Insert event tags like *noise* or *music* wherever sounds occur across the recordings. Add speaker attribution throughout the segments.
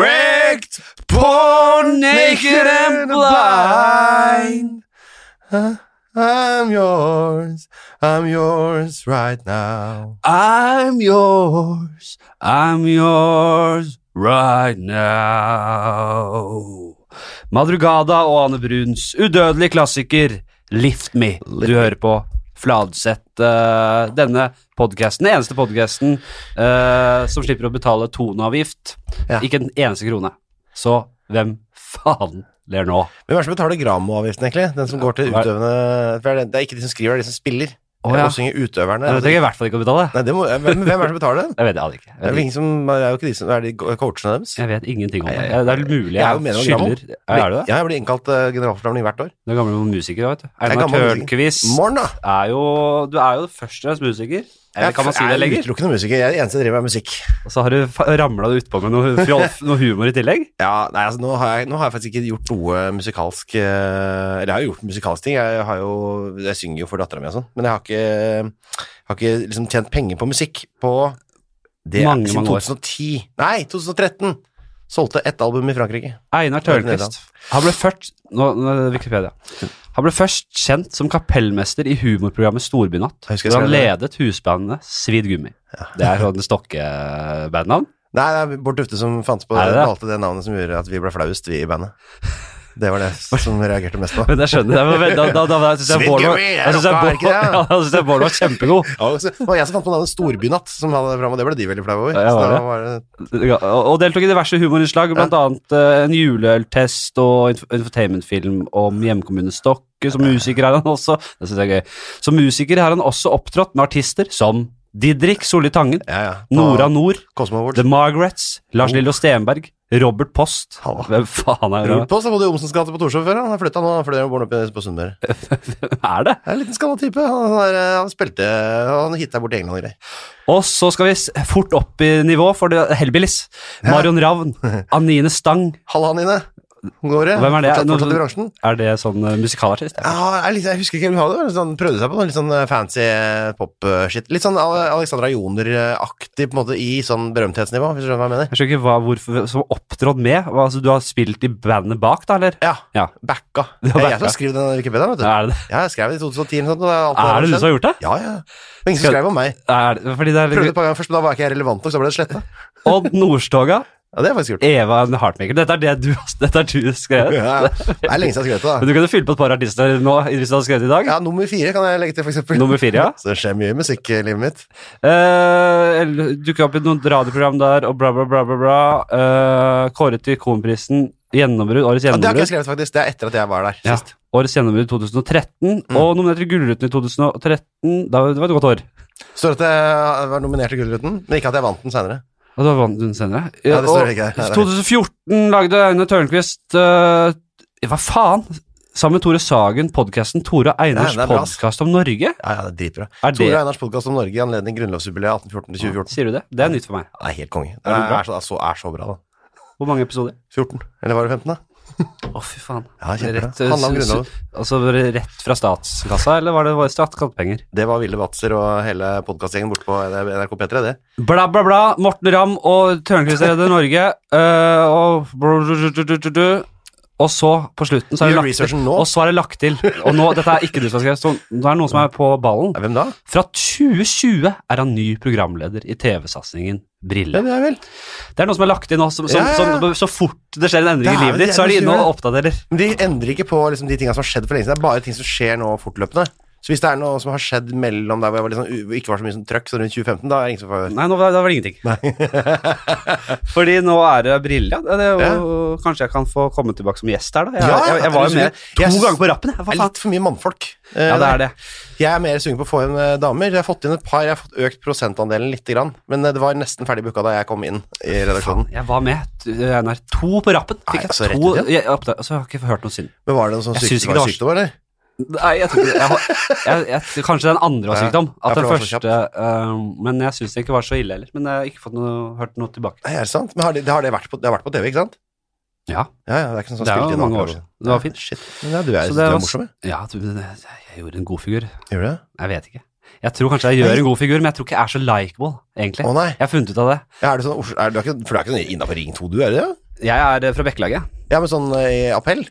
Speaker 1: Wrecked, born naked and blind. I- I'm yours, I'm yours right now.
Speaker 2: I'm yours, I'm yours right now. Madrugada og Anne Bruns udødelige klassiker Lift Me. Du hører på Fladseth. eh, denne podkasten, den eneste podkasten som slipper å betale toneavgift.
Speaker 1: Ja.
Speaker 2: Ikke en eneste krone. Så hvem faen ler nå?
Speaker 1: Hvem er det som betaler Gramo-avgiften, egentlig? Den som går til
Speaker 2: Hva er-
Speaker 1: utøvende for det er- Det er ikke de som skriver, det er de som spiller.
Speaker 2: Å, ja.
Speaker 1: Og synger utøverne.
Speaker 2: Det trenger jeg i hvert fall ikke å betale.
Speaker 1: Nei, det må, hvem, hvem er det som
Speaker 2: *laughs*
Speaker 1: betaler den?
Speaker 2: Jeg vet, jeg aner ikke.
Speaker 1: Det er,
Speaker 2: Jeg
Speaker 1: vel
Speaker 2: vet,
Speaker 1: ingen som, det er jo ikke de som er de coachene deres.
Speaker 2: jeg vet ingenting om det.
Speaker 1: Nei, jeg-
Speaker 2: Jeg- Det er mulig
Speaker 1: Jeg er
Speaker 2: jeg,
Speaker 1: jo medlem av Gramo.
Speaker 2: skylder Ja, Er du det?
Speaker 1: Ja, jeg blir innkalt til generalforsamling hvert år.
Speaker 2: Du er gammel musiker, vet du.
Speaker 1: er
Speaker 2: Einar
Speaker 1: gammel musiker.
Speaker 2: Tørnquist
Speaker 1: Morgen, da!
Speaker 2: er jo Du er jo først og fremst musiker. Eller
Speaker 1: Jeg
Speaker 2: kan man si det
Speaker 1: er
Speaker 2: lenger?
Speaker 1: utelukkende musiker. Jeg er den eneste som driver med musikk.
Speaker 2: Og så har du ramla det utpå med noe,
Speaker 1: *laughs*
Speaker 2: fjoll- noe humor i tillegg.
Speaker 1: Ja, nei, altså, nå, har jeg, nå har jeg faktisk ikke gjort noe musikalsk eh, Eller jeg har jo gjort musikalske ting. Jeg, har jo, jeg synger jo for dattera mi og sånn, men jeg har ikke, har ikke liksom tjent penger på musikk på det
Speaker 2: Mange,
Speaker 1: siden
Speaker 2: mange år.
Speaker 1: 2010. Nei, 2013! Solgte ett album i Frankrike.
Speaker 2: Einar Tørnquist. Han ble først nå, nå, er det Wikipedia. Han ble først kjent som kapellmester i humorprogrammet Storbynatt.
Speaker 1: Jeg husker jeg
Speaker 2: Hvor han
Speaker 1: skrev
Speaker 2: ledet husbandet Svidd Gummi. Det er sånn Stokke-bandnavn.
Speaker 1: Nei, det er Bård Tufte som fant på
Speaker 2: Er det det?
Speaker 1: valgte det navnet som gjorde at vi ble flauest, vi i bandet. Det var det som jeg reagerte mest på.
Speaker 2: Men jeg skjønner det. men Da, da, da, da syns jeg
Speaker 1: Svidd
Speaker 2: Bård var-
Speaker 1: Gummi,
Speaker 2: da synes jeg
Speaker 1: rocka, er
Speaker 2: Bård-
Speaker 1: ikke det?
Speaker 2: *laughs* ja, da synes jeg Bård var kjempegod.
Speaker 1: Ja, og så- Det var jeg som fant på navnet Storbynatt, som hadde det fram, og det ble de veldig flau over.
Speaker 2: altså. Ja, var
Speaker 1: så da
Speaker 2: det?
Speaker 1: var det
Speaker 2: Ja, og deltok i diverse humorinnslag, blant annet eh, en juleøltest og inf- infotainmentfilm om hjemkommunen Stokke. Som musiker er han også Det synes jeg er gøy. Som musiker har han også opptrådt med artister som Didrik Solli Tangen,
Speaker 1: ja, ja. På
Speaker 2: Nora Nord,
Speaker 1: Cosmo Awards.
Speaker 2: The Margarets, Lars Lillo Stenberg, Robert Post
Speaker 1: Hallo.
Speaker 2: Hvem faen er det?
Speaker 1: Robert Post har bodd i Omsens gate på Torshov før. Han har flytta nå, fordi han bor oppe på Sunnmøre.
Speaker 2: Eh.
Speaker 1: Det
Speaker 2: Er det?
Speaker 1: er En liten skalla type. Han, er, eh, han spilte Han hitta borti England og greier.
Speaker 2: Og så skal vi s- fort opp i nivå for det- Hellbillies. Marion
Speaker 1: *laughs*
Speaker 2: Ravn, Anine Stang.
Speaker 1: Halla, Anine. Hvordan går det?
Speaker 2: Hvem er det?
Speaker 1: Fortsatt,
Speaker 2: Nå-
Speaker 1: fortsatt i bransjen?
Speaker 2: Er det sånn eh, musikalartist?
Speaker 1: Ja, jeg, er litt- jeg husker ikke hvem hun hadde. men Sånn, prøvde seg på noe litt sånn eh, fancy pop-shit. Litt sånn Ale- Alexandra Joner-aktig på en måte i sånn berømthetsnivå, hvis du skjønner hva jeg mener.
Speaker 2: Jeg skjønner ikke hva, hvorfor, som opptrådt med. Hva, altså, du har spilt i bandet bak, da, eller?
Speaker 1: Ja.
Speaker 2: Ja.
Speaker 1: Backa.
Speaker 2: Du
Speaker 1: Det
Speaker 2: har
Speaker 1: er jeg
Speaker 2: backa.
Speaker 1: som skrev den Wikipedia, vet du.
Speaker 2: Er det,
Speaker 1: Ja, jeg skrev det i 2010 eller noe sånt. og det er alt
Speaker 2: Ah, er det du
Speaker 1: skjedd.
Speaker 2: som har gjort det?
Speaker 1: Ja, ja. Men ingen som
Speaker 2: Skal-
Speaker 1: skrev om meg.
Speaker 2: Er det fordi det
Speaker 1: Prøvde
Speaker 2: er
Speaker 1: et par ganger først, men da var jeg ikke relevant nok, så ble det sletta.
Speaker 2: Odd Nordstoga,
Speaker 1: Ja, det har jeg faktisk gjort.
Speaker 2: Eva and Heartmaker. Dette er det du, dette er du skrevet.
Speaker 1: Ja, det er lenge siden jeg har skrevet det, da.
Speaker 2: Men du kunne fylt på et par artister nå hvis du hadde skrevet i dag.
Speaker 1: Ja, nummer fire kan jeg legge til, for eksempel.
Speaker 2: Nummer fire, ja.
Speaker 1: Så det skjer mye i musikklivet mitt.
Speaker 2: Eh, eller Dukket opp i noen radioprogram der, og bla, bla, bla, bla. bla. Eh, kåret til Ikonprisen. Gjennombrudd. Årets
Speaker 1: Ja, det har ikke
Speaker 2: gjennombrudd.
Speaker 1: jeg skrevet, faktisk. Det er etter at jeg var der
Speaker 2: Ja.
Speaker 1: sist.
Speaker 2: Årets gjennombrudd i 2013, og nominert til Gullruten i 2013. Da, det var et godt år.
Speaker 1: Står at jeg var nominert til Gullruten, men ikke at jeg vant den senere.
Speaker 2: Og da vant hun senere.
Speaker 1: Ja, det står
Speaker 2: og
Speaker 1: ikke der. Nei, det er-
Speaker 2: 2014 lagde Aune Tørnquist eh, Hva faen? Sammen med Tore Sagen, podkasten Tore og Einars
Speaker 1: Ja, det er bra, ass.
Speaker 2: podkast om Norge.
Speaker 1: Ja, ja, det er dritbra.
Speaker 2: Er
Speaker 1: Tore
Speaker 2: det-
Speaker 1: Einars podkast om Norge i anledning grunnlovsjubileet 1814-2014.
Speaker 2: Sier du det? Det er nytt for meg.
Speaker 1: Det er helt konge. Det
Speaker 2: Er det
Speaker 1: er,
Speaker 2: bra?
Speaker 1: så, er, så, er så bra, da.
Speaker 2: Hvor mange episoder?
Speaker 1: 14. Eller var det 15, da?
Speaker 2: Å, fy faen.
Speaker 1: Ja, kjempebra.
Speaker 2: eh,
Speaker 1: Handla om
Speaker 2: s- s-
Speaker 1: Grunnloven.
Speaker 2: Altså var det rett fra statskassa, eller var det bare skattepenger?
Speaker 1: Det var Ville Batzer og hele podkastgjengen borte på NRK P3, det.
Speaker 2: Bla, bla, bla. Morten Ramm og Tørnquist redder Norge. *laughs* eh, og og så, på slutten, så er det
Speaker 1: Gjør
Speaker 2: lagt til.
Speaker 1: researchen nå.
Speaker 2: Og så er det lagt til. Og nå, dette er ikke du som har skrevet, så nå er det noen som er på ballen.
Speaker 1: Ja, Hvem da?
Speaker 2: Fra 2020 er han ny programleder i TV-satsingen Brille.
Speaker 1: det er vel.
Speaker 2: Det er noe som er lagt inn nå, som, som,
Speaker 1: Ja, ja, ja.
Speaker 2: som, så fort det skjer en endring i
Speaker 1: Det er
Speaker 2: livet
Speaker 1: vel
Speaker 2: ditt, så er de inne og
Speaker 1: 2020.
Speaker 2: oppdaterer.
Speaker 1: Men de endrer ikke på liksom, de tinga som har skjedd for lenge siden. Det er bare ting som skjer nå fortløpende. Så hvis det er noe som har skjedd mellom der hvor jeg var litt sånn u- hvor det ikke var så mye sånn trøkk, så rundt 2015, da er det ingen som får
Speaker 2: Nei, nå var, da var det ingenting. *laughs* Fordi nå er det Brille. ja. Det er jo, Kanskje jeg kan få komme tilbake som gjest her, da. Jeg,
Speaker 1: Ja,
Speaker 2: jeg, jeg var
Speaker 1: er
Speaker 2: jo
Speaker 1: du
Speaker 2: med
Speaker 1: sikker?
Speaker 2: to
Speaker 1: Jeg synes-
Speaker 2: ganger på rappen. Jeg,
Speaker 1: Det
Speaker 2: hva
Speaker 1: er
Speaker 2: faen?
Speaker 1: litt for mye mannfolk. Eh,
Speaker 2: Ja, det er det.
Speaker 1: Jeg er mer sugen på å få inn eh, damer. Jeg har fått inn et par, jeg har fått økt prosentandelen lite grann. Men eh, det var nesten ferdig booka da jeg kom inn i redaksjonen.
Speaker 2: Jeg var med t- NR to på rappen.
Speaker 1: Nei,
Speaker 2: Fikk
Speaker 1: altså,
Speaker 2: jeg
Speaker 1: rett
Speaker 2: to
Speaker 1: ut igjen?
Speaker 2: jeg, oppdag- altså, jeg har ikke hørt noe siden.
Speaker 1: Men var det en sånn
Speaker 2: Jeg synes ikke
Speaker 1: sykdom,
Speaker 2: det var-
Speaker 1: sykdom, eller?
Speaker 2: Nei, jeg tror ikke det. Jeg, har- jeg, jeg, kanskje den andre var
Speaker 1: Ja.
Speaker 2: sykdom.
Speaker 1: Ja,
Speaker 2: At
Speaker 1: for
Speaker 2: den
Speaker 1: det var så
Speaker 2: første eh, Men jeg syns det ikke var så ille heller. Men jeg har ikke fått noe, hørt noe tilbake.
Speaker 1: Nei, er det sant? Men har det, det, har det, vært på, det har vært på TV, ikke sant?
Speaker 2: Ja,
Speaker 1: Ja, ja, det er ikke noe sånn
Speaker 2: Det er jo
Speaker 1: spilt inn.
Speaker 2: mange år
Speaker 1: akkurat.
Speaker 2: siden. Det var fint.
Speaker 1: Shit. Men ja, du er,
Speaker 2: Så
Speaker 1: du
Speaker 2: det
Speaker 1: er
Speaker 2: var-
Speaker 1: morsom, jeg.
Speaker 2: ja du, jeg gjorde en god figur.
Speaker 1: Gjør du det?
Speaker 2: Jeg vet ikke. Jeg tror kanskje jeg gjør en god figur, men jeg tror ikke jeg er så likeable, egentlig.
Speaker 1: Å, nei.
Speaker 2: Jeg har funnet ut av det.
Speaker 1: Ja, er det sånn, Oslo- er, du er ikke, for du er ikke sånn innafor Ring 2, du, er det det?
Speaker 2: Jeg er eh, fra Bekkelaget.
Speaker 1: Ja, men sånn eh, i appell?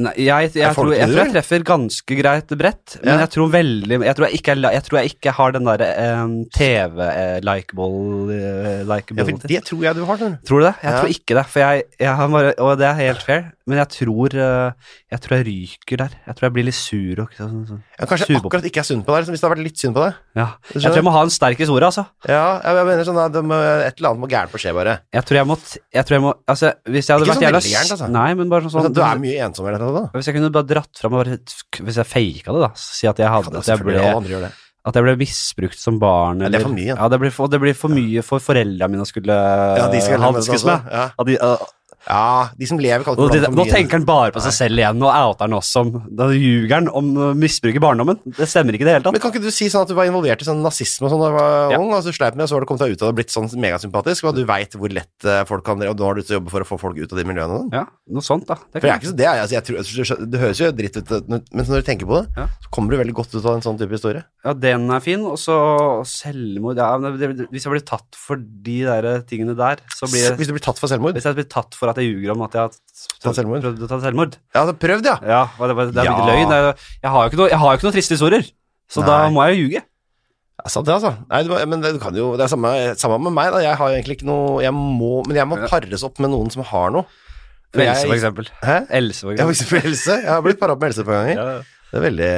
Speaker 2: Nei, jeg, jeg,
Speaker 1: Er det
Speaker 2: tror, jeg
Speaker 1: folkelig,
Speaker 2: tror jeg
Speaker 1: eller?
Speaker 2: treffer ganske greit bredt, men
Speaker 1: Ja.
Speaker 2: jeg tror veldig Jeg tror jeg ikke, er li- jeg tror jeg ikke har den eh, derre eh, TV-likeable
Speaker 1: Ja, for det tror jeg du har. skjønner du.
Speaker 2: Tror du det? Jeg
Speaker 1: Ja.
Speaker 2: tror ikke det, for jeg, jeg har bare Og det er helt fair, men jeg tror eh, Jeg tror jeg ryker der. Jeg tror jeg blir litt sur og sånn. sånn.
Speaker 1: Ja, kanskje
Speaker 2: Sur på-
Speaker 1: akkurat ikke er synd på deg, liksom, hvis det har vært litt synd på deg.
Speaker 2: Ja. Jeg
Speaker 1: skjønner.
Speaker 2: tror jeg må ha en sterk historie, altså.
Speaker 1: Ja, jeg, jeg mener sånn at det må, et eller annet må gærent få skje, bare.
Speaker 2: Jeg tror jeg må, t- jeg tror jeg må Altså, hvis jeg hadde
Speaker 1: Ikke
Speaker 2: vært
Speaker 1: sånn
Speaker 2: jævla
Speaker 1: veldig gærent,
Speaker 2: s-
Speaker 1: altså.
Speaker 2: Nei, men bare sånn
Speaker 1: Men du er mye ensom i dette, da.
Speaker 2: Hvis jeg kunne bare dratt fram og bare t- Hvis jeg faka det, da. Si at jeg hadde at
Speaker 1: Ja,
Speaker 2: jeg,
Speaker 1: selvfølgelig,
Speaker 2: ble,
Speaker 1: alle andre gjør det.
Speaker 2: at jeg ble misbrukt som barn.
Speaker 1: Ja, det er
Speaker 2: eller-
Speaker 1: for mye, ja.
Speaker 2: Ja, det blir for, det blir for mye for foreldra mine å skulle eh,
Speaker 1: Ja, de skal leve med det
Speaker 2: hanskes med.
Speaker 1: også. Ja.
Speaker 2: At de, øh,
Speaker 1: ja, de som lever, kan ikke
Speaker 2: og de,
Speaker 1: blande for
Speaker 2: nå
Speaker 1: mye.
Speaker 2: tenker han bare på seg selv igjen. Nå outer han oss som Da ljuger han om øh, misbruk i barndommen. Det stemmer ikke i det hele tatt.
Speaker 1: Men kan ikke du si sånn at du var involvert i sånn nazisme og sånn da du var
Speaker 2: Ja.
Speaker 1: ung, og så sleip med, og så har du kommet deg ut av det og blitt sånn megasympatisk, og du veit hvor lett eh, folk kan Og nå har du lyst til å jobbe for å få folk ut av de miljøene og sånn.
Speaker 2: Ja, noe sånt, da. Det
Speaker 1: For jeg
Speaker 2: kan.
Speaker 1: er ikke så det, jeg, altså, jeg tror, det høres jo dritt ut, men når du tenker på det,
Speaker 2: Ja.
Speaker 1: så kommer du veldig godt ut av en sånn type historie.
Speaker 2: Ja, den er fin. Og så selvmord ja, men det, det, Hvis jeg blir tatt for de der eh, tingene der, så blir jeg
Speaker 1: Hvis du blir tatt for selvmord.
Speaker 2: Hvis jeg blir tatt for at jeg ljuger om at jeg har
Speaker 1: Tatt selvmord?
Speaker 2: prøvd å ta selvmord
Speaker 1: Ja, altså, prøv det, ja.
Speaker 2: Ja, hva- det, var- det er
Speaker 1: Ja.
Speaker 2: litt løgn. Det er- Jeg har jo ikke noe, jeg har jo ikke noen triste historier, så da
Speaker 1: Nei.
Speaker 2: må jeg jo ljuge.
Speaker 1: Ja, sant det, altså. Nei, du, må- men det, du kan jo, det er samme, samme med meg, da. Jeg har jo egentlig ikke noe jeg må, Men jeg må
Speaker 2: Ja.
Speaker 1: pares opp med noen som har noe. For
Speaker 2: Else, for
Speaker 1: jeg,
Speaker 2: eksempel.
Speaker 1: hæ?
Speaker 2: Else, for
Speaker 1: Jeg, for
Speaker 2: eksempel.
Speaker 1: eksempel Else. Jeg har blitt para opp med Else et par ganger.
Speaker 2: Ja, ja.
Speaker 1: Det er veldig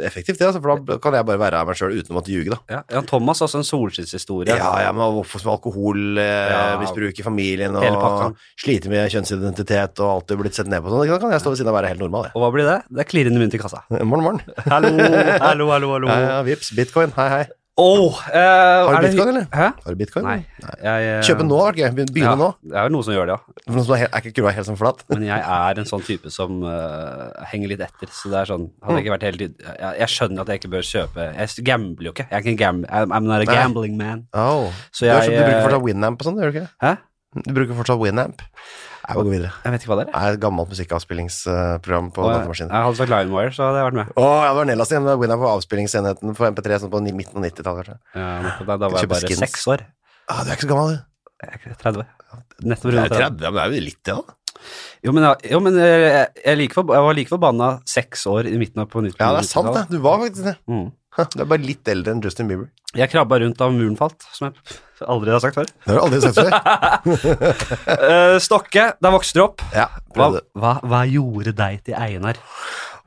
Speaker 1: eh, effektivt, det. Altså, for da kan jeg bare være av meg sjøl uten å måtte ljuge, da.
Speaker 2: Ja, ja, Thomas har også en solskinnshistorie.
Speaker 1: Ja, ja, men oppvokst med eh, alkoholmisbruk i familien
Speaker 2: Hele
Speaker 1: og
Speaker 2: pakka.
Speaker 1: slite med kjønnsidentitet og alltid blitt sett ned på sånn. Da kan jeg stå ved siden av og være helt normal, jeg. Eh,
Speaker 2: Og hva blir det? Det er klirrende mynt i kassa.
Speaker 1: Morgen, morgen. *laughs*
Speaker 2: Hallo, hallo, hallo. hallo.
Speaker 1: Ja, ja, vips, bitcoin. Hei, hei.
Speaker 2: Åh, eh,
Speaker 1: Har
Speaker 2: er
Speaker 1: du
Speaker 2: det-
Speaker 1: bitcoin, eller?
Speaker 2: Hæ?
Speaker 1: Har du bitcoin?
Speaker 2: Nei. Jeg, eh,
Speaker 1: Kjøpe nå, har du ikke? Begynne
Speaker 2: ja,
Speaker 1: nå.
Speaker 2: Det er jo noen som gjør det, ja.
Speaker 1: For noen som er, helt, er ikke kurva helt sånn flat.
Speaker 2: Men jeg er en sånn type som eh, henger litt etter. Så det er sånn
Speaker 1: Mm.
Speaker 2: Hadde jeg ikke vært helt jeg, jeg skjønner at jeg ikke bør kjøpe Jeg gambler jo ikke. Jeg er ikke en gam, I'm, I'm not a
Speaker 1: Nei.
Speaker 2: gambling man.
Speaker 1: Au.
Speaker 2: Så
Speaker 1: Du,
Speaker 2: jeg
Speaker 1: har kjøpt- du bruker
Speaker 2: eh,
Speaker 1: fortsatt Winamp og sånn, gjør du ikke? det?
Speaker 2: Hæ?
Speaker 1: Du bruker fortsatt Winamp. Jeg må gå videre.
Speaker 2: eh, Jeg vet ikke hva det er.
Speaker 1: Det er et gammelt musikkavspillingsprogram på
Speaker 2: Og jeg,
Speaker 1: datamaskinen.
Speaker 2: jeg hadde sagt LimeWire, så hadde jeg vært med.
Speaker 1: Å, ja, det var Nellas igjen. Det var Winamp på avspillingsenheten på MP3 sånn på ni- midten av 90-tallet, kanskje.
Speaker 2: Ja, nettopp, da, da var jeg
Speaker 1: Kjøpe
Speaker 2: bare
Speaker 1: skins.
Speaker 2: seks år.
Speaker 1: Ah, du er ikke så gammel, du.
Speaker 2: Jeg er ikke 30. Nettopp rundt 30.
Speaker 1: ja, men det er jo litt, det, da.
Speaker 2: Jo, men, jeg- jo, men eh, jeg, jeg, er like forb- jeg var like forbanna seks år i midten av på nytt.
Speaker 1: Ja, det er sant, det. Du var faktisk det.
Speaker 2: Mm.
Speaker 1: Du er bare litt eldre enn Justin Bieber.
Speaker 2: Jeg krabba rundt da muren falt, som jeg aldri har
Speaker 1: *laughs*
Speaker 2: sagt før.
Speaker 1: Det har du aldri sett før.
Speaker 2: Eh, Stokke, der vokste du opp.
Speaker 1: Ja,
Speaker 2: Hva,
Speaker 1: prøvde.
Speaker 2: hva, hva gjorde deg til Einar?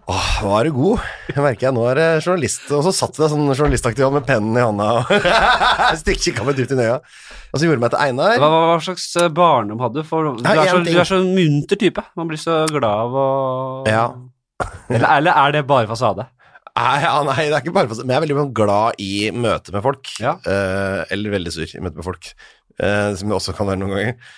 Speaker 1: Åh, nå er du god. Jeg merker jeg nå er det journalist, og så satt du deg sånn journalistaktig og med pennen i hånda og *laughs* stikk kikka meg dypt inn i øya. Og så gjorde du meg til Einar.
Speaker 2: Hva, hva, hva slags eh, barndom hadde du? For du
Speaker 1: Nei,
Speaker 2: er, så,
Speaker 1: en ting.
Speaker 2: du er så munter type. Man blir så glad av å
Speaker 1: Ja.
Speaker 2: eller, eller er det bare fasade?
Speaker 1: Nei, ja, nei, det er ikke bare for Men jeg er veldig sånn glad i møte med folk.
Speaker 2: Ja.
Speaker 1: Eh, eller veldig sur i møte med folk, eh, som jeg også kan være noen ganger.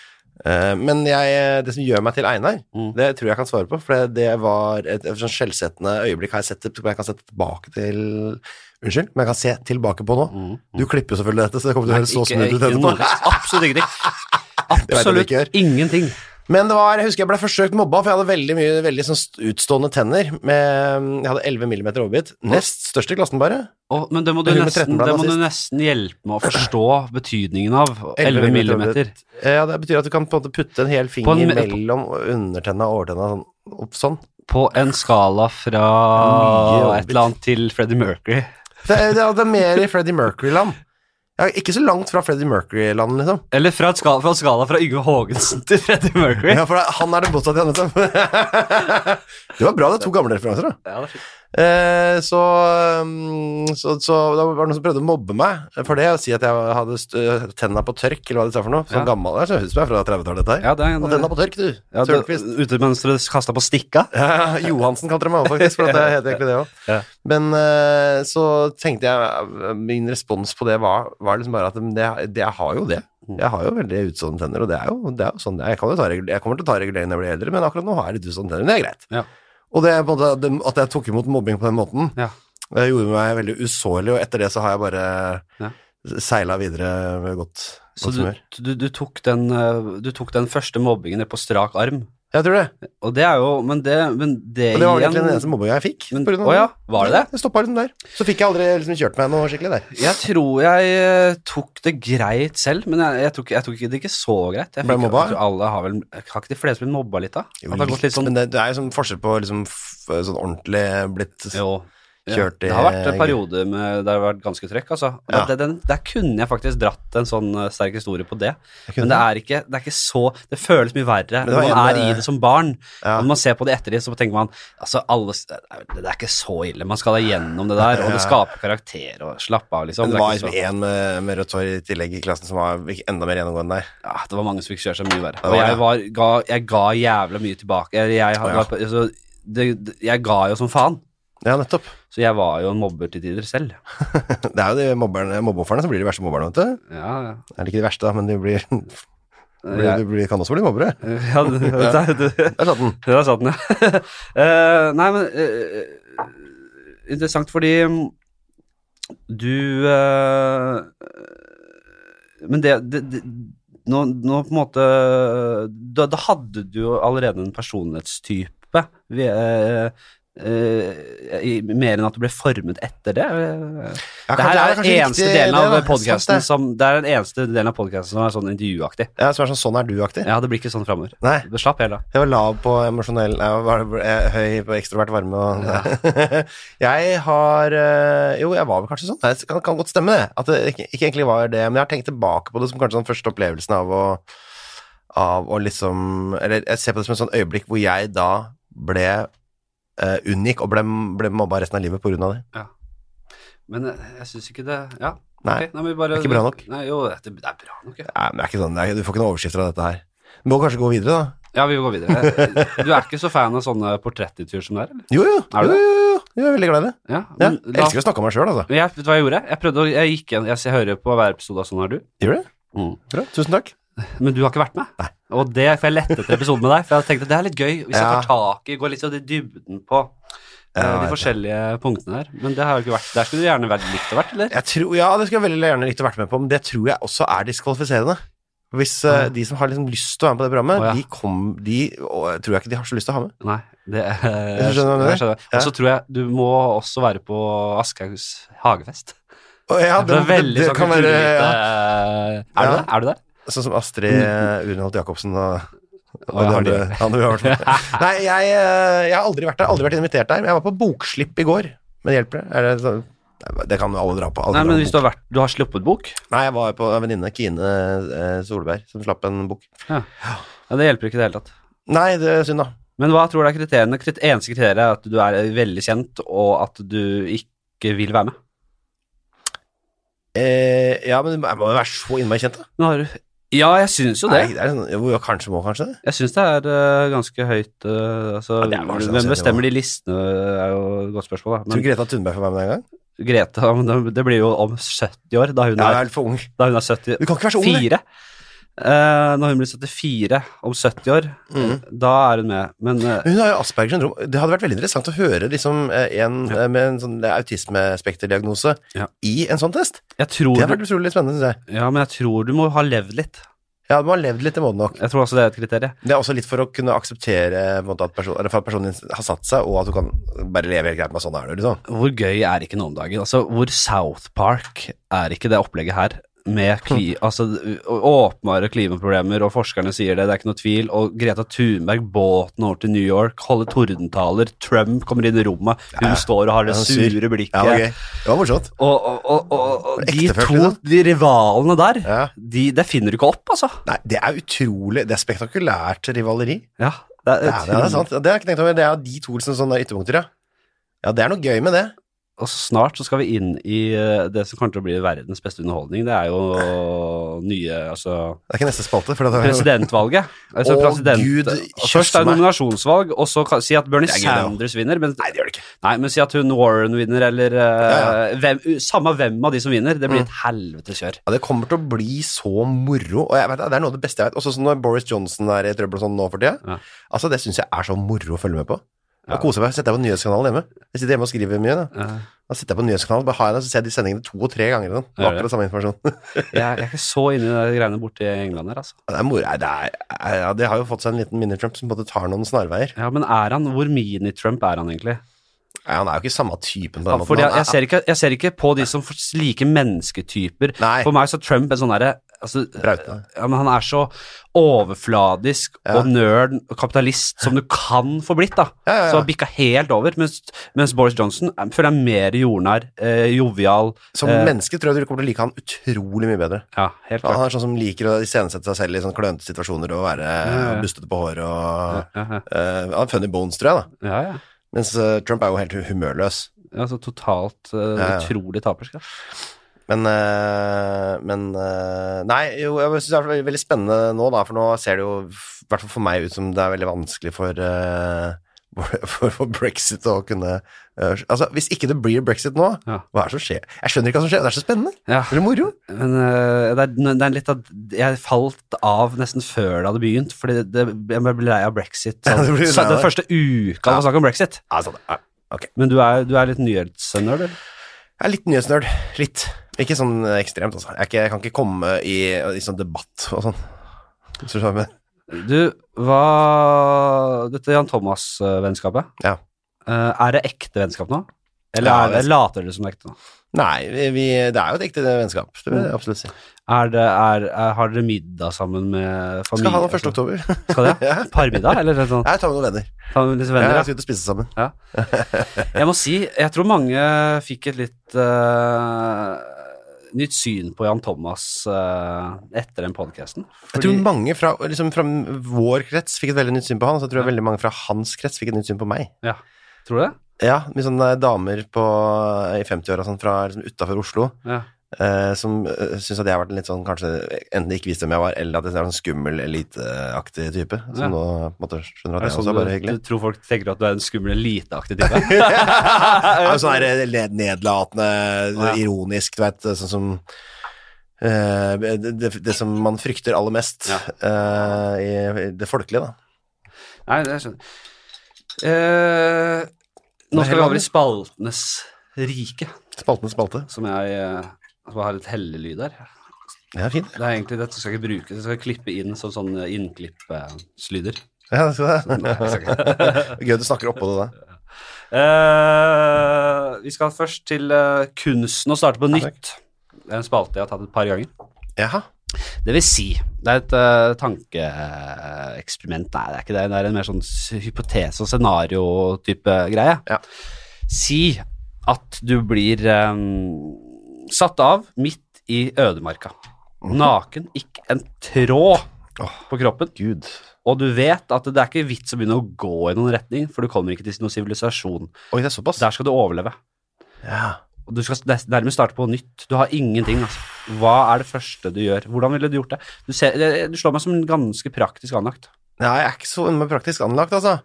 Speaker 1: Eh, men jeg, det som gjør meg til Einar,
Speaker 2: Mm.
Speaker 1: det tror jeg jeg kan svare på. For det, det var et, et sånn skjellsettende øyeblikk har jeg sett det, som jeg kan se tilbake til Unnskyld, men jeg kan se tilbake på nå. Du klipper jo selvfølgelig dette, så det kommer til å høres Mm. så
Speaker 2: Mm. Ikke-
Speaker 1: smooth ut
Speaker 2: ikke
Speaker 1: etterpå.
Speaker 2: noe- Absolutt
Speaker 1: *laughs*
Speaker 2: ingenting.
Speaker 1: vet jeg
Speaker 2: Absolutt
Speaker 1: du ikke
Speaker 2: ingenting.
Speaker 1: Men det var, jeg husker jeg ble forsøkt mobba, for jeg hadde veldig mye veldig sånn st- utstående tenner. Med, jeg hadde 11 mm overbit. Nest størst i klassen, bare.
Speaker 2: Og, men det må, du
Speaker 1: Hun med
Speaker 2: nesten,
Speaker 1: 13 ble
Speaker 2: det må du
Speaker 1: nazist.
Speaker 2: nesten hjelpe
Speaker 1: *clears throat*
Speaker 2: med å forstå betydningen av.
Speaker 1: 11
Speaker 2: 11
Speaker 1: millimeter.
Speaker 2: millimeter.
Speaker 1: Eh, Ja, det betyr at du kan på en måte putte en hel
Speaker 2: På en-
Speaker 1: finger mellom undertenna og overtenna sånn, opp sånn.
Speaker 2: På en skala fra
Speaker 1: Mye
Speaker 2: et eller annet til Freddie Mercury.
Speaker 1: Det er, det er, det er mer i Freddie Mercury-land. Ja, ikke så langt fra Freddie Mercury-land, liksom.
Speaker 2: Eller fra, et skala, fra en skala fra Yngve Haagensen til Freddie Mercury.
Speaker 1: Ja, for det, han er det motsatte, han, liksom. *laughs* Det var bra, det er to gamle referanser, da.
Speaker 2: Ja, det er fint.
Speaker 1: Eh, så, mm, så, så det var noen som prøvde å mobbe meg for det, og si at jeg hadde st- eh, tenna på tørk, eller hva de sa for noe. Sånn
Speaker 2: Ja.
Speaker 1: gammel, det høres ut som jeg er fra 30-tallet, dette her.
Speaker 2: Ja, det er en-
Speaker 1: Og tenna på tørk, du.
Speaker 2: Ja, det-
Speaker 1: Sørnquist.
Speaker 2: Ute mens dere kasta på stikka.
Speaker 1: Ja, Johansen kalte de meg også, faktisk, for at jeg heter egentlig det òg.
Speaker 2: Ja.
Speaker 1: Men eh, så tenkte jeg eh, Min respons på det var, var liksom bare at men det, det, jeg har jo det. Jeg har jo veldig utstående tenner, og det er jo, det er jo sånn det er. Jeg, kan jo ta regul- jeg kommer til å ta regulering når jeg blir eldre, men akkurat nå har jeg litt utstående tenner. men Det er greit.
Speaker 2: Ja.
Speaker 1: Og det, er på en måte, det- at jeg tok imot mobbing på den måten,
Speaker 2: Ja.
Speaker 1: det gjorde meg veldig usårlig, og etter det så har jeg bare
Speaker 2: Ja.
Speaker 1: seila videre med godt,
Speaker 2: Så
Speaker 1: godt
Speaker 2: du,
Speaker 1: humør.
Speaker 2: du, du, tok den, eh, du tok den første mobbingen ned på strak arm.
Speaker 1: Jeg tror det.
Speaker 2: Og det er jo Men det, men det,
Speaker 1: Og det var vel
Speaker 2: igjen-
Speaker 1: egentlig den eneste mobbinga jeg fikk.
Speaker 2: Men-
Speaker 1: på grunn av
Speaker 2: å ja, var det det?
Speaker 1: Det stoppa liksom der. Så fikk jeg aldri liksom kjørt meg noe skikkelig der.
Speaker 2: Jeg tror jeg eh, tok det greit selv, men jeg, jeg, tok, ikke- jeg tok ikke det ikke så greit. Jeg
Speaker 1: Ble
Speaker 2: fikk-
Speaker 1: mobba?
Speaker 2: jeg tror Alle har vel Har ikke de fleste blitt mobba litt, da?
Speaker 1: Jo,
Speaker 2: At det har gått litt sånn
Speaker 1: Men det, det er jo sånn forskjell på liksom f sånn ordentlig blitt
Speaker 2: jo. Ja.
Speaker 1: kjørt i
Speaker 2: Det har vært en periode med, det har vært ganske trøkk, altså. Men
Speaker 1: Ja.
Speaker 2: det, den, der kunne jeg faktisk dratt en sånn eh, sterk historie på det.
Speaker 1: Jeg
Speaker 2: Men
Speaker 1: kunne
Speaker 2: det er, ikke, det er ikke så Det føles mye verre
Speaker 1: det
Speaker 2: når
Speaker 1: var
Speaker 2: man
Speaker 1: en,
Speaker 2: er i
Speaker 1: eh,
Speaker 2: det som barn.
Speaker 1: ja.
Speaker 2: Når man ser på det etter det, så tenker man altså alle, s- Det er ikke så ille. Man skal da gjennom det der, og det skaper karakter og slapp av, liksom.
Speaker 1: Men det var
Speaker 2: er ikke
Speaker 1: liksom
Speaker 2: så,
Speaker 1: en med, med rødt hår i tillegg i klassen som var enda mer gjennomgående der.
Speaker 2: ja, Ah, det var mange som fikk kjøre seg mye verre.
Speaker 1: var
Speaker 2: Og
Speaker 1: det.
Speaker 2: jeg, var, ga, jeg ga jævla mye tilbake. Jeg, jeg,
Speaker 1: Å, ja.
Speaker 2: var på- altså, det, det- jeg ga jo som faen.
Speaker 1: Ja, nettopp.
Speaker 2: Så jeg var jo en mobber til tider selv.
Speaker 1: Det er jo de mobberne, mobbeofrene som blir de verste mobberne, vet du.
Speaker 2: Ja, ja.
Speaker 1: Er det ikke de verste, da, men de blir, blir,
Speaker 2: Jeg-
Speaker 1: de blir kan også bli mobbere.
Speaker 2: Ja, det, *laughs* det, det,
Speaker 1: Der satt den.
Speaker 2: *laughs* der satt den, ja. *laughs* Eh, nei, men eh, Interessant fordi mm, du eh, Men det, det, det nå, nå på en måte da, da hadde du jo allerede en personlighetstype. Vi, eh, eh, i, mer enn at du ble formet etter det.
Speaker 1: Ja,
Speaker 2: det
Speaker 1: kanskje
Speaker 2: her er,
Speaker 1: det er kanskje
Speaker 2: den eneste
Speaker 1: riktig,
Speaker 2: delen av
Speaker 1: det, da. Sant,
Speaker 2: podcasten
Speaker 1: det.
Speaker 2: som Det er den eneste delen av podcasten som er sånn intervjuaktig.
Speaker 1: Ja, som er sånn sånn er du-aktig.
Speaker 2: Ja, det blir ikke sånn framover.
Speaker 1: Nei,
Speaker 2: Det slapp helt av.
Speaker 1: jeg var lav på emosjonell Nei, jeg var eh, høy på ekstrovert varme og *laughs* Jeg har eh, Jo, jeg var vel kanskje sånn. Nei, Det kan, kan godt stemme, det. At det ikke, ikke egentlig var det. Men jeg har tenkt tilbake på det som kanskje den første opplevelsen av å Av å liksom Eller jeg ser på det som et sånn øyeblikk hvor jeg da ble eh, unngikk og ble, ble mobba resten av livet på grunn av det.
Speaker 2: Men eh, jeg syns ikke det Ja.
Speaker 1: Nei.
Speaker 2: ok, nei, men vi bare,
Speaker 1: det er ikke bra nok.
Speaker 2: Nei, jo, det, det er bra nok, ja.
Speaker 1: Nei, men det er ikke sånn, det er, Du får ikke noen overskrifter av dette her. Du må kanskje gå videre, da.
Speaker 2: Ja, vi går videre.
Speaker 1: *laughs*
Speaker 2: Du er ikke så fan av sånne portrettintervjuer som det er, eller?
Speaker 1: Jo, jo.
Speaker 2: Er du
Speaker 1: jo,
Speaker 2: det?
Speaker 1: jo, jo. jo, jeg er veldig glad i det.
Speaker 2: Ja.
Speaker 1: Ja,
Speaker 2: men
Speaker 1: jeg
Speaker 2: la-
Speaker 1: elsker å snakke om meg sjøl, altså.
Speaker 2: Men jeg, vet du hva jeg gjorde? Jeg prøvde å, jeg gikk igjen, jeg, jeg hører på hver episode av Sånn er du.
Speaker 1: Gjør du det?
Speaker 2: Mm.
Speaker 1: Bra. Tusen takk.
Speaker 2: Men du har ikke vært med.
Speaker 1: Nei.
Speaker 2: Og det, for jeg lette etter episoden med deg, for jeg tenkte det er litt gøy hvis
Speaker 1: Ja.
Speaker 2: jeg tar tak i, går litt sånn i dybden på eh,
Speaker 1: Ja, jeg
Speaker 2: de
Speaker 1: vet
Speaker 2: forskjellige punktene der. Men det har jo ikke vært Der skulle du gjerne vært likt å vært, eller?
Speaker 1: Jeg tror, ja, det skulle jeg veldig gjerne likt å vært med på, men det tror jeg også er diskvalifiserende. Hvis eh,
Speaker 2: Ja.
Speaker 1: de som har liksom lyst til å være med på det programmet,
Speaker 2: Å, ja.
Speaker 1: de, kom, de og, jeg tror jeg ikke de har så lyst til å ha med.
Speaker 2: Nei, det eh,
Speaker 1: du skjønner hva jeg mener?
Speaker 2: jeg skjønner.
Speaker 1: Ja.
Speaker 2: Og så tror jeg du må også være på Aschehougs hagefest.
Speaker 1: Og ja,
Speaker 2: det er veldig
Speaker 1: det
Speaker 2: sånn
Speaker 1: kan være ja.
Speaker 2: kulturelite, eh, Er du
Speaker 1: Ja.
Speaker 2: det? Er du det?
Speaker 1: Sånn som Astrid eh, Urenholt Jacobsen og,
Speaker 2: Mm.
Speaker 1: og
Speaker 2: Å, ja,
Speaker 1: de
Speaker 2: har de-
Speaker 1: andre, andre vi har vært med.
Speaker 2: *laughs*
Speaker 1: Nei, jeg, eh, jeg har aldri vært der, aldri vært invitert der, men jeg var på bokslipp i går. Men hjelper det? Er det sånn? Nei, Det kan alle dra på. Alle
Speaker 2: Nei,
Speaker 1: drar
Speaker 2: men
Speaker 1: på
Speaker 2: hvis du har, vært, du har sluppet bok,
Speaker 1: bok. Nei, jeg var på en venninne, Kine eh, Solberg, som slapp en bok.
Speaker 2: ja, det hjelper ikke i det hele tatt.
Speaker 1: Nei, det er synd, da.
Speaker 2: Men hva tror du er kriteriene? Krit- Eneste kriteriet er at du er veldig kjent, og at du ikke vil være med.
Speaker 1: Eh, ja, men jeg må jo være så innmari kjent, da.
Speaker 2: Nå har du... Ja, jeg syns jo
Speaker 1: Nei,
Speaker 2: det.
Speaker 1: det er sånn, jo, jo, kanskje må kanskje det.
Speaker 2: Jeg syns det er eh, ganske høyt eh, altså,
Speaker 1: Ja, det er kanskje
Speaker 2: Hvem
Speaker 1: det,
Speaker 2: bestemmer de listene, er jo et godt spørsmål. Da.
Speaker 1: Tror
Speaker 2: Men
Speaker 1: Greta Thunberg får være med en gang?
Speaker 2: Greta, ja, *laughs* men det- det blir jo om 70 år, da hun
Speaker 1: Nei,
Speaker 2: er
Speaker 1: jeg er litt for ung.
Speaker 2: da hun er 70
Speaker 1: Du kan ikke være så ung, du.
Speaker 2: Fire. Eh, når hun blir 74 om 70 år,
Speaker 1: Mhm.
Speaker 2: da er hun med. Men eh,
Speaker 1: Hun har jo Aspergers syndrom. Det hadde vært veldig interessant å høre liksom, eh, en eh, med en sånn autismespekterdiagnose
Speaker 2: Ja.
Speaker 1: i en sånn test.
Speaker 2: jeg, tror
Speaker 1: Det
Speaker 2: du,
Speaker 1: hadde vært utrolig spennende, syns jeg.
Speaker 2: ja, men jeg tror du må ha levd litt.
Speaker 1: Ja, man har levd litt, det må den nok.
Speaker 2: Jeg tror også det er et kriterium.
Speaker 1: Det er også litt for å kunne akseptere eh, på en måte, at, person, eller for at personen din har satt seg, og at du kan bare leve helt greit med sånn er det, liksom.
Speaker 2: Hvor gøy er ikke nå om dagen? Altså, hvor South Park er ikke det opplegget her? Med kli, altså, å- åpenbare klimaproblemer, og forskerne sier det, det er ikke noe tvil. Og Greta Thunberg, båten over til New York, holder tordentaler. Trump kommer inn i rommet, hun står og har det
Speaker 1: Ja, hun syr.
Speaker 2: sure blikket.
Speaker 1: Ja, det var gøy. Det var morsomt.
Speaker 2: Og, og, og, og, og de
Speaker 1: Ektefølt,
Speaker 2: to,
Speaker 1: liksom.
Speaker 2: de rivalene der,
Speaker 1: Ja.
Speaker 2: de, det finner du ikke opp, altså.
Speaker 1: Nei, det er utrolig Det er spektakulært rivaleri.
Speaker 2: Ja, det
Speaker 1: Det er, det er sant. Det har jeg ikke tenkt over. Det er de to liksom, sånne ytterpunkter, ja. Ja, det er noe gøy med det.
Speaker 2: Og så snart så skal vi inn i eh, det som kommer til å bli verdens beste underholdning. Det er jo nye,
Speaker 1: *laughs*
Speaker 2: altså
Speaker 1: Det er ikke neste spalte. For det er,
Speaker 2: Presidentvalget. Altså
Speaker 1: Å,
Speaker 2: president.
Speaker 1: Gud,
Speaker 2: Først er
Speaker 1: kjøsse
Speaker 2: det
Speaker 1: meg.
Speaker 2: nominasjonsvalg, og så kan, si at Bernie
Speaker 1: Det er gøy, det også.
Speaker 2: Sanders vinner. Men,
Speaker 1: Nei, det gjør det ikke.
Speaker 2: nei, men si at hun Warren vinner, eller
Speaker 1: Ja,
Speaker 2: eh, Hvem, u- Samme hvem av de som vinner, det blir
Speaker 1: Mm.
Speaker 2: et helvete kjør.
Speaker 1: Ja, det kommer til å bli så moro. Og jeg vet, det, det er noe av det beste jeg vet. Også sånn når Boris Johnson er i trøbbel og sånn nå for tida.
Speaker 2: Ja.
Speaker 1: Altså, det syns jeg er så moro å følge med på. og koser meg. Setter jeg på nyhetskanalen hjemme. Jeg sitter hjemme og skriver mye. Da,
Speaker 2: Eh,
Speaker 1: da sitter jeg på nyhetskanalen, bare har jeg den, så ser jeg de sendingene to og tre ganger. Sånn.
Speaker 2: Ja, ja.
Speaker 1: Akkurat samme informasjon.
Speaker 2: Jeg,
Speaker 1: *laughs*
Speaker 2: jeg er ikke så inne i de greiene borte i England her, altså.
Speaker 1: Det er moro. Nei, Det, er- ja, det har jo fått seg en liten mini-Trump som både tar noen snarveier.
Speaker 2: Ja, men er han, hvor mini-Trump er han egentlig?
Speaker 1: Nei, han er jo ikke samme typen på
Speaker 2: Ja,
Speaker 1: den måten.
Speaker 2: fordi jeg,
Speaker 1: Han er-
Speaker 2: jeg, ser ikke, jeg ser ikke på de som for- like mennesketyper.
Speaker 1: Nei.
Speaker 2: For meg så er Trump en sånn derre altså,
Speaker 1: Braute.
Speaker 2: ja, men Han er så overfladisk og nerd og kapitalist som du kan få blitt. da
Speaker 1: Ja, ja, ja.
Speaker 2: Så har bikka helt over. Mens, mens Boris Johnson er- føler jeg er mer jordnær, eh, jovial
Speaker 1: Som
Speaker 2: eh,
Speaker 1: menneske tror jeg du kommer til å like han utrolig mye bedre.
Speaker 2: Ja, helt
Speaker 1: Han
Speaker 2: klart.
Speaker 1: er sånn som liker å iscenesette seg selv i sånn klønete situasjoner og være
Speaker 2: Ja, ja.
Speaker 1: bustete på håret og
Speaker 2: Ja, ja,
Speaker 1: eh, Han er funny bones, tror jeg, da.
Speaker 2: ja, ja.
Speaker 1: Mens eh, Trump er jo helt humørløs.
Speaker 2: Altså totalt eh,
Speaker 1: ja.
Speaker 2: utrolig tapersk. da.
Speaker 1: Men, eh, men eh, Nei, jo, jeg syns det er veldig- veldig spennende nå, da, for nå ser det jo, i hvert fall for meg, ut som det er veldig vanskelig for eh, *laughs* for, for brexit å kunne eh, Altså, hvis ikke det blir brexit nå,
Speaker 2: Ja.
Speaker 1: hva er det som skjer? Jeg skjønner ikke hva som skjer, det er så spennende.
Speaker 2: Ja.
Speaker 1: Det er så moro.
Speaker 2: Men øh, det, er, det er litt at jeg falt av nesten før det hadde begynt, fordi det, det, jeg ble lei av brexit. Sånn.
Speaker 1: Ja, du blir lei
Speaker 2: Så
Speaker 1: av
Speaker 2: den
Speaker 1: det.
Speaker 2: første uka Altså, det var snakk om brexit.
Speaker 1: Ja, sånn, ja.
Speaker 2: Men du er, du er litt nyhetsnerd, eller?
Speaker 1: Jeg er litt nyhetsnerd. Litt. Ikke sånn ekstremt, altså. Jeg, er ikke, jeg kan ikke komme i, i sånn debatt og sånn. Hvis du skjønner hva jeg mener.
Speaker 2: Du, hva Dette Jan Thomas-vennskapet,
Speaker 1: Ja.
Speaker 2: øh, er det ekte vennskap nå? Eller
Speaker 1: Ja,
Speaker 2: er det, later dere som det er ekte nå?
Speaker 1: Nei, vi, vi, det er jo et ekte vennskap. Det vil jeg absolutt si.
Speaker 2: Er det, er, er, har dere middag sammen med familie?
Speaker 1: Skal ha den 1. oktober.
Speaker 2: Skal dere?
Speaker 1: *laughs* Ja.
Speaker 2: Parmiddag, eller sånn?
Speaker 1: Jeg tar altså. med noen venner.
Speaker 2: Ta med litt venner,
Speaker 1: Jeg
Speaker 2: ja.
Speaker 1: skal ut og spise sammen.
Speaker 2: Jeg må si, jeg tror mange fikk et litt eh, nytt syn på Jan Thomas eh, etter den podcasten.
Speaker 1: Jeg tror mange fra, liksom, fra vår krets fikk et veldig nytt syn på han, og så tror jeg veldig mange fra hans krets fikk et nytt syn på meg.
Speaker 2: Ja, tror du det?
Speaker 1: Ja, med sånne damer på, i 50-åra sånn, fra liksom, utafor Oslo.
Speaker 2: Ja.
Speaker 1: Eh, som eh, syns at jeg har vært en litt sånn kanskje enten ikke visste hvem jeg var, eller at jeg er en sånn skummel, eliteaktig type. Som
Speaker 2: Ja.
Speaker 1: nå på en måte skjønner
Speaker 2: Er
Speaker 1: at
Speaker 2: det
Speaker 1: jeg
Speaker 2: sånn
Speaker 1: også er bare
Speaker 2: du,
Speaker 1: hyggelig.
Speaker 2: du tror folk tenker at du er en skummel eliteaktig type?
Speaker 1: *laughs* Jeg er jo sånn her ned- nedlatende,
Speaker 2: Å, ja.
Speaker 1: ironisk, du veit, sånn som eh, det, det, det som man frykter aller mest eh, i i det folkelige, da.
Speaker 2: Nei, det skjønner jeg. Eh, nå skal vi over i spaltenes rike,
Speaker 1: Spaltenes spalte.
Speaker 2: som jeg eh, som har et hellelyd der.
Speaker 1: Det er fint.
Speaker 2: Det er egentlig dette skal jeg ikke bruke, jeg skal klippe inn sånn, sånn
Speaker 1: *laughs*
Speaker 2: innklippslyder.
Speaker 1: Ja,
Speaker 2: *laughs*
Speaker 1: det skal
Speaker 2: Nei, jeg
Speaker 1: det.
Speaker 2: skal ikke.
Speaker 1: Gøy du snakker oppå det da.
Speaker 2: Eh, vi skal først til eh, kunsten å starte på
Speaker 1: Ja,
Speaker 2: nytt. Det er en spalte jeg har tatt et par ganger.
Speaker 1: Jaha.
Speaker 2: Det vil si, det er et eh, tankeeksperiment Nei, det er ikke det. Det er en mer sånn s- hypotese og scenario-type greie.
Speaker 1: Ja.
Speaker 2: Si at du blir eh, satt av midt i ødemarka. Mhm. Naken, ikke en tråd
Speaker 1: Åh.
Speaker 2: på kroppen.
Speaker 1: Gud.
Speaker 2: Og du vet at det er ikke vits å begynne å gå i noen retning, for du kommer ikke til noen sivilisasjon.
Speaker 1: Oi, det er såpass.
Speaker 2: Der skal du overleve.
Speaker 1: Ja.
Speaker 2: Og Du skal nes- nærmest starte på nytt. Du har ingenting. Altså. Hva er det første du gjør? Hvordan ville du gjort det? Du, ser, det- du slår meg som en ganske praktisk anlagt.
Speaker 1: Nei, jeg er ikke så innmari praktisk anlagt, altså.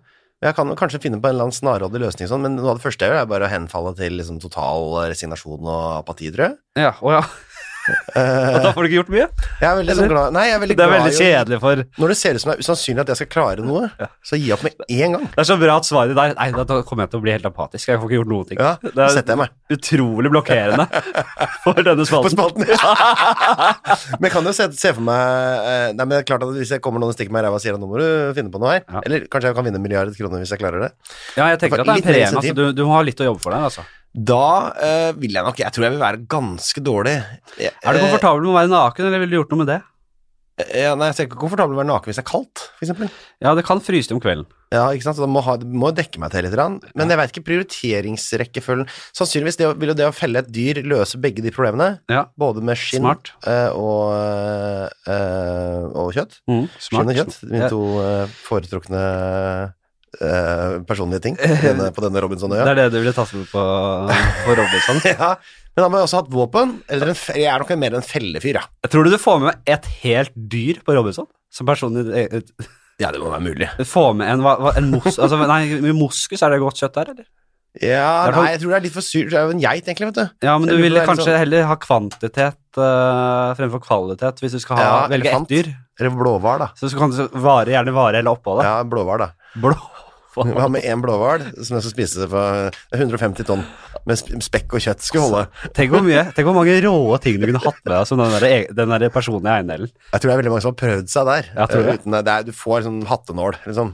Speaker 1: Jeg kan jo kanskje finne på en eller annen snarrådig løsning, sånn, men noe av det første jeg gjør, er bare å henfalle til liksom, total resignasjon og apati, tror jeg.
Speaker 2: Ja, å ja.
Speaker 1: Eh,
Speaker 2: Og da får du ikke gjort mye?
Speaker 1: Jeg er veldig sånn glad Nei, jeg er veldig
Speaker 2: Det er
Speaker 1: glad
Speaker 2: veldig
Speaker 1: i å-
Speaker 2: kjedelig for Det
Speaker 1: Når det ser ut som det er usannsynlig at jeg skal klare noe, så gi opp med en gang.
Speaker 2: er så bra at svaret der Nei, da- da kommer jeg til å bli helt apatisk. Jeg får ikke gjort noen ting.
Speaker 1: Ja,
Speaker 2: det
Speaker 1: så setter
Speaker 2: er
Speaker 1: jeg meg
Speaker 2: utrolig
Speaker 1: *laughs*
Speaker 2: blokkerende for denne
Speaker 1: på
Speaker 2: spalten. *laughs*
Speaker 1: spalten. *laughs* men jeg kan jo se, se for meg eh, Nei, men det er klart at hvis jeg kommer noen og stikker meg i ræva og sier at nå må du finne på noe her,
Speaker 2: Ja.
Speaker 1: eller kanskje jeg kan vinne en milliard kroner hvis jeg klarer det,
Speaker 2: Ja, jeg tenker at det er en
Speaker 1: Litt mer
Speaker 2: premie. Altså,
Speaker 1: initiativ.
Speaker 2: du, du må ha litt å jobbe for deg. Altså.
Speaker 1: da eh, vil jeg nok Jeg tror jeg vil være ganske dårlig. Jeg-
Speaker 2: Er du
Speaker 1: eh,
Speaker 2: komfortabel med å være naken, eller ville du gjort noe med det?
Speaker 1: Ja, nei, jeg er ikke komfortabel med å være naken hvis det er kaldt, for eksempel.
Speaker 2: Ja, det kan fryse til om kvelden.
Speaker 1: Ja, ikke sant? Så da må, ha, må jeg dekke meg til litt, grann. men jeg veit ikke prioriteringsrekkefølgen. Sannsynligvis det, å- vil jo det å felle et dyr løse begge de problemene,
Speaker 2: Ja,
Speaker 1: både med skinn
Speaker 2: Smart.
Speaker 1: eh, og, eh, og kjøtt.
Speaker 2: mm,
Speaker 1: Skinn
Speaker 2: smart.
Speaker 1: og kjøtt,
Speaker 2: Ja.
Speaker 1: mine to eh, foretrukne eh, personlige ting på *laughs* denne, på denne
Speaker 2: Det
Speaker 1: Robinson-øya.
Speaker 2: er det du ville tatt med på, på Robinson.
Speaker 1: *laughs* Ja, men da må jeg også ha hatt våpen, eller en, fe- jeg er nok mer en fellefyr, ja.
Speaker 2: Tror du du får med et helt dyr på Robinson? Som person i- eh,
Speaker 1: Ja, det må være mulig.
Speaker 2: Du får med en, hva- hva- en mos, *laughs* altså, Nei, med moskus, er det godt kjøtt der, eller?
Speaker 1: Ja,
Speaker 2: Det er for-
Speaker 1: nei, jeg tror det er litt for syrt. Det er jo en geit, egentlig, vet du.
Speaker 2: Ja, men du
Speaker 1: Jeg lurer på
Speaker 2: ville
Speaker 1: det er litt
Speaker 2: kanskje heller ha kvantitet eh, fremfor kvalitet, hvis du skal ha,
Speaker 1: Ja,
Speaker 2: velge ett
Speaker 1: elefant.
Speaker 2: dyr.
Speaker 1: Eller blåhval, da.
Speaker 2: Så du skal kanskje vare, gjerne vare hele oppholdet.
Speaker 1: Ja, blåhval, da.
Speaker 2: Blå.
Speaker 1: Vi har med én blåhval som jeg skal spise det for 150 tonn med sp- spekk og kjøtt. Skulle holde.
Speaker 2: *laughs* Tenk hvor mye, tenk hvor mange råe ting du kunne hatt med deg som den, der, e- den der personlige eiendelen.
Speaker 1: Jeg tror det er veldig mange som har prøvd seg der.
Speaker 2: Ja, tror du det?
Speaker 1: uten, det er, du får sånn hattenål, liksom.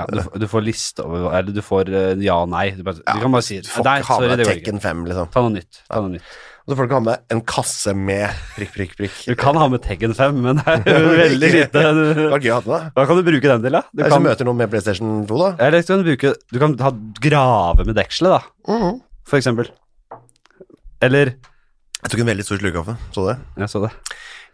Speaker 2: Ja, du, du får liste over Eller du får eh, ja og nei. Du, bare, du kan bare si
Speaker 1: Du får
Speaker 2: Nei,
Speaker 1: ikke ha
Speaker 2: sorry,
Speaker 1: med
Speaker 2: det
Speaker 1: deg
Speaker 2: går ikke.
Speaker 1: Tekken 5, liksom.
Speaker 2: Ta noe nytt. ta noe nytt.
Speaker 1: Og så får du ikke ha med deg en kasse med prikk, prikk, prikk.
Speaker 2: Du kan ha med Teggen 5, men
Speaker 1: *laughs*
Speaker 2: det er jo veldig lite
Speaker 1: Det var gøy å ha med deg.
Speaker 2: Hva kan du bruke den til, da? Du
Speaker 1: Hvis du
Speaker 2: kan,
Speaker 1: møter noen med PlayStation 2, da.
Speaker 2: eller kan du, bruke, du kan ta grave med dekselet, da,
Speaker 1: Mhm.
Speaker 2: for eksempel. Eller
Speaker 1: Jeg tok en veldig stor slurk kaffe. Så du det?
Speaker 2: Jeg så det.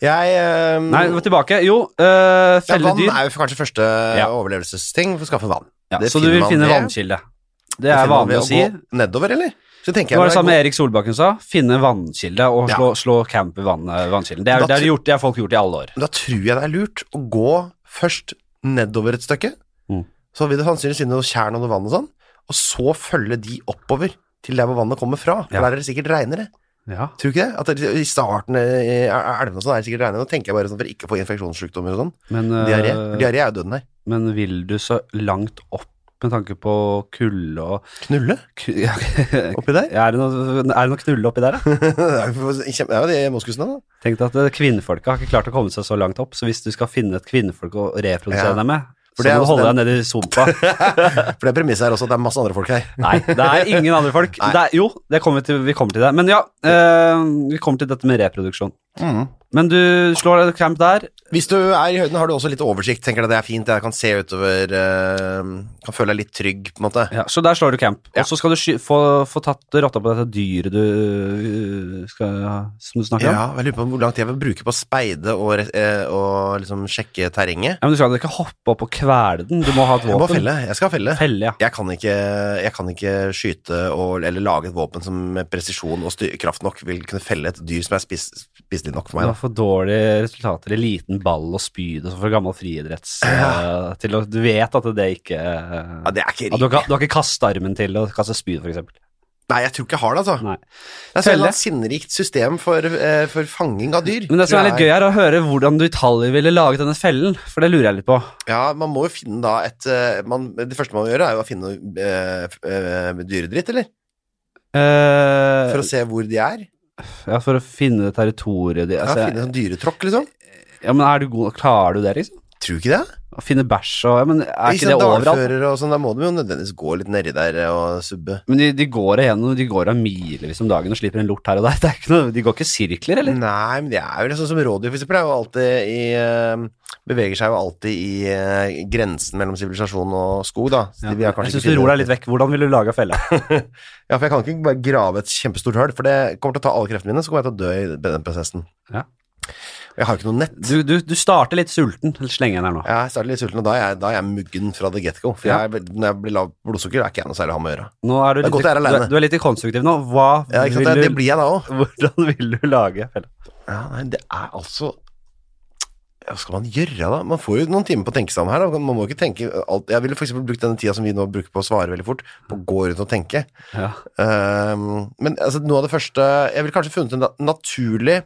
Speaker 1: Jeg eh,
Speaker 2: Nei, vi må tilbake. Jo, øh,
Speaker 1: ja,
Speaker 2: felle
Speaker 1: Vann
Speaker 2: dyr.
Speaker 1: er jo kanskje første
Speaker 2: Ja.
Speaker 1: overlevelsesting. For å skaffe vann.
Speaker 2: Ja,
Speaker 1: det
Speaker 2: så du
Speaker 1: finner
Speaker 2: vil
Speaker 1: man
Speaker 2: finne
Speaker 1: ved-
Speaker 2: vannkilde. Det
Speaker 1: Det
Speaker 2: er
Speaker 1: finner man ved
Speaker 2: vanlig å si.
Speaker 1: gå Nedover, eller? Så
Speaker 2: Det
Speaker 1: tenker jeg
Speaker 2: var
Speaker 1: når
Speaker 2: det
Speaker 1: jeg
Speaker 2: samme
Speaker 1: går-
Speaker 2: Erik Solbakken sa. Finne vannkilde og
Speaker 1: Ja.
Speaker 2: slå, slå camp i vann, øh, vannkilden. Det, er,
Speaker 1: Da
Speaker 2: det, er
Speaker 1: tr-
Speaker 2: gjort, det har folk gjort i alle år.
Speaker 1: Da tror jeg det er lurt å gå først nedover et stykke.
Speaker 2: Mm.
Speaker 1: Så vil det sannsynligvis finne noe tjern og noe vann og sånn, og så følge de oppover til der hvor vannet kommer fra. For
Speaker 2: Ja.
Speaker 1: der er det sikkert regnere.
Speaker 2: Ja.
Speaker 1: Tror du ikke det? At det, I starten eh, av elvene og sånn er det sikkert regnere. Nå tenker jeg bare sånn for ikke å få infeksjonssykdommer og sånn.
Speaker 2: Men,
Speaker 1: Diaré.
Speaker 2: øh,
Speaker 1: Diaré er jo døden her.
Speaker 2: men vil du så langt opp med tanke på kulde og
Speaker 1: Knulle
Speaker 2: ku- *laughs* ja, Er
Speaker 1: oppi der?
Speaker 2: det noe, er det noe knulle oppi der, da?
Speaker 1: *laughs* det er jo kjempe- det er jo de moskusene, da.
Speaker 2: Tenk deg at eh, kvinnfolka har ikke klart å komme seg så langt opp, så hvis du skal finne et kvinnfolk å reprodusere
Speaker 1: Ja.
Speaker 2: deg med,
Speaker 1: For
Speaker 2: så
Speaker 1: det er
Speaker 2: må du
Speaker 1: også
Speaker 2: holde deg nede i sumpa.
Speaker 1: For det premisset er også at det er masse andre folk her.
Speaker 2: Nei, det er ingen andre folk.
Speaker 1: Nei.
Speaker 2: Det er, jo, det kommer vi, til, vi kommer til det. Men ja, eh, vi kommer til dette med reproduksjon.
Speaker 1: Mm.
Speaker 2: Men du slår deg camp der.
Speaker 1: Hvis du er i høyden, har du også litt oversikt. Tenker deg det er fint, jeg kan se utover eh, Kan føle deg litt trygg, på en måte.
Speaker 2: Ja, så der slår du camp.
Speaker 1: Ja.
Speaker 2: Og så skal du sky få, få tatt rotta på dette dyret du øh, skal, som du snakker om.
Speaker 1: Ja, jeg lurer på hvor lang tid jeg vil bruke på å speide og, re- eh, og liksom sjekke terrenget.
Speaker 2: Ja, men du skal ikke hoppe opp og kvele den. Du må ha et
Speaker 1: Jeg må
Speaker 2: våpen.
Speaker 1: felle. Jeg skal felle.
Speaker 2: Felle, ja.
Speaker 1: Jeg kan ikke, jeg kan ikke skyte og, eller lage et våpen som med presisjon og styr, kraft nok vil kunne felle et dyr som er spis, spiselig nok for
Speaker 2: Du
Speaker 1: meg.
Speaker 2: har for dårlige resultater i liten ball og spyd og sånn fra gammel friidretts. øh, til å- Du vet at det ikke øh,
Speaker 1: Da. Ja, det er ikke
Speaker 2: at du, har,
Speaker 1: riktig.
Speaker 2: ikke- du har ikke kastet armen til å kaste spyd, for eksempel.
Speaker 1: Nei, jeg tror ikke jeg har det, altså.
Speaker 2: Nei.
Speaker 1: Det er så et
Speaker 2: Felle.
Speaker 1: eller annet sinnrikt system for, eh, for fanging av dyr.
Speaker 2: Men det som
Speaker 1: tror
Speaker 2: er litt
Speaker 1: jeg
Speaker 2: gøy, er å høre hvordan du i detalj ville laget denne fellen, for det lurer jeg litt på.
Speaker 1: Ja, man må jo finne da et eh, man, Det første man må gjøre, er jo å finne noe eh, f- eh, dyredritt, eller?
Speaker 2: Eh,
Speaker 1: For å se hvor de er.
Speaker 2: ja, for å finne territoriet ditt.
Speaker 1: Ja,
Speaker 2: Altså,
Speaker 1: finne sånn dyretråkk, liksom.
Speaker 2: ja, men er du god, klarer du det, liksom?
Speaker 1: Tror du ikke det?
Speaker 2: Å finne bæsj og ja, men Er
Speaker 1: Hvis
Speaker 2: ikke det
Speaker 1: en
Speaker 2: overalt?
Speaker 1: dalfører og sånn, da må de jo nødvendigvis gå litt nedi der og subbe.
Speaker 2: Men de, de går igjennom, de går av milevis om dagen og slipper en lort her og der. *laughs* Det er ikke noe, de går ikke i sirkler, eller?
Speaker 1: Nei, men det er jo sånn som rådyr, for eksempel, er jo alltid i eh, Beveger seg jo alltid i eh, grensen mellom sivilisasjon og skog, da. Så de vil
Speaker 2: jeg
Speaker 1: kanskje
Speaker 2: syns
Speaker 1: ikke
Speaker 2: du
Speaker 1: finne-
Speaker 2: ror deg litt vekk. Hvordan ville du laga felle?
Speaker 1: Ja, for jeg kan ikke bare grave et kjempestort hull, for det kommer til å ta alle kreftene mine, så kommer jeg til å dø i den prosessen.
Speaker 2: Ja.
Speaker 1: Jeg har jo ikke noe nett.
Speaker 2: Du, du, du starter litt sulten. Sleng en her nå.
Speaker 1: Jeg starter litt sulten, og da er jeg, da er jeg muggen fra the get-go. For
Speaker 2: Ja.
Speaker 1: jeg, når jeg blir lav blodsukker, er ikke jeg noe særlig å ha med å gjøre.
Speaker 2: Nå er du
Speaker 1: Det er
Speaker 2: litt,
Speaker 1: godt jeg er
Speaker 2: du,
Speaker 1: alene.
Speaker 2: er- du er litt konstruktiv nå. Hva
Speaker 1: Ja, ikke sant? Det,
Speaker 2: vil
Speaker 1: det
Speaker 2: du,
Speaker 1: blir *laughs* jeg da òg.
Speaker 2: hvordan vil du lage felle?
Speaker 1: Ja, nei, det er altså Hva skal man gjøre, da? Man får jo noen timer på å tenke seg om her. Da. Man må ikke tenke alt. Jeg ville f.eks. brukt denne tida som vi nå bruker på å svare veldig fort, på å gå rundt og tenke.
Speaker 2: Ja.
Speaker 1: Ehm, men altså, noe av det første Jeg ville kanskje funnet en na- naturlig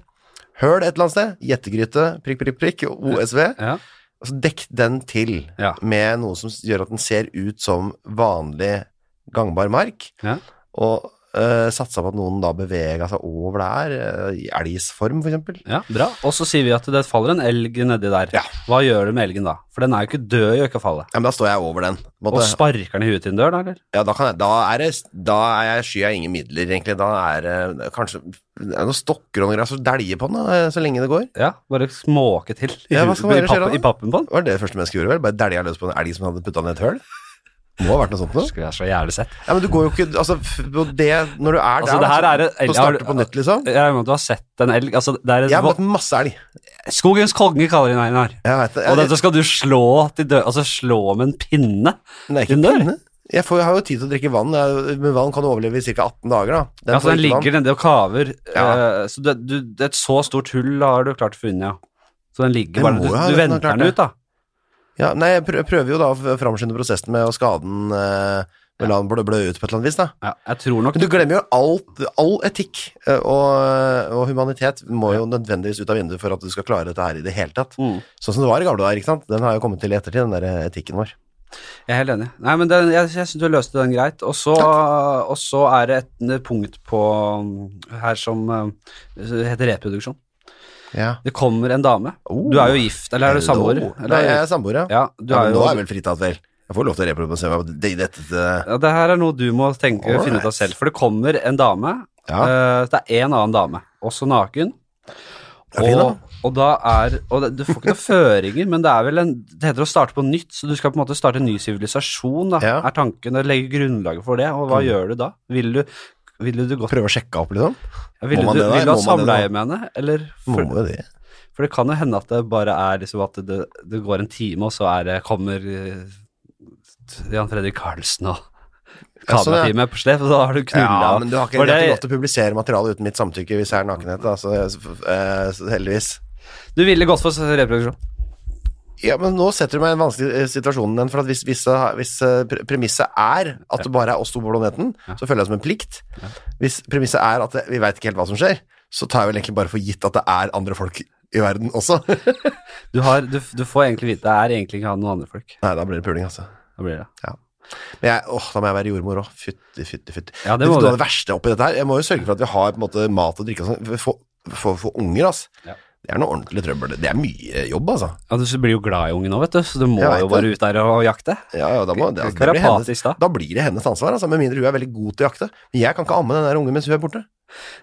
Speaker 1: høl et eller annet sted. Gjettegryte, prikk, prikk, prikk, OSV.
Speaker 2: Ja.
Speaker 1: Og så Altså, dekk den til
Speaker 2: Ja.
Speaker 1: med noe som gjør at den ser ut som vanlig gangbar mark.
Speaker 2: Ja.
Speaker 1: Og uh, satsa på at noen da bevega seg over der, eh, i elgsform for eksempel.
Speaker 2: Ja, bra. Og så sier vi at det faller en elg nedi der.
Speaker 1: Ja.
Speaker 2: Hva gjør du med elgen da? For den er jo ikke død i økefallet.
Speaker 1: Ja, men da står jeg over den. på en
Speaker 2: Og
Speaker 1: måte.
Speaker 2: sparker den i huet til en dør, da, eller?
Speaker 1: Ja, da, kan jeg, da, er det, da er jeg sky av ingen midler, egentlig. Da er det kanskje det er noen stokker og noe greier, så dælje på den da, eh, så lenge det går.
Speaker 2: Ja, bare småke til i,
Speaker 1: Ja, hva
Speaker 2: huet-
Speaker 1: skal man
Speaker 2: i,
Speaker 1: ellers gjøre
Speaker 2: papp,
Speaker 1: da?
Speaker 2: i pappen på den.
Speaker 1: Det var det det første mennesket gjorde, vel? Bare dælja løs på en elg som hadde putta ned et høl. Må ha vært noe sånt noe.
Speaker 2: Skulle jeg så jævlig sett.
Speaker 1: Ja, men du går jo ikke Altså, f- på det, når du er
Speaker 2: Altså,
Speaker 1: der,
Speaker 2: det her
Speaker 1: da,
Speaker 2: er
Speaker 1: så-
Speaker 2: en elg-
Speaker 1: så starter du på nytt, liksom.
Speaker 2: Jeg regner med at du har sett en elg. Altså, det er
Speaker 1: Jeg har
Speaker 2: en,
Speaker 1: møtt masse elg.
Speaker 2: skogens konge kaller den Einar.
Speaker 1: Jeg vet det.
Speaker 2: Og
Speaker 1: Jeg-
Speaker 2: dette skal du slå til død, altså slå med en pinne.
Speaker 1: Den er ikke
Speaker 2: Den der?
Speaker 1: pinne. Jeg, får, jeg har jo tid til å drikke vann. Jeg- Men vann kan du overleve i ca. 18 dager. da. Den
Speaker 2: Den altså,
Speaker 1: får
Speaker 2: den
Speaker 1: ikke
Speaker 2: ligger
Speaker 1: vann.
Speaker 2: nedi og kaver.
Speaker 1: Ja.
Speaker 2: Eh, Så det, du, det er et så stort hull har du klart å finne, ja. Så den ligger
Speaker 1: Den
Speaker 2: bare
Speaker 1: må
Speaker 2: Du,
Speaker 1: jo ha
Speaker 2: du
Speaker 1: klart
Speaker 2: venter den
Speaker 1: det.
Speaker 2: ut, da.
Speaker 1: Ja, nei, jeg prø- prøver jo da å f- framskynde prosessen med å skade den eh, med å la den blø, blø ut på et eller annet vis. da.
Speaker 2: Ja, jeg tror nok
Speaker 1: Men du glemmer jo alt, all etikk eh, og, og humanitet må jo nødvendigvis ut av vinduet for at du skal klare dette her i det hele tatt.
Speaker 2: Mm.
Speaker 1: Sånn som det var i gamle dager. ikke sant? Den har jo kommet til i ettertid, den der etikken vår.
Speaker 2: Jeg er helt enig. Nei, men den, jeg, jeg syns du løste den greit. Og så, og så er det et punkt på her som eh, heter reproduksjon.
Speaker 1: Ja.
Speaker 2: Det kommer en dame.
Speaker 1: Oh.
Speaker 2: Du er jo gift, eller er du samboer?
Speaker 1: Hello.
Speaker 2: Eller
Speaker 1: Nei,
Speaker 2: er
Speaker 1: jeg
Speaker 2: du-
Speaker 1: er samboer, ja.
Speaker 2: Ja, du
Speaker 1: Ja,
Speaker 2: er
Speaker 1: men
Speaker 2: jo
Speaker 1: nå er jeg vel fritatt, vel? Jeg får lov til å reprodusere meg på det- dette til-
Speaker 2: ja, Det her er noe du må tenke
Speaker 1: Alright.
Speaker 2: finne ut av selv. For det kommer en dame.
Speaker 1: Ja.
Speaker 2: eh, det er en annen dame, også naken.
Speaker 1: Det er fin, da.
Speaker 2: og, og da er og det, Du får ikke noen føringer, men det er vel en Det heter å starte på nytt, så du skal på en måte starte en ny sivilisasjon, da,
Speaker 1: Ja. Mm.
Speaker 2: er tanken. Og legge grunnlaget for det. Og hva gjør du da? Vil du, ville du gått
Speaker 1: Prøve å sjekke opp, liksom?
Speaker 2: ja, ville
Speaker 1: må man
Speaker 2: du,
Speaker 1: det da?
Speaker 2: ville du ha
Speaker 1: Må man det da?
Speaker 2: samleie med henne, eller?
Speaker 1: Må
Speaker 2: For,
Speaker 1: jo det.
Speaker 2: for det kan jo hende at det bare er liksom at det, det går en time, og så er det, kommer eh, Jan Fredrik Karlsen og
Speaker 1: Ja, sånn, ja.
Speaker 2: kamerateamet på slep, og da har du knulla.
Speaker 1: Ja, men du har ikke,
Speaker 2: For
Speaker 1: det...
Speaker 2: det-
Speaker 1: er ikke lov til å publisere materiale uten mitt samtykke hvis det er nakenhet, da, så, eh, så heldigvis.
Speaker 2: Du ville gått for reproduksjon.
Speaker 1: Ja, men nå setter du meg i en vanskelig eh, situasjon igjen, for at hvis, hvis, eh, hvis eh, pre- premisset er at det bare er oss to på planeten, så føler jeg det som en plikt. Hvis premisset er at det, vi veit ikke helt hva som skjer, så tar jeg vel egentlig bare for gitt at det er andre folk i verden også. *laughs*
Speaker 2: Du, har, du, du får egentlig vite det er egentlig ikke han noen andre folk.
Speaker 1: Nei, da blir det puling, altså.
Speaker 2: Da blir det.
Speaker 1: Men jeg, åh, da må jeg være jordmor òg. Fytti, fytti, fytti.
Speaker 2: Ja,
Speaker 1: Det
Speaker 2: det
Speaker 1: er
Speaker 2: må
Speaker 1: noe
Speaker 2: du.
Speaker 1: av det verste oppi dette her. Jeg må jo sørge for at vi har på en måte mat og drikke og sånn. For, for, for unger, altså.
Speaker 2: Ja.
Speaker 1: Det er noe ordentlig trøbbel. Det er mye jobb, altså.
Speaker 2: Ja, du blir jo glad i ungen nå, vet du, så du må
Speaker 1: Jeg vet
Speaker 2: jo bare ut der og jakte.
Speaker 1: Ja, ja, da, må, det, altså, det blir hennes,
Speaker 2: Terapatisk, da.
Speaker 1: da blir det hennes ansvar, altså. Med mindre hun er veldig god til å jakte. Men jeg kan ikke amme den der ungen mens hun er borte.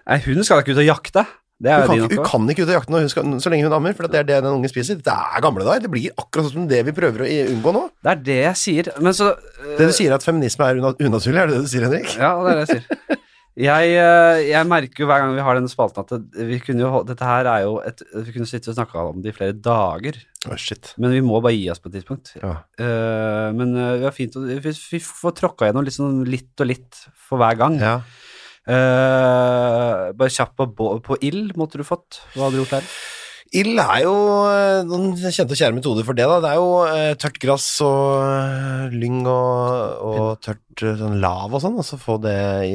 Speaker 2: Nei, hun skal ikke ut og jakte. Det er jo
Speaker 1: Hun kan,
Speaker 2: din
Speaker 1: ikke, hun
Speaker 2: oppgave.
Speaker 1: kan ikke ut og jakte når hun skal, så lenge hun ammer, for det er det den ungen spiser. Det er gamle dager. Det blir akkurat sånn som det vi prøver å i- unngå nå.
Speaker 2: Det er det jeg sier. Men så eh,
Speaker 1: Det du sier er at feminisme er una- unaturlig, er det det du sier, Henrik?
Speaker 2: Ja, det er det jeg
Speaker 1: *laughs*
Speaker 2: sier. Jeg, eh, jeg merker jo hver gang vi har denne spalten at det, vi kunne jo, hol- dette her er jo et, Vi kunne sitte og snakka om det i flere dager,
Speaker 1: Å, shit.
Speaker 2: men vi må bare gi oss på et tidspunkt.
Speaker 1: Ja.
Speaker 2: Eh, men eh, det er fint, å- vi, vi får tråkka gjennom litt, sånn litt og litt for hver gang.
Speaker 1: ja.
Speaker 2: Eh, bare kjapt på, bå- på ild måtte du fått. Hva hadde du gjort der?
Speaker 1: Ild er jo eh, noen kjente og kjære metoder for det, da. Det er jo eh, tørt gress og eh, lyng og, og tørt eh, sånn lav og sånn, og så få det i,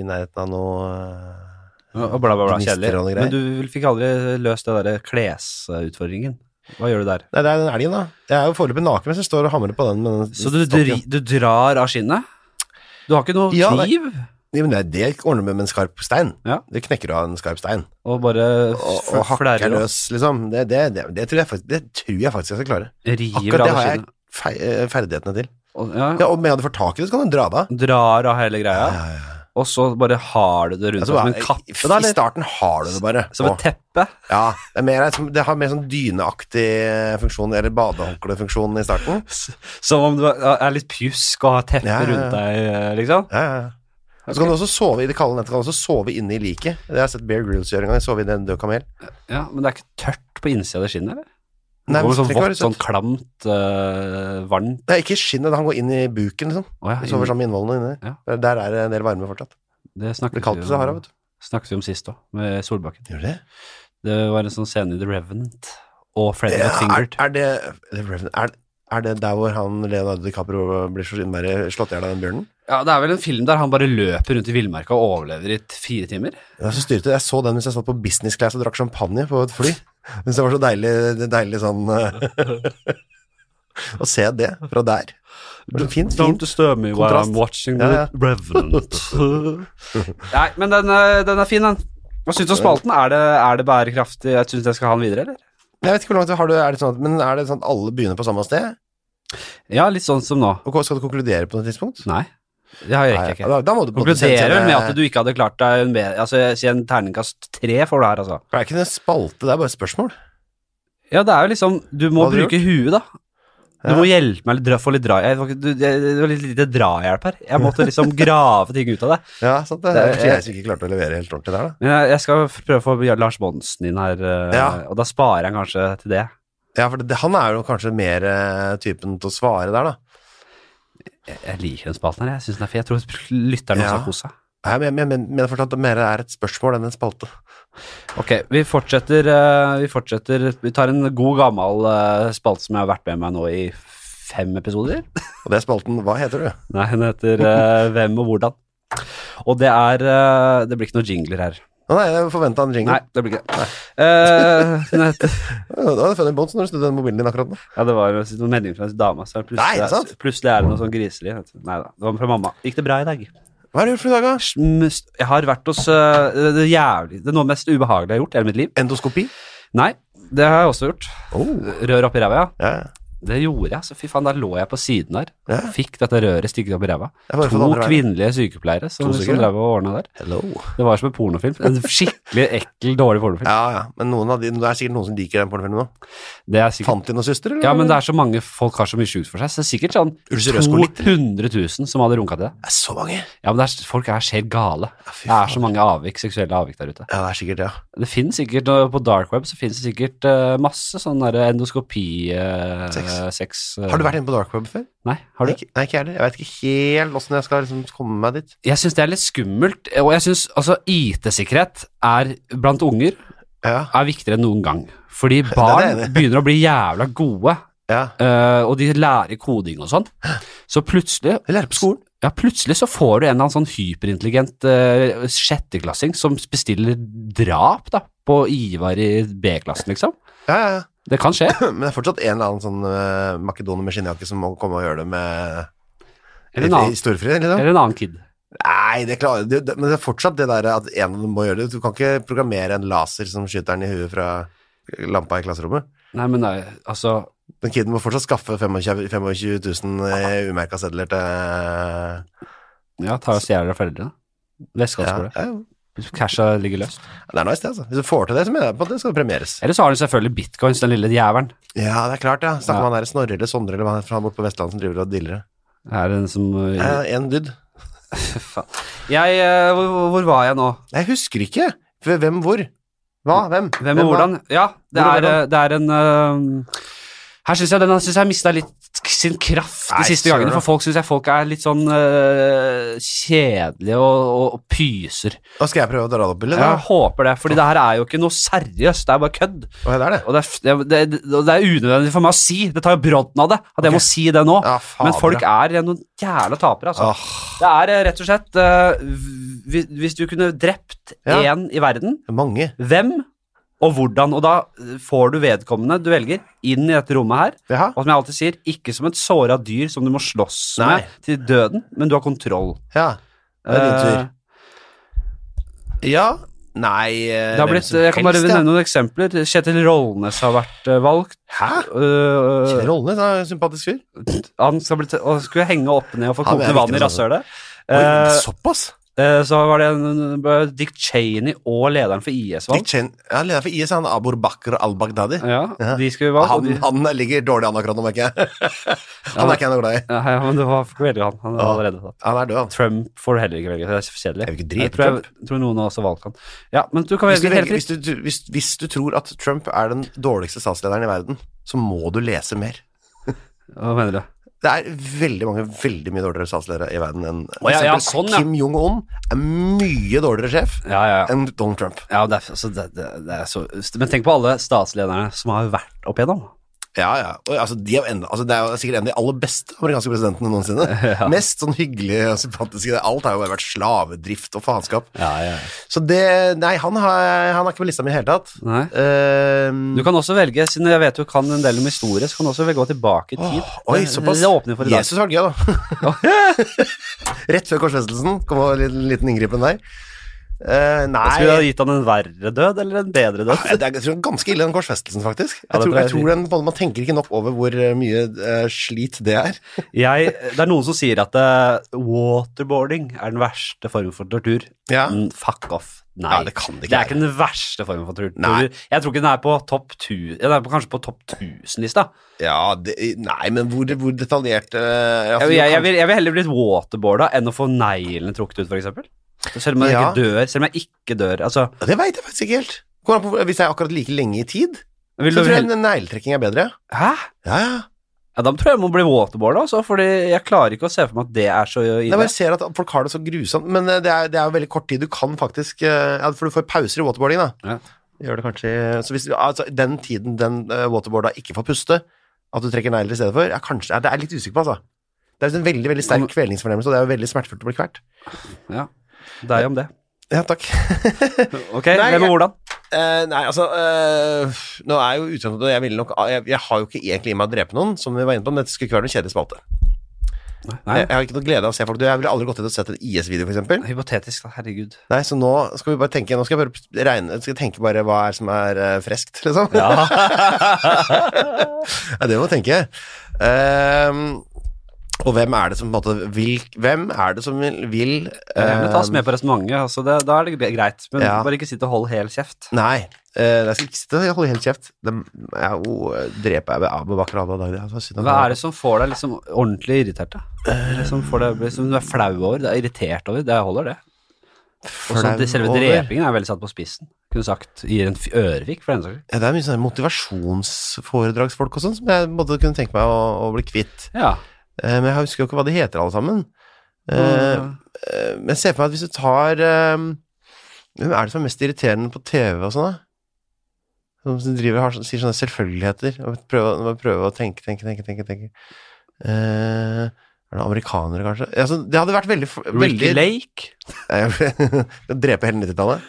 Speaker 1: i nærheten av noe eh,
Speaker 2: Og bla, bla, bla,
Speaker 1: Gnister
Speaker 2: kjedelig.
Speaker 1: og noe
Speaker 2: Men
Speaker 1: greier.
Speaker 2: du fikk aldri løst det derre klesutfordringen. Hva gjør du der?
Speaker 1: Nei, det er den elgen, da. Jeg er jo foreløpig naken mens jeg står og hamrer på den. Med den
Speaker 2: Så du,
Speaker 1: stokken.
Speaker 2: dri, du drar av skinnet? Du har ikke noe
Speaker 1: Ja, nei.
Speaker 2: kniv?
Speaker 1: Ja, men det, det ordner du med med en skarp stein.
Speaker 2: Ja.
Speaker 1: Det knekker du av en skarp stein.
Speaker 2: Og bare
Speaker 1: Og,
Speaker 2: f-
Speaker 1: og hakker
Speaker 2: flerrer og
Speaker 1: løs, liksom. Det, det, det, det, tror jeg faktisk, det tror jeg faktisk jeg skal klare.
Speaker 2: river
Speaker 1: Akkurat det
Speaker 2: av
Speaker 1: har jeg
Speaker 2: skinnet.
Speaker 1: fei- eh, ferdighetene til.
Speaker 2: Og, ja,
Speaker 1: Ja, og om jeg hadde fått tak i det, så kan du dra det av.
Speaker 2: Drar av hele greia, og så bare har du det rundt deg
Speaker 1: Altså,
Speaker 2: som
Speaker 1: bare-
Speaker 2: en kappe, da,
Speaker 1: I
Speaker 2: eller?
Speaker 1: starten har du det bare.
Speaker 2: Som
Speaker 1: Å,
Speaker 2: et teppe?
Speaker 1: ja, det, er mer, som- det har mer sånn dyneaktig eh, funksjon, eller badehåndklefunksjon i starten.
Speaker 2: Som om du er litt pjusk og har teppe
Speaker 1: Ja, ja, ja.
Speaker 2: rundt deg, liksom?
Speaker 1: Ja, ja, ja. Og Så kan du også sove i det kalde nettet, kan du også sove inne i liket. Det har jeg sett Bear Grylls gjøre en gang, sove i en død kamel.
Speaker 2: Ja, Men det er ikke tørt på innsida av det skinnet, eller? det
Speaker 1: Nei, men
Speaker 2: går
Speaker 1: så
Speaker 2: sånn
Speaker 1: trenger det
Speaker 2: vått,
Speaker 1: være
Speaker 2: sånn klamt, øh, varmt
Speaker 1: Det er ikke skinnet, han går inn i buken, liksom.
Speaker 2: Å ja,
Speaker 1: Han sover sammen med innvollene inni.
Speaker 2: Ja.
Speaker 1: Der, der er det en del varme fortsatt.
Speaker 2: det
Speaker 1: Det blir
Speaker 2: snakket
Speaker 1: kaldt
Speaker 2: vi
Speaker 1: i
Speaker 2: om-
Speaker 1: Sahara, vet du.
Speaker 2: snakket vi om sist òg, med Solbakken.
Speaker 1: Gjør det?
Speaker 2: Det var en sånn scene i The Revenant og Freddy
Speaker 1: Ja,
Speaker 2: Got
Speaker 1: er,
Speaker 2: Fingered.
Speaker 1: er det The Revenant, er, er det der hvor han Leonardo DiCaprio blir så innmari slått i hjel av den bjørnen?
Speaker 2: Ja, det er vel en film der han bare løper rundt i villmarka og overlever i t- fire timer.
Speaker 1: Jeg så, styrte, jeg så den mens jeg satt på business class og drakk champagne på et fly. Jeg synes det var så deilig, deilig sånn eh, *laughs* Å se det fra der. Det var så fint, fint.
Speaker 2: disturb me
Speaker 1: while Kontrast. I'm
Speaker 2: watching
Speaker 1: The Ja, ja.
Speaker 2: Revenant. *laughs* Nei, men den, øh, den er fin, den. Hva syns du om spalten? Er det, er det bærekraftig? Jeg syns jeg skal ha den videre, eller?
Speaker 1: Jeg vet ikke hvor langt vi har det, er det sånn at, men er det sånn at alle begynner på samme sted?
Speaker 2: Ja, litt sånn som nå.
Speaker 1: Og hva- skal du konkludere på noe tidspunkt?
Speaker 2: Nei, det har jeg rekker jeg
Speaker 1: Nei,
Speaker 2: ikke.
Speaker 1: Da, da må du på en måte
Speaker 2: Konkluderer
Speaker 1: sende-
Speaker 2: vel med at du ikke hadde klart deg en bedre Altså, jeg sier en terningkast tre for det her, altså.
Speaker 1: Det er ikke en spalte, det er bare et spørsmål.
Speaker 2: Ja, det er jo liksom Du må
Speaker 1: Hva hadde du
Speaker 2: bruke huet, da. Du
Speaker 1: Ja.
Speaker 2: må hjelpe meg litt, dra- få litt drahjelp. Jeg- du- jeg- Det var litt lite drahjelp her. Jeg måtte liksom
Speaker 1: *laughs*
Speaker 2: grave ting ut av det.
Speaker 1: Ja, sant det.
Speaker 2: Det er-
Speaker 1: Det er jeg som ikke klarte å levere helt ordentlig der, da.
Speaker 2: Men jeg, jeg skal f- prøve å få Lars Monsen inn her, eh,
Speaker 1: Ja.
Speaker 2: og da sparer jeg kanskje til det.
Speaker 1: Ja, for det, han er jo kanskje mer eh, typen til å svare der, da.
Speaker 2: Jeg, jeg liker den spalten her. Jeg syns den er fin. Jeg tror lytteren også
Speaker 1: Ja.
Speaker 2: har kost seg.
Speaker 1: Nei, men jeg men- men- mener fortsatt at det mer er et spørsmål enn en spalte.
Speaker 2: Ok, vi fortsetter, eh, vi fortsetter. Vi tar en god, gammel eh, spalte som jeg har vært med meg nå i fem episoder.
Speaker 1: Og det er spalten Hva heter du?
Speaker 2: Nei, den heter eh, Hvem og hvordan. Og det er eh, Det blir ikke noe jingler her.
Speaker 1: Å nei, jeg forventa en jingle.
Speaker 2: Nei, det blir ikke det. Eh, nei, det-
Speaker 1: Ja, Da hadde du funnet en bånd når du snudde den mobilen din akkurat nå.
Speaker 2: ja, det var noen meldinger fra en dame. Så plutselig,
Speaker 1: Nei, sant?
Speaker 2: plutselig er det noe sånn griselig. vet du. Nei da, det var fra mamma. Gikk det bra i dag?
Speaker 1: Hva har du gjort for i dag, da?
Speaker 2: Smust- Jeg har vært hos eh, det, det jævlig Det er noe av det mest ubehagelige jeg har gjort i hele mitt liv.
Speaker 1: Endoskopi?
Speaker 2: Nei, det har jeg også gjort.
Speaker 1: Oh.
Speaker 2: Rør opp i ræva, ja.
Speaker 1: Ja.
Speaker 2: Det gjorde jeg. Så fy faen, der lå jeg på siden der.
Speaker 1: Ja.
Speaker 2: Fikk dette røret stikket opp i ræva.
Speaker 1: Jeg bare får det
Speaker 2: To
Speaker 1: andre veien.
Speaker 2: kvinnelige sykepleiere som,
Speaker 1: To
Speaker 2: som
Speaker 1: stykker,
Speaker 2: drev og ordna der.
Speaker 1: Hello.
Speaker 2: Det var som en pornofilm. En skikkelig ekkel, dårlig pornofilm.
Speaker 1: Ja, ja. Men noen av de, det er sikkert noen som liker den pornofilmen nå.
Speaker 2: Det er sikkert
Speaker 1: Fant de noen søster, eller?
Speaker 2: ja, men det er så mange folk har så mye sjukt for seg, så det er sikkert sånn
Speaker 1: Ulcerøs
Speaker 2: 200 000 som hadde runka til deg.
Speaker 1: Det er så mange.
Speaker 2: Ja, men det er, folk er skjelt gale.
Speaker 1: fy
Speaker 2: Det er så mange avvik, seksuelle avvik der ute.
Speaker 1: Ja, det er sikkert det, ja.
Speaker 2: Det finnes sikkert, og på dark web så finnes det sikkert eh, masse sånn der endoskopi eh,
Speaker 1: Sex.
Speaker 2: sex eh.
Speaker 1: Har du vært inne på dark web før?
Speaker 2: Nei, har du?
Speaker 1: Ikke, nei, ikke jeg heller. Jeg vet ikke helt åssen jeg skal liksom komme meg dit.
Speaker 2: Jeg syns det er litt skummelt, og jeg syns altså IT-sikkerhet er blant unger
Speaker 1: Ja,
Speaker 2: er viktigere enn noen gang.
Speaker 1: *laughs*
Speaker 2: Fordi
Speaker 1: Det er
Speaker 2: barn
Speaker 1: det.
Speaker 2: begynner å bli jævla gode,
Speaker 1: ja.
Speaker 2: eh, og de lærer koding og sånn. Så plutselig
Speaker 1: Jeg lærer på skolen.
Speaker 2: Ja, plutselig så får du en eller annen sånn hyperintelligent eh, sjetteklassing som bestiller drap da, på Ivar i B-klassen, liksom.
Speaker 1: Ja, ja, *clears throat* ja.
Speaker 2: Det kan skje.
Speaker 1: Men det er fortsatt en eller annen sånn uh, makedoner med skinnjakke som må komme og gjøre det med
Speaker 2: Eller en
Speaker 1: *laughs* i- i
Speaker 2: annen,
Speaker 1: storfri, liksom.
Speaker 2: eller en annen kid.
Speaker 1: Nei, det klarer det, det, Men det er fortsatt det der at en av dem må gjøre det. Du kan ikke programmere en laser som skyter den i huet fra lampa i klasserommet.
Speaker 2: Nei, men nei, altså
Speaker 1: Den kiden må fortsatt skaffe 25 25 000 umerka sedler til eh,
Speaker 2: Ja, ta og stjele av foreldrene. Veska
Speaker 1: ja,
Speaker 2: hans
Speaker 1: ja.
Speaker 2: går det. Casha ligger løst.
Speaker 1: Det er nice, det, altså. Hvis du får til det, så mener jeg på at det skal premieres.
Speaker 2: Eller så har du selvfølgelig bitcoins, den lille jævelen.
Speaker 1: Ja, det er klart, ja. Snakker
Speaker 2: Ja.
Speaker 1: om han der Snorre eller Sondre eller hva han er fra borte på Vestlandet som driver og dealer det.
Speaker 2: Det Er den som eh,
Speaker 1: Ja, en dyd.
Speaker 2: Faen. Jeg eh, hvor, hvor var jeg nå?
Speaker 1: Jeg husker ikke. Hve- Hvem, hvor? Hva? Hvem?
Speaker 2: Hvem og
Speaker 1: hva?
Speaker 2: hvordan? Ja, det
Speaker 1: Hvor og
Speaker 2: er, eh, det er en eh, Her syns jeg den synes jeg mista litt k- sin kraft de
Speaker 1: Nei,
Speaker 2: siste
Speaker 1: søren,
Speaker 2: gangene.
Speaker 1: da.
Speaker 2: For folk syns jeg folk er litt sånn eh, kjedelige og, og, og pyser.
Speaker 1: Da skal jeg prøve å dra det opp, eller?
Speaker 2: Jeg
Speaker 1: Ja.
Speaker 2: håper det, fordi det her er jo ikke noe seriøst. Det er bare kødd.
Speaker 1: Å, det er det.
Speaker 2: Og det er, f- det, er- det, er- og det er unødvendig for meg å si. Det tar jo brodden av det at jeg må si det nå.
Speaker 1: Ja, fader,
Speaker 2: Men folk
Speaker 1: ja.
Speaker 2: er noen jævla tapere, altså.
Speaker 1: Åh,
Speaker 2: Det er eh, rett og slett eh, hvi- Hvis du kunne drept
Speaker 1: Ja.
Speaker 2: én i verden
Speaker 1: mange.
Speaker 2: hvem og hvordan, og da får du vedkommende du velger inn i dette rommet her,
Speaker 1: Jaha.
Speaker 2: og som jeg alltid sier, ikke som et såra dyr som du må slåss
Speaker 1: Nei.
Speaker 2: med til døden, men du har kontroll.
Speaker 1: Ja. Det er din
Speaker 2: Eh,
Speaker 1: tur. Ja. Nei eh,
Speaker 2: det har
Speaker 1: hvem
Speaker 2: blitt,
Speaker 1: som
Speaker 2: jeg kan bare
Speaker 1: helst, ja.
Speaker 2: nevne noen eksempler. Kjetil Rollnes har vært eh, valgt.
Speaker 1: Hæ?
Speaker 2: Eh,
Speaker 1: Kjell Rollnes er en sympatisk fyr.
Speaker 2: han skal bli, og skulle henge opp ned og få
Speaker 1: Han er
Speaker 2: kokende vann i
Speaker 1: viktig for
Speaker 2: rasshølet.
Speaker 1: Oi,
Speaker 2: Eh,
Speaker 1: såpass?
Speaker 2: eh, så var det en, en- Dick Cheney og lederen for IS
Speaker 1: Dick
Speaker 2: valgt.
Speaker 1: Chen, ja, leder for IS, han Abor Bakr al-Baghdadi.
Speaker 2: Ja,
Speaker 1: Ja.
Speaker 2: de skulle valgt. og
Speaker 1: Han,
Speaker 2: de-
Speaker 1: han ligger dårlig an akkurat nå,
Speaker 2: *laughs*
Speaker 1: merker jeg. Han
Speaker 2: Ja.
Speaker 1: er ikke jeg noe glad i.
Speaker 2: Ja, ja, men det var veldig han. Han var
Speaker 1: Ja.
Speaker 2: allerede tatt.
Speaker 1: Han er død, han.
Speaker 2: Trump får du heller ikke velge, det er kjedelig.
Speaker 1: Jeg vil ikke
Speaker 2: Jeg
Speaker 1: drepe
Speaker 2: tror, jeg,
Speaker 1: Trump.
Speaker 2: tror noen har også valgt han. Ja, men du kan
Speaker 1: Hvis du,
Speaker 2: velge helt
Speaker 1: velger, hvis,
Speaker 2: fritt.
Speaker 1: du, du- hvis, hvis du tror at Trump er den dårligste statslederen i verden, så må du lese mer.
Speaker 2: Hva mener du?
Speaker 1: Det er veldig mange veldig mye dårligere statsledere i verden enn for
Speaker 2: Å, ja, ja,
Speaker 1: eksempel
Speaker 2: sånn, ja.
Speaker 1: Kim Jong-un er mye dårligere sjef
Speaker 2: Ja, ja, ja.
Speaker 1: enn Donald Trump.
Speaker 2: ja det er, altså, det, det, det er så, men tenk på alle statslederne som har vært opp igjennom.
Speaker 1: Ja, ja. Og, altså, de er jo enda, altså, det er jo sikkert en av de aller beste amerikanske
Speaker 2: *laughs*
Speaker 1: presidentene noensinne. Mest sånn hyggelige og sympatiske. Alt har jo bare vært slavedrift og faenskap.
Speaker 2: Ja, ja.
Speaker 1: Så det Nei, han, har, han er ikke på lista mi i det hele tatt.
Speaker 2: Nei.
Speaker 1: Ehm,
Speaker 2: Du kan også velge, siden jeg vet du kan en del om historie, så kan du også velge å gå tilbake i tid.
Speaker 1: Åh, Oi,
Speaker 2: Det-
Speaker 1: såpass.
Speaker 2: Det åpner for i dag.
Speaker 1: Jesus var gøy,
Speaker 2: *laughs*
Speaker 1: da. *laughs* Rett før korsfestelsen kom det en liten inngripen der. Eh,
Speaker 2: Skulle du ha
Speaker 1: nei
Speaker 2: gitt han en verre død, eller en bedre død?
Speaker 1: jeg, jeg tror det er ganske ille, den korsfestelsen, faktisk. Jeg
Speaker 2: Ja, det
Speaker 1: tror, jeg
Speaker 2: tror jeg-
Speaker 1: tror den, på en måte, Man tenker ikke nok over hvor eh, mye eh, slit det er.
Speaker 2: *laughs*
Speaker 1: *laughs*
Speaker 2: Jeg, det er noen som sier at eh, waterboarding er den verste formen for tortur.
Speaker 1: Ja.
Speaker 2: Mm, fuck off. Nei.
Speaker 1: Ja, det kan det
Speaker 2: Det
Speaker 1: ikke
Speaker 2: er
Speaker 1: være.
Speaker 2: ikke den verste formen for tortur.
Speaker 1: Nei.
Speaker 2: Jeg tror ikke den er på topp 1000 Den er på, kanskje på topp 1000-lista.
Speaker 1: Ja, det, nei, men hvor, hvor detaljert eh,
Speaker 2: Jeg,
Speaker 1: altså,
Speaker 2: jeg, jeg,
Speaker 1: du kan-
Speaker 2: vil- jeg vil heller blitt waterboarda enn å få neglene trukket ut, f.eks. Selv om jeg
Speaker 1: Ja.
Speaker 2: ikke dør. Selv om jeg ikke dør. Altså,
Speaker 1: Ja, Det veit jeg faktisk ikke helt. Kommer an på hvor- Hvis jeg er akkurat like lenge i tid,
Speaker 2: vil
Speaker 1: så
Speaker 2: du
Speaker 1: tror jeg
Speaker 2: heller
Speaker 1: en negletrekking er bedre.
Speaker 2: Hæ?
Speaker 1: Ja, ja.
Speaker 2: Ja, da tror jeg jeg må bli waterboarda, altså, fordi jeg klarer ikke å se for meg at det er så
Speaker 1: Jeg
Speaker 2: ille.
Speaker 1: bare ser at folk har det så grusomt, men eh, det er, det er jo veldig kort tid. Du kan faktisk eh, ja, For du får pauser i waterboarding, da.
Speaker 2: Ja.
Speaker 1: Gjør det kanskje Så hvis altså, den tiden den eh, waterboarda ikke får puste, at du trekker negler i stedet for, ja, kanskje ja, Det er jeg litt usikker på, altså. Det er en veldig veldig sterk kvelningsfornemmelse, og det er jo veldig smertefullt å bli kvert. *laughs*
Speaker 2: Ja, det er jo om det.
Speaker 1: Ja, takk.
Speaker 2: Ok,
Speaker 1: Nei,
Speaker 2: hvem og
Speaker 1: jeg-
Speaker 2: hvordan?
Speaker 1: Eh, nei, altså eh, Nå er jo utgangspunktet Jeg, ville nok, ah, jeg, jeg har jo ikke egentlig i meg å drepe noen, som vi var inne på, men dette skulle ikke være noen kjedelig spalte.
Speaker 2: Nei,
Speaker 1: Jeg, jeg har ikke noe glede av å se folk dø. Jeg ville aldri gått inn og sett en IS-video, f.eks.
Speaker 2: hypotetisk, da. Herregud.
Speaker 1: Nei, så nå skal vi bare tenke Nå skal jeg bare regne Skal jeg tenke bare hva er som er eh, freskt, liksom. *laughs*
Speaker 2: *laughs*
Speaker 1: Ja, det må jeg tenke. Ehm, og hvem er det som på en måte vil Hvem er det som vil, vil
Speaker 2: Jeg vil Eh, ta oss
Speaker 1: ehm,
Speaker 2: med på resonnementet. Altså det- da er det gre- greit. Men
Speaker 1: Ja.
Speaker 2: bare ikke sitt og hold hel kjeft.
Speaker 1: Nei. eh, jeg skal ikke sitte og holde helt kjeft. Dem er jo eh, dreper jeg ved Abu Bakr al-Baghdadi.
Speaker 2: Hva er det som får deg liksom ordentlig irritert, da? Eller Som, får deg, liksom, du er flau over, du er irritert over, det holder, det. Og sånn, det selve drepingen er veldig satt på spissen. Kunne sagt gir en f- ørefik, for den saks skyld.
Speaker 1: Ja, det er mye sånne motivasjonsforedragsfolk og sånn som jeg måtte kunne tenke meg å, å bli kvitt.
Speaker 2: Ja.
Speaker 1: Eh, men jeg husker jo ikke hva de heter alle sammen. Eh, eh, men jeg ser for meg at hvis du tar eh, Hvem er det som er mest irriterende på TV og sånn, da? Som som driver og har, sånn- sier sånne selvfølgeligheter. Og prøver, bare prøver å tenke, tenke, tenke, tenke. tenke. Eh, er det amerikanere, kanskje? Altså, det hadde vært veldig,
Speaker 2: Ricky
Speaker 1: veldig
Speaker 2: Lake.
Speaker 1: Nei, *laughs* jeg- Drepe hele 90-tallet?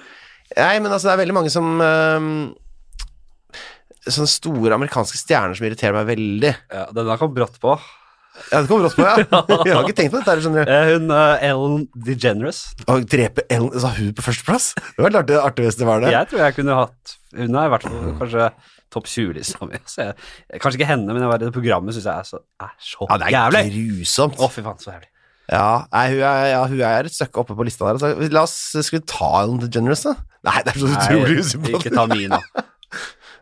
Speaker 1: Nei, men altså, det er veldig mange som ehm, Sånne store amerikanske stjerner som irriterer meg veldig.
Speaker 2: Ja, den der kom brått på.
Speaker 1: Ja, det kom brått på,
Speaker 2: *laughs*
Speaker 1: ja. Jeg har ikke tenkt på dette. her, skjønner du.
Speaker 2: Eh, Hun eh, Ellen DeGeneres.
Speaker 1: Å drepe Ellen Sa hun på førsteplass? Det var litt artig, artig hvis det var det.
Speaker 2: Jeg tror jeg kunne hatt Hun er i hvert fall kanskje topp 20-lista mi. så jeg- Kanskje ikke henne, men jeg var i det programmet syns jeg er så, er så
Speaker 1: Ja, det er
Speaker 2: jævlig.
Speaker 1: grusomt.
Speaker 2: Å, fy faen, så jævlig.
Speaker 1: Ja, nei, hun er, ja, hun er et stykke oppe på lista der. Altså, la oss Skal vi ta Ellen DeGeneres, da? Nei, det er så
Speaker 2: Ikke
Speaker 1: utrolig usympatisk.
Speaker 2: ta min,
Speaker 1: *laughs*
Speaker 2: da.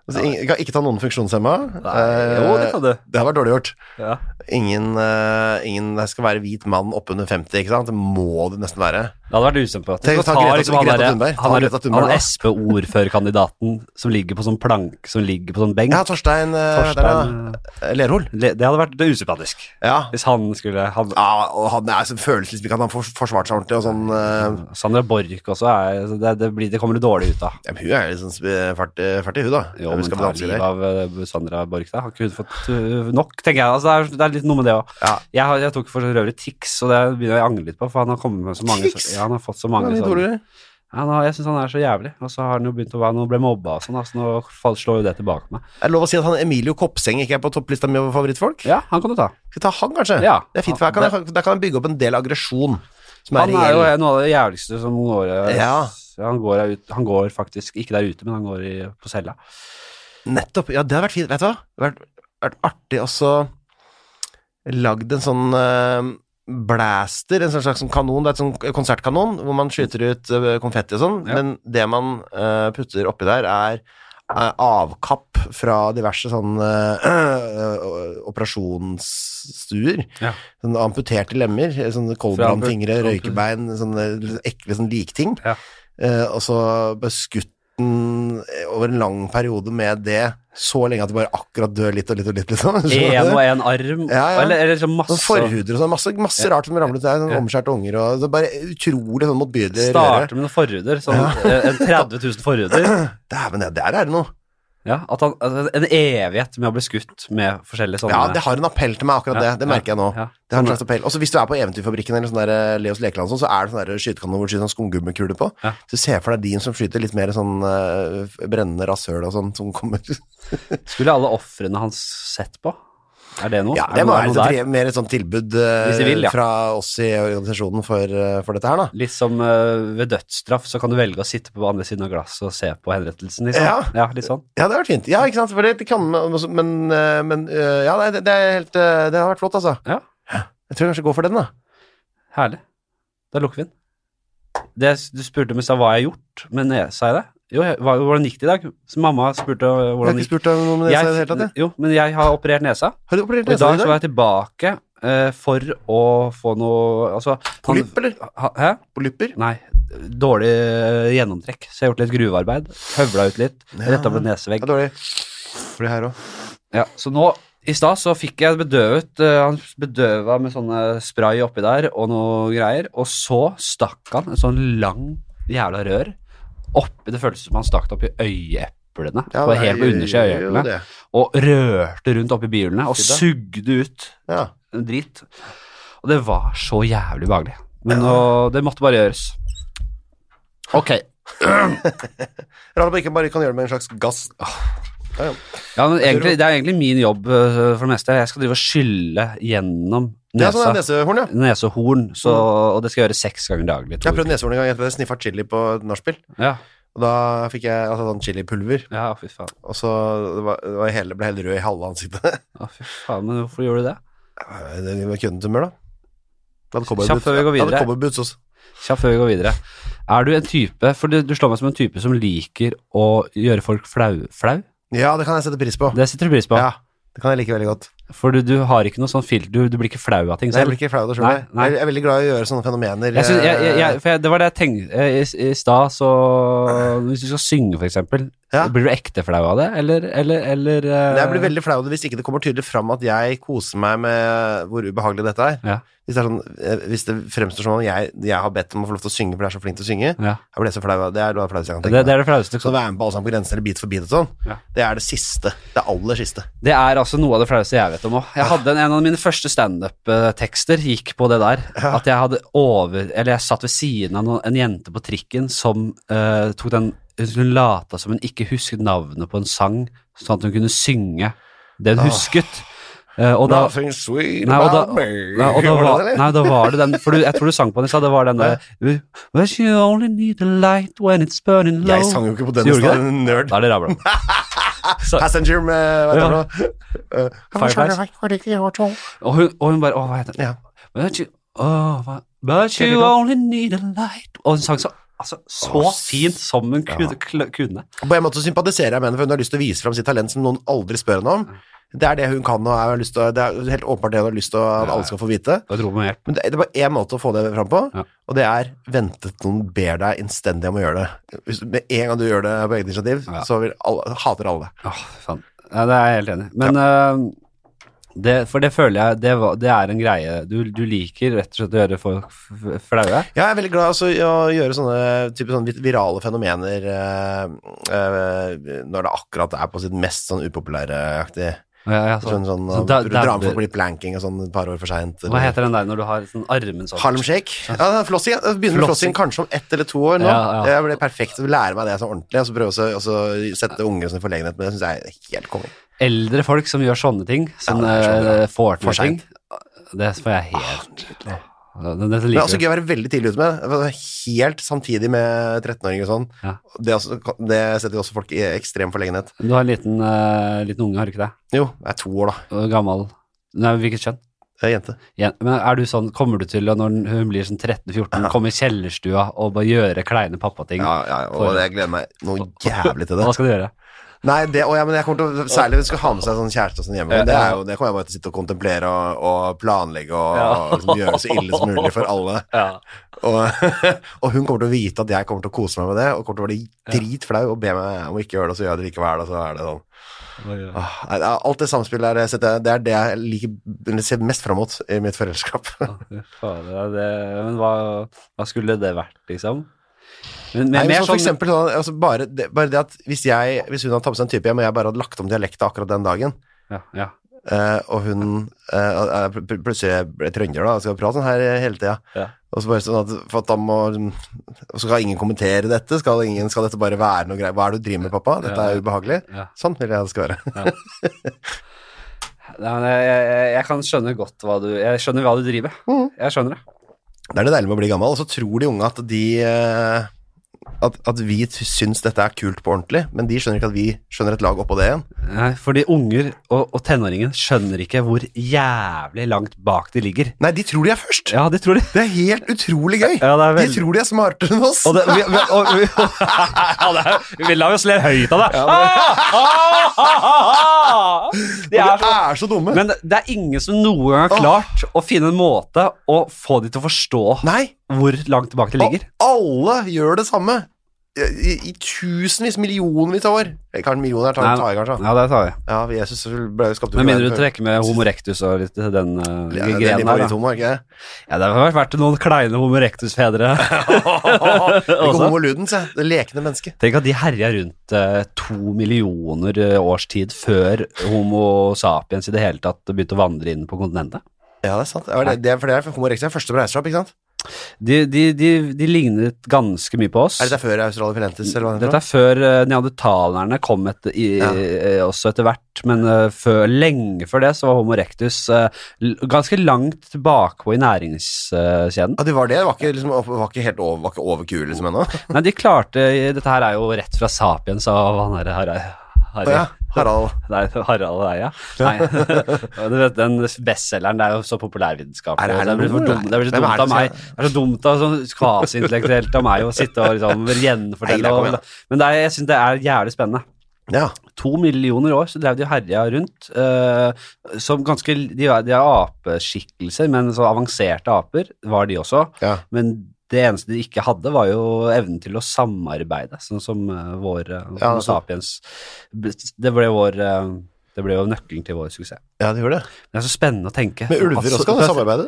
Speaker 1: Altså, ingen- kan ikke ta noen funksjonshemma. Eh,
Speaker 2: Nei, Jo, det kan du.
Speaker 1: det har vært dårlig gjort.
Speaker 2: Ja.
Speaker 1: Ingen, eh, ingen Det skal være hvit mann oppunder 50, ikke sant? Det må det nesten være.
Speaker 2: Det hadde vært usympatisk.
Speaker 1: Tenk å
Speaker 2: Så
Speaker 1: ta Greta-
Speaker 2: han
Speaker 1: Greta
Speaker 2: derre-
Speaker 1: Thunberg. Ta
Speaker 2: Han er,
Speaker 1: Greta Thunberg,
Speaker 2: han
Speaker 1: da.
Speaker 2: er SP-ordførerkandidaten som ligger på sånn plank, som ligger på sånn benk.
Speaker 1: Ja, Torstein, eh,
Speaker 2: Torstein,
Speaker 1: der, ja. Lerhol.
Speaker 2: Le- Det hadde vært usympatisk.
Speaker 1: Ja.
Speaker 2: Hvis han skulle han,
Speaker 1: ja, og han er så følelsesmikk at han får forsvart seg ordentlig og sånn. eh,
Speaker 2: Sandra Borch også er så det, det, blir, det kommer du dårlig ut av.
Speaker 1: Ja, men hun er jo sånn sp- fart i- fart i hun, da.
Speaker 2: Jo,
Speaker 1: Hun
Speaker 2: men
Speaker 1: skal
Speaker 2: ta
Speaker 1: danse i det.
Speaker 2: livet av eh, Sandra Borch der. Har ikke hun fått eh, nok, tenker jeg. Altså, det, er, det er litt noe med det òg.
Speaker 1: Ja.
Speaker 2: Jeg, har- jeg tok for øvrig Tix, og det begynner jeg å angre litt på, for han har kommet med så mange
Speaker 1: Tix?
Speaker 2: Ja, han har fått så
Speaker 1: Han er
Speaker 2: mange
Speaker 1: litt
Speaker 2: sånne
Speaker 1: dårligere.
Speaker 2: ja, nå, Jeg syns han er så jævlig, og så har han jo begynt å være Nå ble mobba og sånn, altså nå fall- slår jo det tilbake på meg.
Speaker 1: Er det lov å si at han Emilio Kopseng ikke er på topplista mi over favorittfolk?
Speaker 2: Ja, han kan du ta.
Speaker 1: Skal vi ta han, kanskje?
Speaker 2: Ja.
Speaker 1: *laughs* Det er fint, for der kan, jeg, der kan jeg bygge opp en del aggresjon som er
Speaker 2: Han er jo
Speaker 1: reell.
Speaker 2: noe av det jævligste som noen år
Speaker 1: Ja.
Speaker 2: han, går er ut, han går faktisk ikke der ute, men han går i, på
Speaker 1: *laughs*
Speaker 2: cella.
Speaker 1: Nettopp. Ja, det hadde vært fint. Vet du hva? Det hadde vært, vært artig også lagd en sånn eh, blaster, en sånn slags sånn kanon, det er et sånn konsertkanon hvor man skyter ut eh, konfetti og sånn,
Speaker 2: Ja.
Speaker 1: men det man eh, putter oppi der er eh, avkapp fra diverse sånne eh, *clears throat* operasjonsstuer.
Speaker 2: Ja.
Speaker 1: Sånne amputerte lemmer, eh, sånne koldbrannfingre,
Speaker 2: Fra ampu-
Speaker 1: røykebein, sånne ekle sånne likting.
Speaker 2: Ja.
Speaker 1: Eh, og så bare skutt den eh, over en lang periode med det, så lenge at det bare akkurat dør litt og litt og litt, liksom. *laughs*
Speaker 2: Én og én arm,
Speaker 1: Ja, ja.
Speaker 2: eller, eller så masse
Speaker 1: Sånn forhuder og sånn, masse, masse rart som ramlet der, sånn
Speaker 2: Ja.
Speaker 1: omskjærte unger og så Bare utrolig sånn motbydelig røre.
Speaker 2: Starte med noen forhuder, sånn eh, en 30 000 forhuder.
Speaker 1: *laughs* Dæven, ja, der er det noe.
Speaker 2: Ja, at han, at en evighet med å bli skutt med forskjellige sånne
Speaker 1: Ja, det har en appell til meg, akkurat det. Det merker jeg nå.
Speaker 2: Ja.
Speaker 1: Det har en slags appell. Og så hvis du er på Eventyrfabrikken eller sånn der eh, Leos lekeland, og sånn, så er det sånn der skytekanon hvor du skyter sånn skumgummikule på.
Speaker 2: Ja.
Speaker 1: Så se for deg din som skyter litt mer sånn eh, brennende rasshøl og sånn som kommer
Speaker 2: Skulle alle ofrene hans sett på? Er det noe?
Speaker 1: *laughs* Ja,
Speaker 2: Er
Speaker 1: det må
Speaker 2: noe-
Speaker 1: være
Speaker 2: noe
Speaker 1: litt,
Speaker 2: der?
Speaker 1: fri- mer et sånt tilbud eh,
Speaker 2: Hvis de vil, ja.
Speaker 1: fra oss i organisasjonen for, eh, for dette her, da.
Speaker 2: Litt som eh, ved dødsstraff, så kan du velge å sitte på andre siden av glasset og se på henrettelsen, liksom.
Speaker 1: Ja.
Speaker 2: litt sånn.
Speaker 1: Ja, det hadde vært fint. Ja, ikke sant? For det kan man også, men, eh, men eh, Ja, nei, det, det er helt eh, Det har vært flott, altså.
Speaker 2: Ja.
Speaker 1: Jeg tror jeg kanskje går for den, da.
Speaker 2: Herlig. Da lukker vi den. Det, du spurte om i stad hva jeg har gjort, men jeg, sa jeg det? Jo, jeg, hva, hvordan gikk det i dag? Så mamma spurte eh,
Speaker 1: Jeg har
Speaker 2: hvordan
Speaker 1: ikke
Speaker 2: gikk
Speaker 1: spurt deg om det i det hele tatt, jeg.
Speaker 2: Jo, men jeg har operert nesa.
Speaker 1: Har du operert
Speaker 2: Og i
Speaker 1: nesa
Speaker 2: dag
Speaker 1: i
Speaker 2: så var
Speaker 1: dag?
Speaker 2: jeg tilbake eh, for å få noe Altså han-
Speaker 1: Polypp, eller?
Speaker 2: Ha- Hæ?
Speaker 1: Polypper?
Speaker 2: Nei, dårlig eh, gjennomtrekk. Så jeg har gjort litt gruvearbeid. Høvla ut litt.
Speaker 1: Ja.
Speaker 2: Retta opp en
Speaker 1: Det
Speaker 2: nesevegg.
Speaker 1: er dårlig. For det her òg.
Speaker 2: Ja, så nå i stad så fikk jeg bedøvet eh, Han bedøva med sånne spray oppi der og noe greier. Og så stakk han en sånn lang jævla rør oppi Det føltes som han stakk det oppi øyeeplene. på helt på undersida av øyeeplene. Og rørte rundt oppi bihulene og
Speaker 1: Fy da.
Speaker 2: sugde ut
Speaker 1: Ja.
Speaker 2: drit. Og det var så jævlig behagelig. Men nå, det måtte bare gjøres. Ok.
Speaker 1: Rart at man ikke bare kan gjøre det med en slags gass.
Speaker 2: Ah,
Speaker 1: Ja, ja.
Speaker 2: Ja, men egentlig, det er egentlig min jobb øh, for det meste. Jeg skal drive og skylle gjennom
Speaker 1: Det er sånn det
Speaker 2: nesa.
Speaker 1: er nesehorn, ja.
Speaker 2: Nesehorn. Så,
Speaker 1: Mm.
Speaker 2: og det skal jeg gjøre seks ganger daglig.
Speaker 1: Jeg
Speaker 2: to
Speaker 1: prøvde nesehorn en gang etter det. Sniffa chili på et nachspiel.
Speaker 2: uker. Ja,
Speaker 1: Og da fikk jeg altså, sånn chilipulver,
Speaker 2: ja, fy faen.
Speaker 1: og så det var, det var hele, ble jeg helt rød i halve ansiktet. *laughs*
Speaker 2: Ja, fy faen, men hvorfor gjorde du det?
Speaker 1: det var køddentumør, da. Det hadde
Speaker 2: Kjapt før vi går
Speaker 1: cowboyboots. Jeg hadde
Speaker 2: videre.
Speaker 1: cowboyboots også.
Speaker 2: Kjapt før vi går videre. Er du en type For du, du slår meg som en type som liker å gjøre folk flau. flau?
Speaker 1: Ja, det kan jeg sette pris på.
Speaker 2: Det setter du pris på.
Speaker 1: Ja, det kan jeg like veldig godt.
Speaker 2: For du, du har ikke noe sånn filter. Du, du blir ikke flau av ting
Speaker 1: Nei, jeg
Speaker 2: selv.
Speaker 1: blir ikke flau av det sjøl.
Speaker 2: Nei,
Speaker 1: Jeg
Speaker 2: nei.
Speaker 1: jeg er veldig glad i å gjøre sånne fenomener.
Speaker 2: Jeg synes, jeg, jeg,
Speaker 1: eh,
Speaker 2: jeg, for jeg, det var det jeg tenkte eh, i, i stad, så Hvis du skal synge, for eksempel,
Speaker 1: Ja.
Speaker 2: blir du ekte flau av det, eller, eller, eller eh,
Speaker 1: Jeg blir veldig flau av det hvis ikke det kommer tydelig fram at jeg koser meg med hvor ubehagelig dette er.
Speaker 2: Ja.
Speaker 1: Hvis, det er sånn, eh, hvis det fremstår som om jeg, jeg har bedt om å få lov til å synge fordi jeg er så flink til å synge,
Speaker 2: ja.
Speaker 1: jeg blir så flau av det. er noe av det flaueste jeg kan
Speaker 2: det,
Speaker 1: tenke
Speaker 2: det
Speaker 1: meg.
Speaker 2: er det flaueste.
Speaker 1: Så å være med på Allsang på grensen eller Beat for beat og sånn,
Speaker 2: Ja.
Speaker 1: det er det siste. Det aller siste.
Speaker 2: Det er altså noe av det flaueste jeg vet om òg. Jeg hadde en, en av mine første standup-tekster gikk på det der. At jeg hadde over Eller jeg satt ved siden av noen, en jente på trikken som eh, tok den Hun lata som hun ikke husket navnet på en sang, sånn at hun kunne synge det hun
Speaker 1: Åh.
Speaker 2: husket. Eh, og da
Speaker 1: sweet
Speaker 2: Nei, og da,
Speaker 1: me.
Speaker 2: nei, og da,
Speaker 1: Var det
Speaker 2: var,
Speaker 1: det, eller?
Speaker 2: nei, da var det den For du, jeg tror du sang på den i stad. Det var den der But you only need a light when it's burning low.
Speaker 1: Jeg sang jo ikke på den
Speaker 2: Så
Speaker 1: i
Speaker 2: gjorde du
Speaker 1: stad, nerd.
Speaker 2: Da er det rabla.
Speaker 1: *laughs*
Speaker 2: Så-
Speaker 1: Passenger med hva
Speaker 2: Ja.
Speaker 1: heter det? nå? *laughs* Eh,
Speaker 2: Fireflies. Og hun, og hun bare Å, hva heter den?
Speaker 1: Ja.
Speaker 2: But you, oh, hva- but you only need a light Og hun sang så, altså, så
Speaker 1: Åh,
Speaker 2: fint som hun kunne. kl- kunne.
Speaker 1: Og På en måte så sympatiserer jeg med henne, for hun har lyst til å vise fram sitt talent som noen aldri spør henne om. Det er det hun kan, og er- har lyst til, å- det er helt åpenbart det hun har lyst til å- at
Speaker 2: Ja,
Speaker 1: alle skal få vite.
Speaker 2: Da dro hun med hjelp.
Speaker 1: Men det det er bare én måte å få det fram på,
Speaker 2: Ja.
Speaker 1: og det er ventet noen ber deg innstendig om å gjøre det. Hvis, med en gang du gjør det på eget initiativ,
Speaker 2: Ja.
Speaker 1: så vil alle, hater alle det.
Speaker 2: Åh, faen. Ja, det er jeg helt enig i. Men eh, det, for det føler jeg det, var, det er en greie du, du liker rett og slett å gjøre folk f- f- flaue.
Speaker 1: Ja, jeg er veldig glad altså, i å gjøre sånne, type, sånne vi- virale fenomener eh, eh, når det akkurat er på sitt mest sånn upopulære aktig.
Speaker 2: Ja, ja, så-
Speaker 1: Sånn, sånn,
Speaker 2: Altså, så da-
Speaker 1: du drar med
Speaker 2: dabber-
Speaker 1: folk blir planking og sånn et par år for seint.
Speaker 2: Hva heter den der når du har sånn armen sånn?
Speaker 1: Harlem Shake. Ja, det er flossing. ja. Jeg begynner med
Speaker 2: Flossing.
Speaker 1: flossing kanskje om ett eller to år nå.
Speaker 2: Ja, ja.
Speaker 1: Det blir perfekt. å Lære meg det sånn ordentlig, og så prøve å så- og så sette ungene sine i forlegenhet med det. synes jeg er helt konge.
Speaker 2: Eldre folk som gjør sånne ting, som
Speaker 1: det er så bra.
Speaker 2: eh, får
Speaker 1: For
Speaker 2: til ting, det får jeg helt Åh, Ah, det, det
Speaker 1: Men det
Speaker 2: liker
Speaker 1: er også
Speaker 2: jeg.
Speaker 1: gøy å være veldig tidlig ute med det. Altså, Helt samtidig med 13-åringer og sånn.
Speaker 2: Ja.
Speaker 1: Det, er også, det setter jo også folk i ekstrem forlegenhet.
Speaker 2: Du har en liten, eh, liten unge, har du ikke det?
Speaker 1: Jo, jeg er to år, da.
Speaker 2: Og Gammel Nei, hvilket kjønn?
Speaker 1: Jeg er jente.
Speaker 2: Jen- Men er du sånn, kommer du til å, når hun blir sånn 13-14, komme i kjellerstua og bare gjøre kleine pappating?
Speaker 1: Ja, ja, ja, og
Speaker 2: For-
Speaker 1: jeg gleder meg noe jævlig til det.
Speaker 2: Hva skal du gjøre?
Speaker 1: Nei, det, og ja, men jeg kommer til å Særlig hvis du skal ha med seg sånn kjæreste og sånn hjemme.
Speaker 2: Ja,
Speaker 1: Det, er
Speaker 2: ja.
Speaker 1: jo, det kommer jeg bare til å sitte og kontemplere og, og planlegge og,
Speaker 2: Ja.
Speaker 1: og *laughs* liksom, gjøre det så ille som mulig for alle.
Speaker 2: Ja.
Speaker 1: Og, *laughs* og hun kommer til å vite at jeg kommer til å kose meg med det, og kommer til å være dritflau og be meg om å ikke gjøre det, så gjør jeg det likevel, og så er det sånn.
Speaker 2: Ah.
Speaker 1: Åh, nei, det er- Alt det samspillet der, jeg setter- det er det jeg liker, eller ser mest fram mot i mitt foreldreskap.
Speaker 2: Men hva, hva skulle det vært, liksom? Men, men,
Speaker 1: Nei, men
Speaker 2: mer
Speaker 1: sånn, for
Speaker 2: sånn
Speaker 1: eksempel, sånn, altså bare, det, bare det at hvis, jeg, hvis hun hadde tatt med seg en type hjem, og jeg bare hadde lagt om dialekta akkurat den dagen,
Speaker 2: ja, ja.
Speaker 1: eh, og hun eh, eh, pl- pl- plutselig ble trønder da, og skal prate sånn her hele tida.
Speaker 2: Ja.
Speaker 1: Og så bare sånn at, for at da må, og så skal ingen kommentere dette, skal, ingen, skal dette bare være noe greier, hva er det du driver med pappa, dette
Speaker 2: Ja.
Speaker 1: er ubehagelig.
Speaker 2: Ja.
Speaker 1: Sånn vil jeg det skal være. *laughs*
Speaker 2: Nei, men jeg, jeg, jeg kan skjønne godt hva du Jeg skjønner hva du driver med.
Speaker 1: Mhm.
Speaker 2: Jeg skjønner det.
Speaker 1: Det er det deilige med å bli gammel, og så tror de unge at de eh, at, at vi t- syns dette er kult på ordentlig, men de skjønner ikke at vi skjønner et lag oppå det igjen.
Speaker 2: Nei, fordi unger og, og tenåringen skjønner ikke hvor jævlig langt bak de ligger.
Speaker 1: Nei, de tror de er først!
Speaker 2: Ja, de tror det.
Speaker 1: Det er helt utrolig gøy!
Speaker 2: Ja, det er
Speaker 1: De
Speaker 2: veldig-
Speaker 1: tror de er smartere enn oss!
Speaker 2: Og det, vi, vi, og, vi, *laughs* ja, det er, vi lar oss le høyt av det. Ah! *laughs* De
Speaker 1: de
Speaker 2: er så,
Speaker 1: er så dumme!
Speaker 2: men det er ingen som noen gang har klart å finne en måte å få de til å forstå
Speaker 1: Nei!
Speaker 2: hvor langt tilbake de ligger.
Speaker 1: Og alle gjør det samme! I, i, i tusenvis, millionvis av år. Eh, Kanskje millioner tar
Speaker 2: Nei.
Speaker 1: tar jeg kanskje. da.
Speaker 2: Ja, det tar vi.
Speaker 1: Ja, Jesus ble jo skapt
Speaker 2: Med mindre du trekker med homo rectus og litt den uh,
Speaker 1: ja, det
Speaker 2: grenen
Speaker 1: er din
Speaker 2: der. da.
Speaker 1: favoritthomo, er ikke
Speaker 2: *laughs*
Speaker 1: det?
Speaker 2: Ja, det har vært noen kleine homo rectus-fedre. *laughs*
Speaker 1: Ikke
Speaker 2: Også.
Speaker 1: homo ludens, jeg. Det lekende mennesket.
Speaker 2: Tenk at de herja rundt eh, to millioner eh, års tid før homo sapiens i det hele tatt begynte å vandre inn på kontinentet.
Speaker 1: Ja, det er sant. Ja, det, det, er- for det er homo erectus er første på reiseslapp, ikke sant?
Speaker 2: De, de, de, de lignet ganske mye på oss.
Speaker 1: Er dette før Australopithecus, eller hva det
Speaker 2: Dette
Speaker 1: heter?
Speaker 2: er før eh, neandertalerne kom etter, i,
Speaker 1: Ja.
Speaker 2: eh, også etter hvert, men eh, før, lenge før det så var Homo erectus eh, l- ganske langt bakpå i næringskjeden.
Speaker 1: *laughs* Ja, det var det. Det var ikke, liksom, opp- var ikke helt over, var ikke over kua liksom
Speaker 2: *laughs*
Speaker 1: ennå.
Speaker 2: Nei, de klarte Dette her er jo rett fra Sapiens av han derre Harry. Harry.
Speaker 1: Ja, Harald.
Speaker 2: Nei, Harald og Eia. Nei. *laughs* du vet, den bestselgeren, det er jo så populærvitenskap.
Speaker 1: Er det- er det
Speaker 2: og blir
Speaker 1: noe?
Speaker 2: for dumt, det blir så
Speaker 1: Hvem er
Speaker 2: dumt
Speaker 1: det
Speaker 2: av meg. Det er så dumt av sånn kvasiintellektuelt av meg å sitte og liksom
Speaker 1: Nei, da
Speaker 2: gjenfortelle.
Speaker 1: kom
Speaker 2: og- Men det er, jeg syns det er jævlig spennende.
Speaker 1: Ja.
Speaker 2: to millioner år så drev de og herja rundt. eh, som ganske, de, er- de er apeskikkelser, men så avanserte aper var de også.
Speaker 1: ja.
Speaker 2: Men det eneste de ikke hadde, var jo evnen til å samarbeide, sånn som eh, vår eh,
Speaker 1: Ja,
Speaker 2: Homo
Speaker 1: så-
Speaker 2: sapiens Det ble, vår, eh, det ble jo nøkkelen til vår suksess.
Speaker 1: Ja, det gjorde det.
Speaker 2: Det er så spennende å tenke.
Speaker 1: Men ulver
Speaker 2: Altså,
Speaker 1: også kan samarbeide.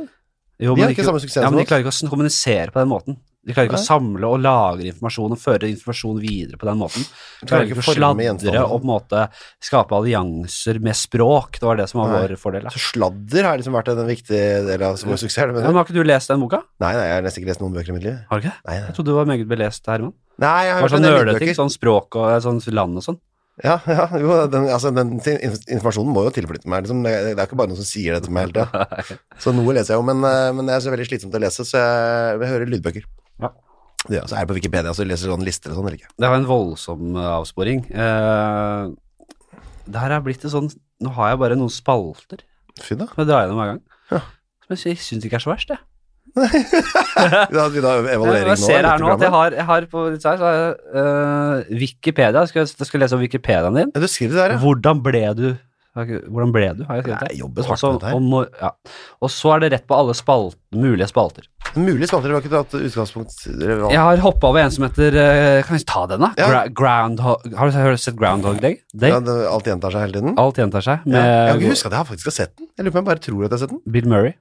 Speaker 2: Jo,
Speaker 1: De
Speaker 2: men
Speaker 1: har ikke samme suksess
Speaker 2: ja,
Speaker 1: som
Speaker 2: men de
Speaker 1: oss.
Speaker 2: klarer ikke å sn- kommunisere på den måten. De klarer ikke å samle og lagre informasjon og føre informasjon videre på den måten. De klarer ikke å
Speaker 1: forme
Speaker 2: sladre
Speaker 1: gjenstander.
Speaker 2: og på en måte skape allianser med språk. Det var det som var
Speaker 1: Nei.
Speaker 2: vår fordel. da.
Speaker 1: Så sladder har liksom vært en viktig del av som suksess.
Speaker 2: Ja,
Speaker 1: Men...
Speaker 2: Men har ikke du lest den boka?
Speaker 1: Nei, nei, jeg har nesten ikke lest noen bøker i mitt liv.
Speaker 2: Har du ikke det?
Speaker 1: Nei, nei.
Speaker 2: Jeg trodde du var meget belest, Herman.
Speaker 1: nei jeg
Speaker 2: Det
Speaker 1: har
Speaker 2: var
Speaker 1: hørt en
Speaker 2: sånn
Speaker 1: del
Speaker 2: nøleting,
Speaker 1: lydbøker.
Speaker 2: sånn språk og sånn land og sånn.
Speaker 1: Ja, ja, jo, den, altså, den til- inf- informasjonen må jo tilflyte meg. Liksom. Det, det er ikke bare noen som sier det til meg hele
Speaker 2: *laughs*
Speaker 1: tida. Så noe leser jeg jo, men, eh, men det er så veldig slitsomt å lese, så jeg, jeg hører lydbøker.
Speaker 2: Ja.
Speaker 1: Det, så er jeg på Wikipedia og leser sånn lister og sånn, eller ikke?
Speaker 2: Det var en voldsom eh, avsporing. Eh, det her er blitt et sånn Nå har jeg bare noen spalter
Speaker 1: Fy da.
Speaker 2: som jeg drar gjennom hver gang.
Speaker 1: Ja.
Speaker 2: Som jeg sy- syns ikke er så verst, jeg.
Speaker 1: Vi har, vi har evaluering
Speaker 2: Ja, jeg
Speaker 1: nå.
Speaker 2: ser
Speaker 1: av
Speaker 2: her nå at
Speaker 1: dette
Speaker 2: jeg har, jeg har på litt her, så har jeg, eh, Wikipedia. Skal jeg, skal jeg lese om Wikipediaen din?
Speaker 1: programmet. Ja, du skriver det der, ja.
Speaker 2: Hvordan ble du? Har jeg ikke- Hvordan ble du, har jeg skrevet
Speaker 1: Nei,
Speaker 2: her.
Speaker 1: jeg jobber
Speaker 2: Og
Speaker 1: hardt med
Speaker 2: så-
Speaker 1: dette her.
Speaker 2: og må- ja. Og så er det rett på alle spalt, mulige spalter.
Speaker 1: Mulig spalter, vi har ikke tatt utgangspunkt eller hva?
Speaker 2: Jeg har hoppa over en som heter eh, Kan vi ta den, da?
Speaker 1: Ja.
Speaker 2: Gra Groundhog, har du har du sett Groundhog Day? Day?
Speaker 1: Ja, det, alt gjentar seg hele tiden.
Speaker 2: Alt gjentar seg
Speaker 1: Ja. Jeg har
Speaker 2: med
Speaker 1: ikke husket at jeg har faktisk har sett den. Jeg lurer på om jeg bare tror at jeg har sett den.
Speaker 2: Bill Murray.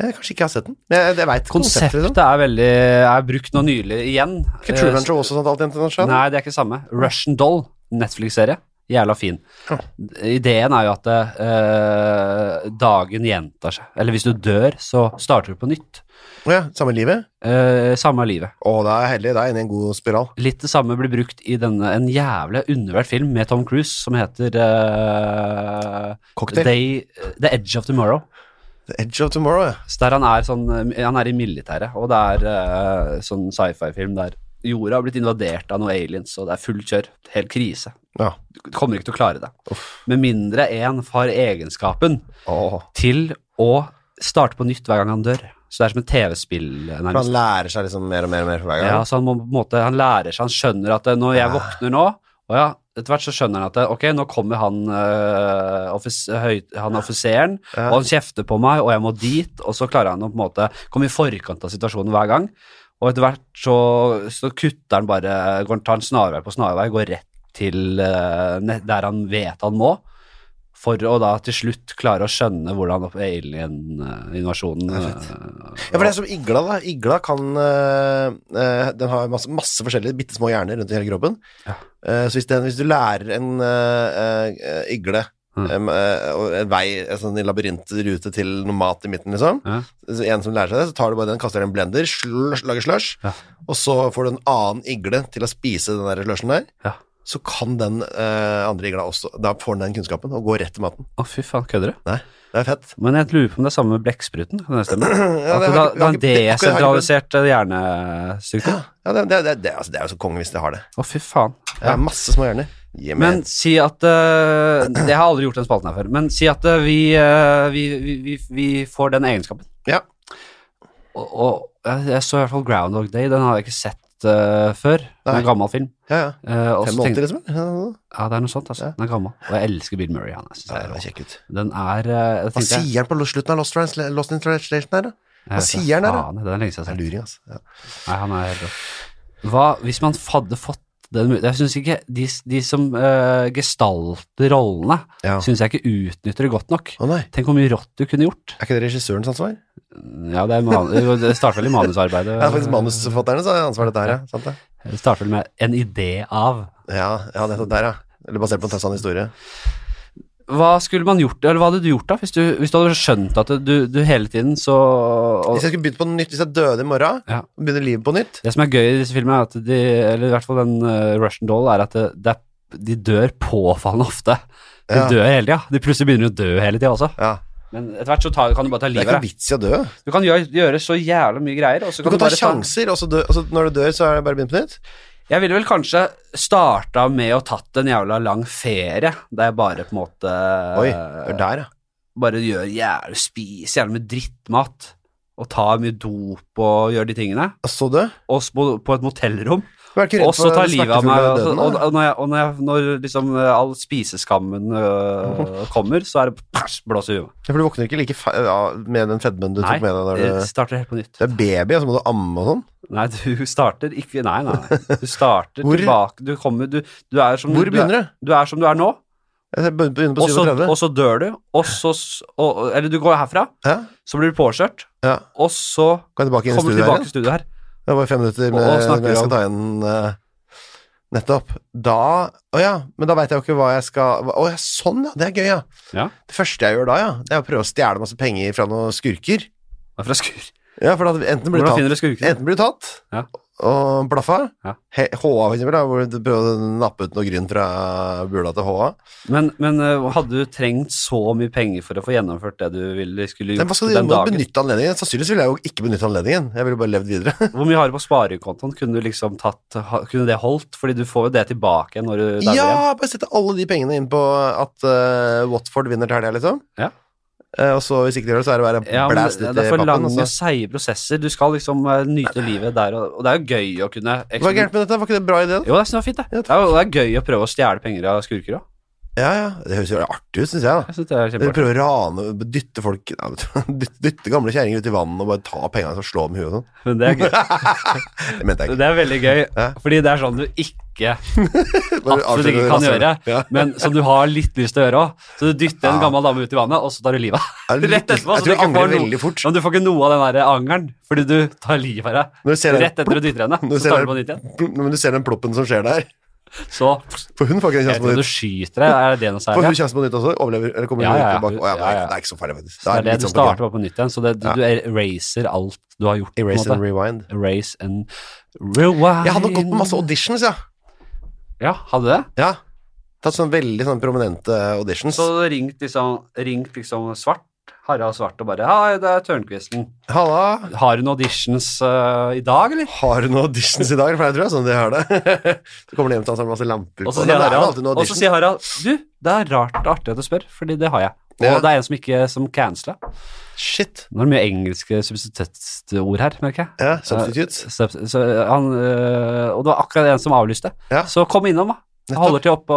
Speaker 1: Jeg kanskje ikke har sett den. Men jeg, jeg vet konseptet.
Speaker 2: Konseptet Eh,
Speaker 1: Liksom.
Speaker 2: er veldig er brukt nå nylig igjen.
Speaker 1: Ikke Truman Show også sånn at alt gjentar seg?
Speaker 2: Nei, det er ikke det samme. Russian Doll, Netflix-serie. Jævla fin.
Speaker 1: Ja.
Speaker 2: Ideen er jo at eh, dagen gjentar seg. Eller hvis du dør, så starter du på nytt.
Speaker 1: Å Ja, samme livet?
Speaker 2: Eh, samme livet.
Speaker 1: Å, da er jeg heldig. Da er jeg inne i en god spiral.
Speaker 2: Litt det samme blir brukt i denne en jævla undervurdert film med Tom Cruise som heter eh,
Speaker 1: Cocktail.
Speaker 2: Day, The Edge of Tomorrow.
Speaker 1: The Edge of Tomorrow, ja.
Speaker 2: Så der han er sånn eh, Han er i militæret, og det er eh, sånn sci-fi-film der jorda har blitt invadert av noen aliens, og det er fullt kjør. Helt krise.
Speaker 1: ja.
Speaker 2: Du kommer ikke til å klare det. Med mindre en har egenskapen
Speaker 1: Åh.
Speaker 2: til å starte på nytt hver gang han dør. Så det er som et TV-spill,
Speaker 1: For han
Speaker 2: nærmest.
Speaker 1: lærer seg liksom mer og mer og mer for hver gang.
Speaker 2: Ja, så han, må, på en måte, han lærer seg, han skjønner at eh, når jeg
Speaker 1: Ah.
Speaker 2: våkner nå og ja, etter hvert så skjønner han at eh, ok, nå kommer han, eh, offis, høy, han offiseren,
Speaker 1: Ja.
Speaker 2: og han kjefter på meg, og jeg må dit, og så klarer han å på en måte komme i forkant av situasjonen hver gang. Og etter hvert så, så kutter han bare, går, tar en snarvei på snarvei, går rett til eh, ne- der han vet han må, for å da til slutt klare å skjønne hvordan eh, alien-invasjonen
Speaker 1: Det er Ja, for det er som igla, da. Igla kan øh, øh, Den har masse, masse forskjellige bitte små hjerner rundt i hele kroppen.
Speaker 2: Ja.
Speaker 1: Eh, så hvis, den, hvis du lærer en øh, øh, igle
Speaker 2: Mm.
Speaker 1: em, øh, og en vei, en sånn labyrintrute til noe mat i midten, liksom
Speaker 2: eh, Ja.
Speaker 1: så En som lærer seg det, så tar du bare den, kaster den i en blender, slush, lager slush,
Speaker 2: Ja.
Speaker 1: og så får du en annen igle til å spise den der slushen der.
Speaker 2: Ja.
Speaker 1: Så kan den øh, andre igla også Da får den den kunnskapen og går rett til maten.
Speaker 2: Å, fy faen, kødder du?
Speaker 1: Det er fett.
Speaker 2: Men jeg lurer på om det er samme med blekkspruten. Kan det stemme?
Speaker 1: *clears throat*
Speaker 2: At
Speaker 1: Ja, det
Speaker 2: det,
Speaker 1: har
Speaker 2: da, da
Speaker 1: ikke- har
Speaker 2: er en
Speaker 1: ikke- det- akkurat har ikke-
Speaker 2: desentralisert eh, hjernesykdom.
Speaker 1: Ja, det, det, det, det, altså, det er jo så konge hvis de har det.
Speaker 2: Å, fy faen.
Speaker 1: Jeg har masse små hjerner. Yeah,
Speaker 2: Men si at eh, Jeg har aldri gjort den spalten her før. Men si at eh, vi, eh, vi, vi, vi, vi får den egenskapen.
Speaker 1: Ja.
Speaker 2: Og, og jeg, jeg så i hvert fall Groundhog Day. Den har jeg ikke sett eh, før. Det
Speaker 1: Nei.
Speaker 2: er en gammel film.
Speaker 1: ja, ja.
Speaker 2: Eh, og
Speaker 1: Fem
Speaker 2: så tenkte-
Speaker 1: måneder, liksom? Ja, ja, ja.
Speaker 2: Ja, det er noe sånt. altså.
Speaker 1: Ja.
Speaker 2: Den er gammel. Og jeg elsker Bill Murray. Han, jeg synes
Speaker 1: Ja, det
Speaker 2: det
Speaker 1: var
Speaker 2: er,
Speaker 1: kjekk ut.
Speaker 2: den er eh, jeg
Speaker 1: Hva
Speaker 2: tenkte-
Speaker 1: sier han på lo- slutten av Lost, Trans Lost in Translation her, da?
Speaker 2: jeg vet
Speaker 1: sier
Speaker 2: ikke,
Speaker 1: den der, da?
Speaker 2: faen, Det er lenge siden jeg har sett
Speaker 1: Det er luring, altså. Ja.
Speaker 2: Nei, han er helt rå. Hva hvis man hadde fått den muligheten Jeg synes ikke de, de som eh, gestalter rollene,
Speaker 1: Ja.
Speaker 2: synes jeg ikke utnytter det godt nok.
Speaker 1: Å nei,
Speaker 2: Tenk hvor mye rått du kunne gjort.
Speaker 1: er ikke det regissørens ansvar?
Speaker 2: Ja, det, er man, det starter vel i manusarbeidet.
Speaker 1: *laughs* Ja, faktisk manusforfatternes ansvar, dette her, ja. Sant det?
Speaker 2: Det starter vel med en idé av.
Speaker 1: sånn Ja, ja, nettopp der, ja. Eller basert på en sann historie.
Speaker 2: Hva skulle man gjort, eller hva hadde du gjort da, hvis du, hvis du hadde skjønt at du, du hele tiden så og,
Speaker 1: Hvis jeg skulle begynt på nytt, hvis jeg døde i morgen,
Speaker 2: Ja.
Speaker 1: og begynner livet på nytt
Speaker 2: Det som er gøy i disse filmene, er at de, eller i hvert fall den eh, Russian Doll, er at det, det er, de dør påfallende ofte. De
Speaker 1: Ja.
Speaker 2: dør hele tida. De plutselig begynner å dø hele tida også.
Speaker 1: ja.
Speaker 2: Men etter hvert så tar, kan du bare ta
Speaker 1: Det er
Speaker 2: livet
Speaker 1: ikke
Speaker 2: av
Speaker 1: noe
Speaker 2: deg.
Speaker 1: vits i å dø.
Speaker 2: Du kan gjøre, gjøre så jævla mye greier, og så
Speaker 1: Du
Speaker 2: kan
Speaker 1: kan
Speaker 2: du,
Speaker 1: ta
Speaker 2: bare
Speaker 1: sjanser, og så dø, altså, når du dør, så er det bare å begynne på nytt.
Speaker 2: ta Jeg ville vel kanskje starta med å tatt en jævla lang ferie, der jeg bare på en måte eh,
Speaker 1: Oi, det er der, ja.
Speaker 2: Bare gjør jævlig Spiser jævlig mye drittmat, og tar mye dop og gjør de tingene.
Speaker 1: Og så dø.
Speaker 2: Og så på, på et motellrom.
Speaker 1: Du er ikke
Speaker 2: Og
Speaker 1: redd
Speaker 2: så
Speaker 1: for
Speaker 2: tar livet av meg.
Speaker 1: smertefulle
Speaker 2: altså,
Speaker 1: døden,
Speaker 2: og,
Speaker 1: da?
Speaker 2: og når, jeg, og når, jeg, når liksom eh, all spiseskammen
Speaker 1: *laughs*
Speaker 2: eh, kommer, så er det pers, blås i huet.
Speaker 1: Ja, For du våkner ikke like fe- ja, med den fedmen du
Speaker 2: Nei, Mm,
Speaker 1: tok med deg da
Speaker 2: det
Speaker 1: du
Speaker 2: starter helt på nytt.
Speaker 1: Det er baby, og så må du amme og sånn.
Speaker 2: Nei, du starter ikke Nei, nei. nei. Du starter
Speaker 1: *laughs* Hvor-
Speaker 2: tilbake Du kommer Du, du er som
Speaker 1: Hvor
Speaker 2: du, er-
Speaker 1: begynner du?
Speaker 2: du er som du er nå,
Speaker 1: Jeg begynner på
Speaker 2: og så,
Speaker 1: 37.
Speaker 2: og så dør du, og så s- og, og- Eller du går herfra,
Speaker 1: Ja,
Speaker 2: så blir du påkjørt,
Speaker 1: ja.
Speaker 2: og så
Speaker 1: Kan jeg tilbake inn i
Speaker 2: kommer du
Speaker 1: studioet her?
Speaker 2: tilbake
Speaker 1: igjen?
Speaker 2: til studio her.
Speaker 1: Det er bare fem minutter
Speaker 2: Og-
Speaker 1: med,
Speaker 2: og snakker
Speaker 1: når jeg skal
Speaker 2: om-
Speaker 1: ta igjen eh, Nettopp. Da Å ja, men da veit jeg jo ikke hva jeg skal hva- Å ja, sånn ja, det er gøy, ja.
Speaker 2: Ja.
Speaker 1: Det første jeg gjør da, ja, det er å prøve å stjele masse penger fra noen skurker.
Speaker 2: Det er fra skur.
Speaker 1: Ja, for da enten *laughs* blir
Speaker 2: Hvordan
Speaker 1: du tatt
Speaker 2: finner du skurkene?
Speaker 1: Enten blir du tatt
Speaker 2: Ja.
Speaker 1: og blaffa.
Speaker 2: Ja.
Speaker 1: He- HA, for eksempel, da, hvor du prøvde å nappe ut noe gryn fra bula til HA.
Speaker 2: Men, men eh, hadde du trengt så mye penger for å få gjennomført det du ville skulle
Speaker 1: Men hva
Speaker 2: gjort
Speaker 1: skal du gjøre
Speaker 2: den
Speaker 1: med å
Speaker 2: dagen?
Speaker 1: benytte anledningen? Sannsynligvis ville jeg jo ikke benytte anledningen. Jeg ville bare levd videre.
Speaker 2: Hvor mye har du på sparekontoen? Kunne, du liksom tatt, ha, kunne det holdt? Fordi du får jo det tilbake når du dauer igjen.
Speaker 1: ja, bare sette alle de pengene inn på at eh, Watford vinner til helga, liksom.
Speaker 2: Ja.
Speaker 1: Eh, og så hvis ikke de gjør det, så er det bare
Speaker 2: Ja, men
Speaker 1: blæst ut i
Speaker 2: det er for
Speaker 1: pappen.
Speaker 2: lange,
Speaker 1: altså.
Speaker 2: seige prosesser. Du skal liksom eh, nyte livet der, og, og det er jo gøy å kunne
Speaker 1: Hva er gærent med dette? Var ikke det en bra idé? da?
Speaker 2: Jo, det er sånn det er fint, det. Det er, jo- det er gøy å prøve å stjele penger av skurker òg.
Speaker 1: Ja, ja. Det høres jo artig ut, syns jeg. da.
Speaker 2: Jeg synes det er
Speaker 1: Dere
Speaker 2: kjempeartig.
Speaker 1: prøver å rane, dytte folk ja, *laughs* dytte, dytte gamle kjerringer ut i vannet og bare ta pengene og slå dem i huet og sånn.
Speaker 2: Men det er gøy.
Speaker 1: Det mente jeg ikke.
Speaker 2: Det er veldig gøy,
Speaker 1: *laughs* Ja.
Speaker 2: fordi det er sånn du
Speaker 1: *laughs*
Speaker 2: ikke
Speaker 1: Bare
Speaker 2: absolutt
Speaker 1: avsløre
Speaker 2: ikke kan
Speaker 1: rasshølet.
Speaker 2: gjøre,
Speaker 1: Ja.
Speaker 2: men som du har litt lyst til å gjøre òg. Så du dytter en
Speaker 1: Ja.
Speaker 2: gammel dame ut i vannet, og så tar du
Speaker 1: *laughs*
Speaker 2: livet av henne.
Speaker 1: Jeg,
Speaker 2: Rett etterpå, så
Speaker 1: jeg tror
Speaker 2: du
Speaker 1: jeg
Speaker 2: ikke får
Speaker 1: angrer
Speaker 2: noe-
Speaker 1: veldig fort.
Speaker 2: Men du får ikke noe av den der angeren, fordi du tar livet av deg.
Speaker 1: Når du ser
Speaker 2: Rett
Speaker 1: den,
Speaker 2: etter å dytte henne,
Speaker 1: Når du
Speaker 2: så
Speaker 1: ser
Speaker 2: tar
Speaker 1: det-
Speaker 2: du på nytt igjen.
Speaker 1: men du ser den ploppen som skjer der.
Speaker 2: Så
Speaker 1: For hun får ikke en
Speaker 2: jeg
Speaker 1: sjanse på
Speaker 2: tror du
Speaker 1: nytt.
Speaker 2: skyter deg. Er det noe
Speaker 1: Får hun
Speaker 2: særlig?
Speaker 1: sjanse på nytt også? Overlever, eller kommer
Speaker 2: Ja,
Speaker 1: hun
Speaker 2: ja,
Speaker 1: tilbake? Å, ja,
Speaker 2: ja, ja.
Speaker 1: Nei, det er ikke så farlig, faktisk.
Speaker 2: Det er det
Speaker 1: litt
Speaker 2: du
Speaker 1: sånn på
Speaker 2: starter bare på nytt igjen, så det, du,
Speaker 1: Ja.
Speaker 2: du eraser alt du har gjort. på en
Speaker 1: Erase
Speaker 2: måte.
Speaker 1: and rewind.
Speaker 2: Erase and rewind.
Speaker 1: Jeg hadde gått på masse auditions, ja.
Speaker 2: Ja, hadde du det?
Speaker 1: ja. Tatt sånn veldig sånn prominente auditions.
Speaker 2: Så ringt liksom, ringt liksom Svart, Harald Svart, og bare Hei, det er Tørnquisten.
Speaker 1: Halla,
Speaker 2: Har hun auditions eh, i dag, eller?
Speaker 1: har du noen auditions i dag? For jeg tror det *laughs* er sånn de har det. Så kommer de hjem til han så har masse lamper
Speaker 2: Og så
Speaker 1: på.
Speaker 2: sier
Speaker 1: Men det er jo
Speaker 2: Harald,
Speaker 1: alltid
Speaker 2: og
Speaker 1: noen
Speaker 2: så
Speaker 1: auditions.
Speaker 2: sier Harald Du, det er rart og artig at du spør, fordi det har jeg. Og
Speaker 1: Ja.
Speaker 2: det er en som ikke som cancela.
Speaker 1: Shit.
Speaker 2: Nå er det mye engelske substituttord her, merker jeg.
Speaker 1: Ja, substitutes.
Speaker 2: Så, Eh, så han, øh, og det var akkurat en som avlyste.
Speaker 1: Ja.
Speaker 2: Så kom innom, da. Jeg
Speaker 1: Nettopp.
Speaker 2: Holder til oppå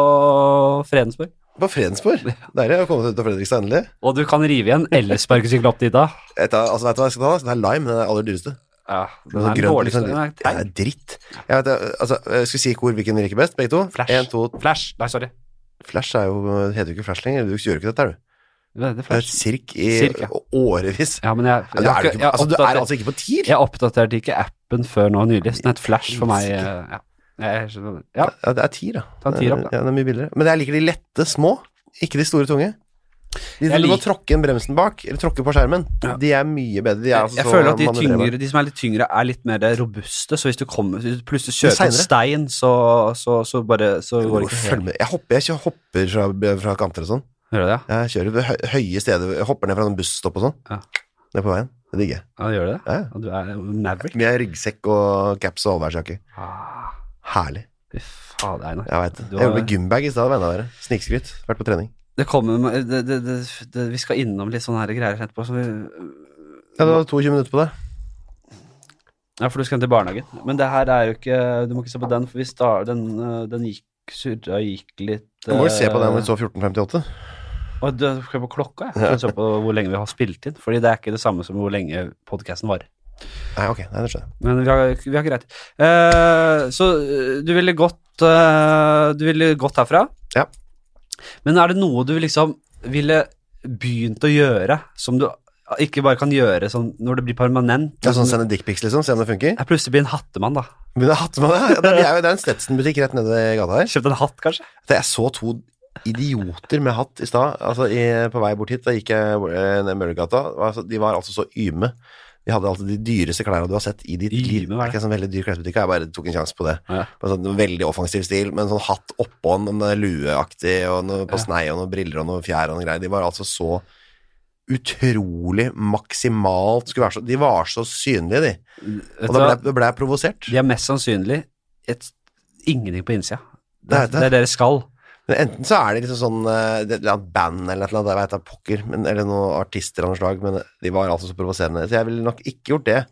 Speaker 2: Fredensborg.
Speaker 1: På Fredensborg. Deilig å komme til Fredrikstad endelig.
Speaker 2: Og du kan rive igjen Elsparkesykkel opp dit, da.
Speaker 1: Jeg tar, altså, vet du hva jeg skal ta? da? Den er lime, den er aller dyreste.
Speaker 2: Ja, den
Speaker 1: Noe
Speaker 2: er den
Speaker 1: grønt,
Speaker 2: dårligste.
Speaker 1: liksom.
Speaker 2: Den er
Speaker 1: Ja, det
Speaker 2: teit.
Speaker 1: er dritt. Jeg vet, det, altså, jeg skal vi si ikke hvor hvilken liker best, begge to?
Speaker 2: Flash.
Speaker 1: En, to,
Speaker 2: Flash. Nei, sorry.
Speaker 1: Flash er jo, det heter jo ikke Flash lenger. Du gjør jo ikke dette, er du.
Speaker 2: Det er
Speaker 1: Det er et
Speaker 2: flash.
Speaker 1: sirk i
Speaker 2: Sirk, ja.
Speaker 1: årevis.
Speaker 2: Ja, men jeg, jeg,
Speaker 1: Ja, du,
Speaker 2: har
Speaker 1: er jo
Speaker 2: ikke-
Speaker 1: ikke,
Speaker 2: jeg,
Speaker 1: altså, du er
Speaker 2: oppdaterte,
Speaker 1: altså ikke på tier.
Speaker 2: jeg oppdaterte ikke appen før nå nylig, så den het Flash for meg. eh, Ja, jeg, skjønner det. ja
Speaker 1: Ja, det er tier, da.
Speaker 2: ta en tier opp, da.
Speaker 1: Ja, det er mye billigere. Men jeg liker de lette, små. Ikke de store, tunge. De
Speaker 2: Jeg
Speaker 1: som du må
Speaker 2: lik-
Speaker 1: tråkke inn bremsen bak, eller tråkke på skjermen,
Speaker 2: Ja.
Speaker 1: de er mye bedre. De er altså
Speaker 2: jeg
Speaker 1: så
Speaker 2: føler at de,
Speaker 1: manøvrerbare.
Speaker 2: tyngre, de som er litt tyngre, er litt mer robuste, så hvis du, kommer, hvis du plutselig
Speaker 1: Men
Speaker 2: kjøper en stein, så, så, så bare så
Speaker 1: Jo,
Speaker 2: går det ikke
Speaker 1: følg
Speaker 2: helt.
Speaker 1: med. Jeg hopper, jeg kjører- hopper fra, fra kanter og sånn.
Speaker 2: Hører du det?
Speaker 1: Jeg kjører ved hø- høye steder, jeg hopper ned fra en busstopp og sånn.
Speaker 2: Ja.
Speaker 1: Ned på veien. Det digger jeg.
Speaker 2: Ja, gjør du det?
Speaker 1: Ja, ja.
Speaker 2: Og du er jo Maverick?
Speaker 1: Med ryggsekk og caps og allværsjakke.
Speaker 2: Ah,
Speaker 1: Herlig.
Speaker 2: Fy faen, Einar.
Speaker 1: Jeg veit det.
Speaker 2: Du
Speaker 1: Jeg
Speaker 2: har-
Speaker 1: gjorde med gymbag i stad, vennene dere. Snikskryt. Vært på trening.
Speaker 2: Det kommer med- det, det, det, det, Vi skal innom litt sånne her greier etterpå. Så vi,
Speaker 1: Ja, du hadde 22 minutter på det.
Speaker 2: ja, for du skal hjem til barnehagen. Men det her er jo ikke Du må ikke se på den, for vi star, den, øh, den gikk surra gikk litt
Speaker 1: Du må jo se på den
Speaker 2: øh,
Speaker 1: når du så 14.58.
Speaker 2: Og du skal på klokka, jeg. for å se på hvor lenge vi har spilt inn. Fordi det er ikke det samme som hvor lenge podkasten varer.
Speaker 1: Nei, ok. Nei, det skjønner jeg.
Speaker 2: Men vi har, vi har ikke rett. Eh, så eh, du ville gått eh, Du ville gått herfra?
Speaker 1: Ja.
Speaker 2: Men er det noe du liksom ville begynt å gjøre, som du ikke bare kan gjøre sånn når det blir permanent?
Speaker 1: Det er sånn Sende dickpics, liksom. Se om det funker.
Speaker 2: Jeg plutselig blir en hattemann, da.
Speaker 1: Men det er hatt med det. Ja, det er jo det er en Stetson-butikk rett nede i gata her.
Speaker 2: Kjøpt en hatt, kanskje?
Speaker 1: Det- Jeg så to idioter med hatt i stad. Altså, i- på vei bort hit, da gikk jeg eh, ned Møllergata. Altså, de var altså så yme. De hadde alltid de dyreste klærne du har sett i ditt liv.
Speaker 2: Yme, hva er det?
Speaker 1: Ikke en sånn veldig dyr klesbutikk, jeg bare tok en sjanse på det.
Speaker 2: Ja.
Speaker 1: Med sånn veldig offensiv stil, med en sånn hatt oppå en en lueaktig, og noe på snei, og noen briller, og noen fjær, og noen greier. De var altså så utrolig maksimalt skulle være så, De var så synlige, de.
Speaker 2: Vet
Speaker 1: Og
Speaker 2: du
Speaker 1: da
Speaker 2: hva?
Speaker 1: ble, da ble jeg provosert.
Speaker 2: De er mest sannsynlig et, ingenting på innsida. Det,
Speaker 1: Det er
Speaker 2: er-
Speaker 1: det.
Speaker 2: det er deres skall.
Speaker 1: Men enten så er det liksom sånn eh, det- et eller annet band eller et eller annet, jeg vet da pokker, men, eller noen artister av noe slag, men de var altså så provoserende, så jeg ville nok ikke gjort det.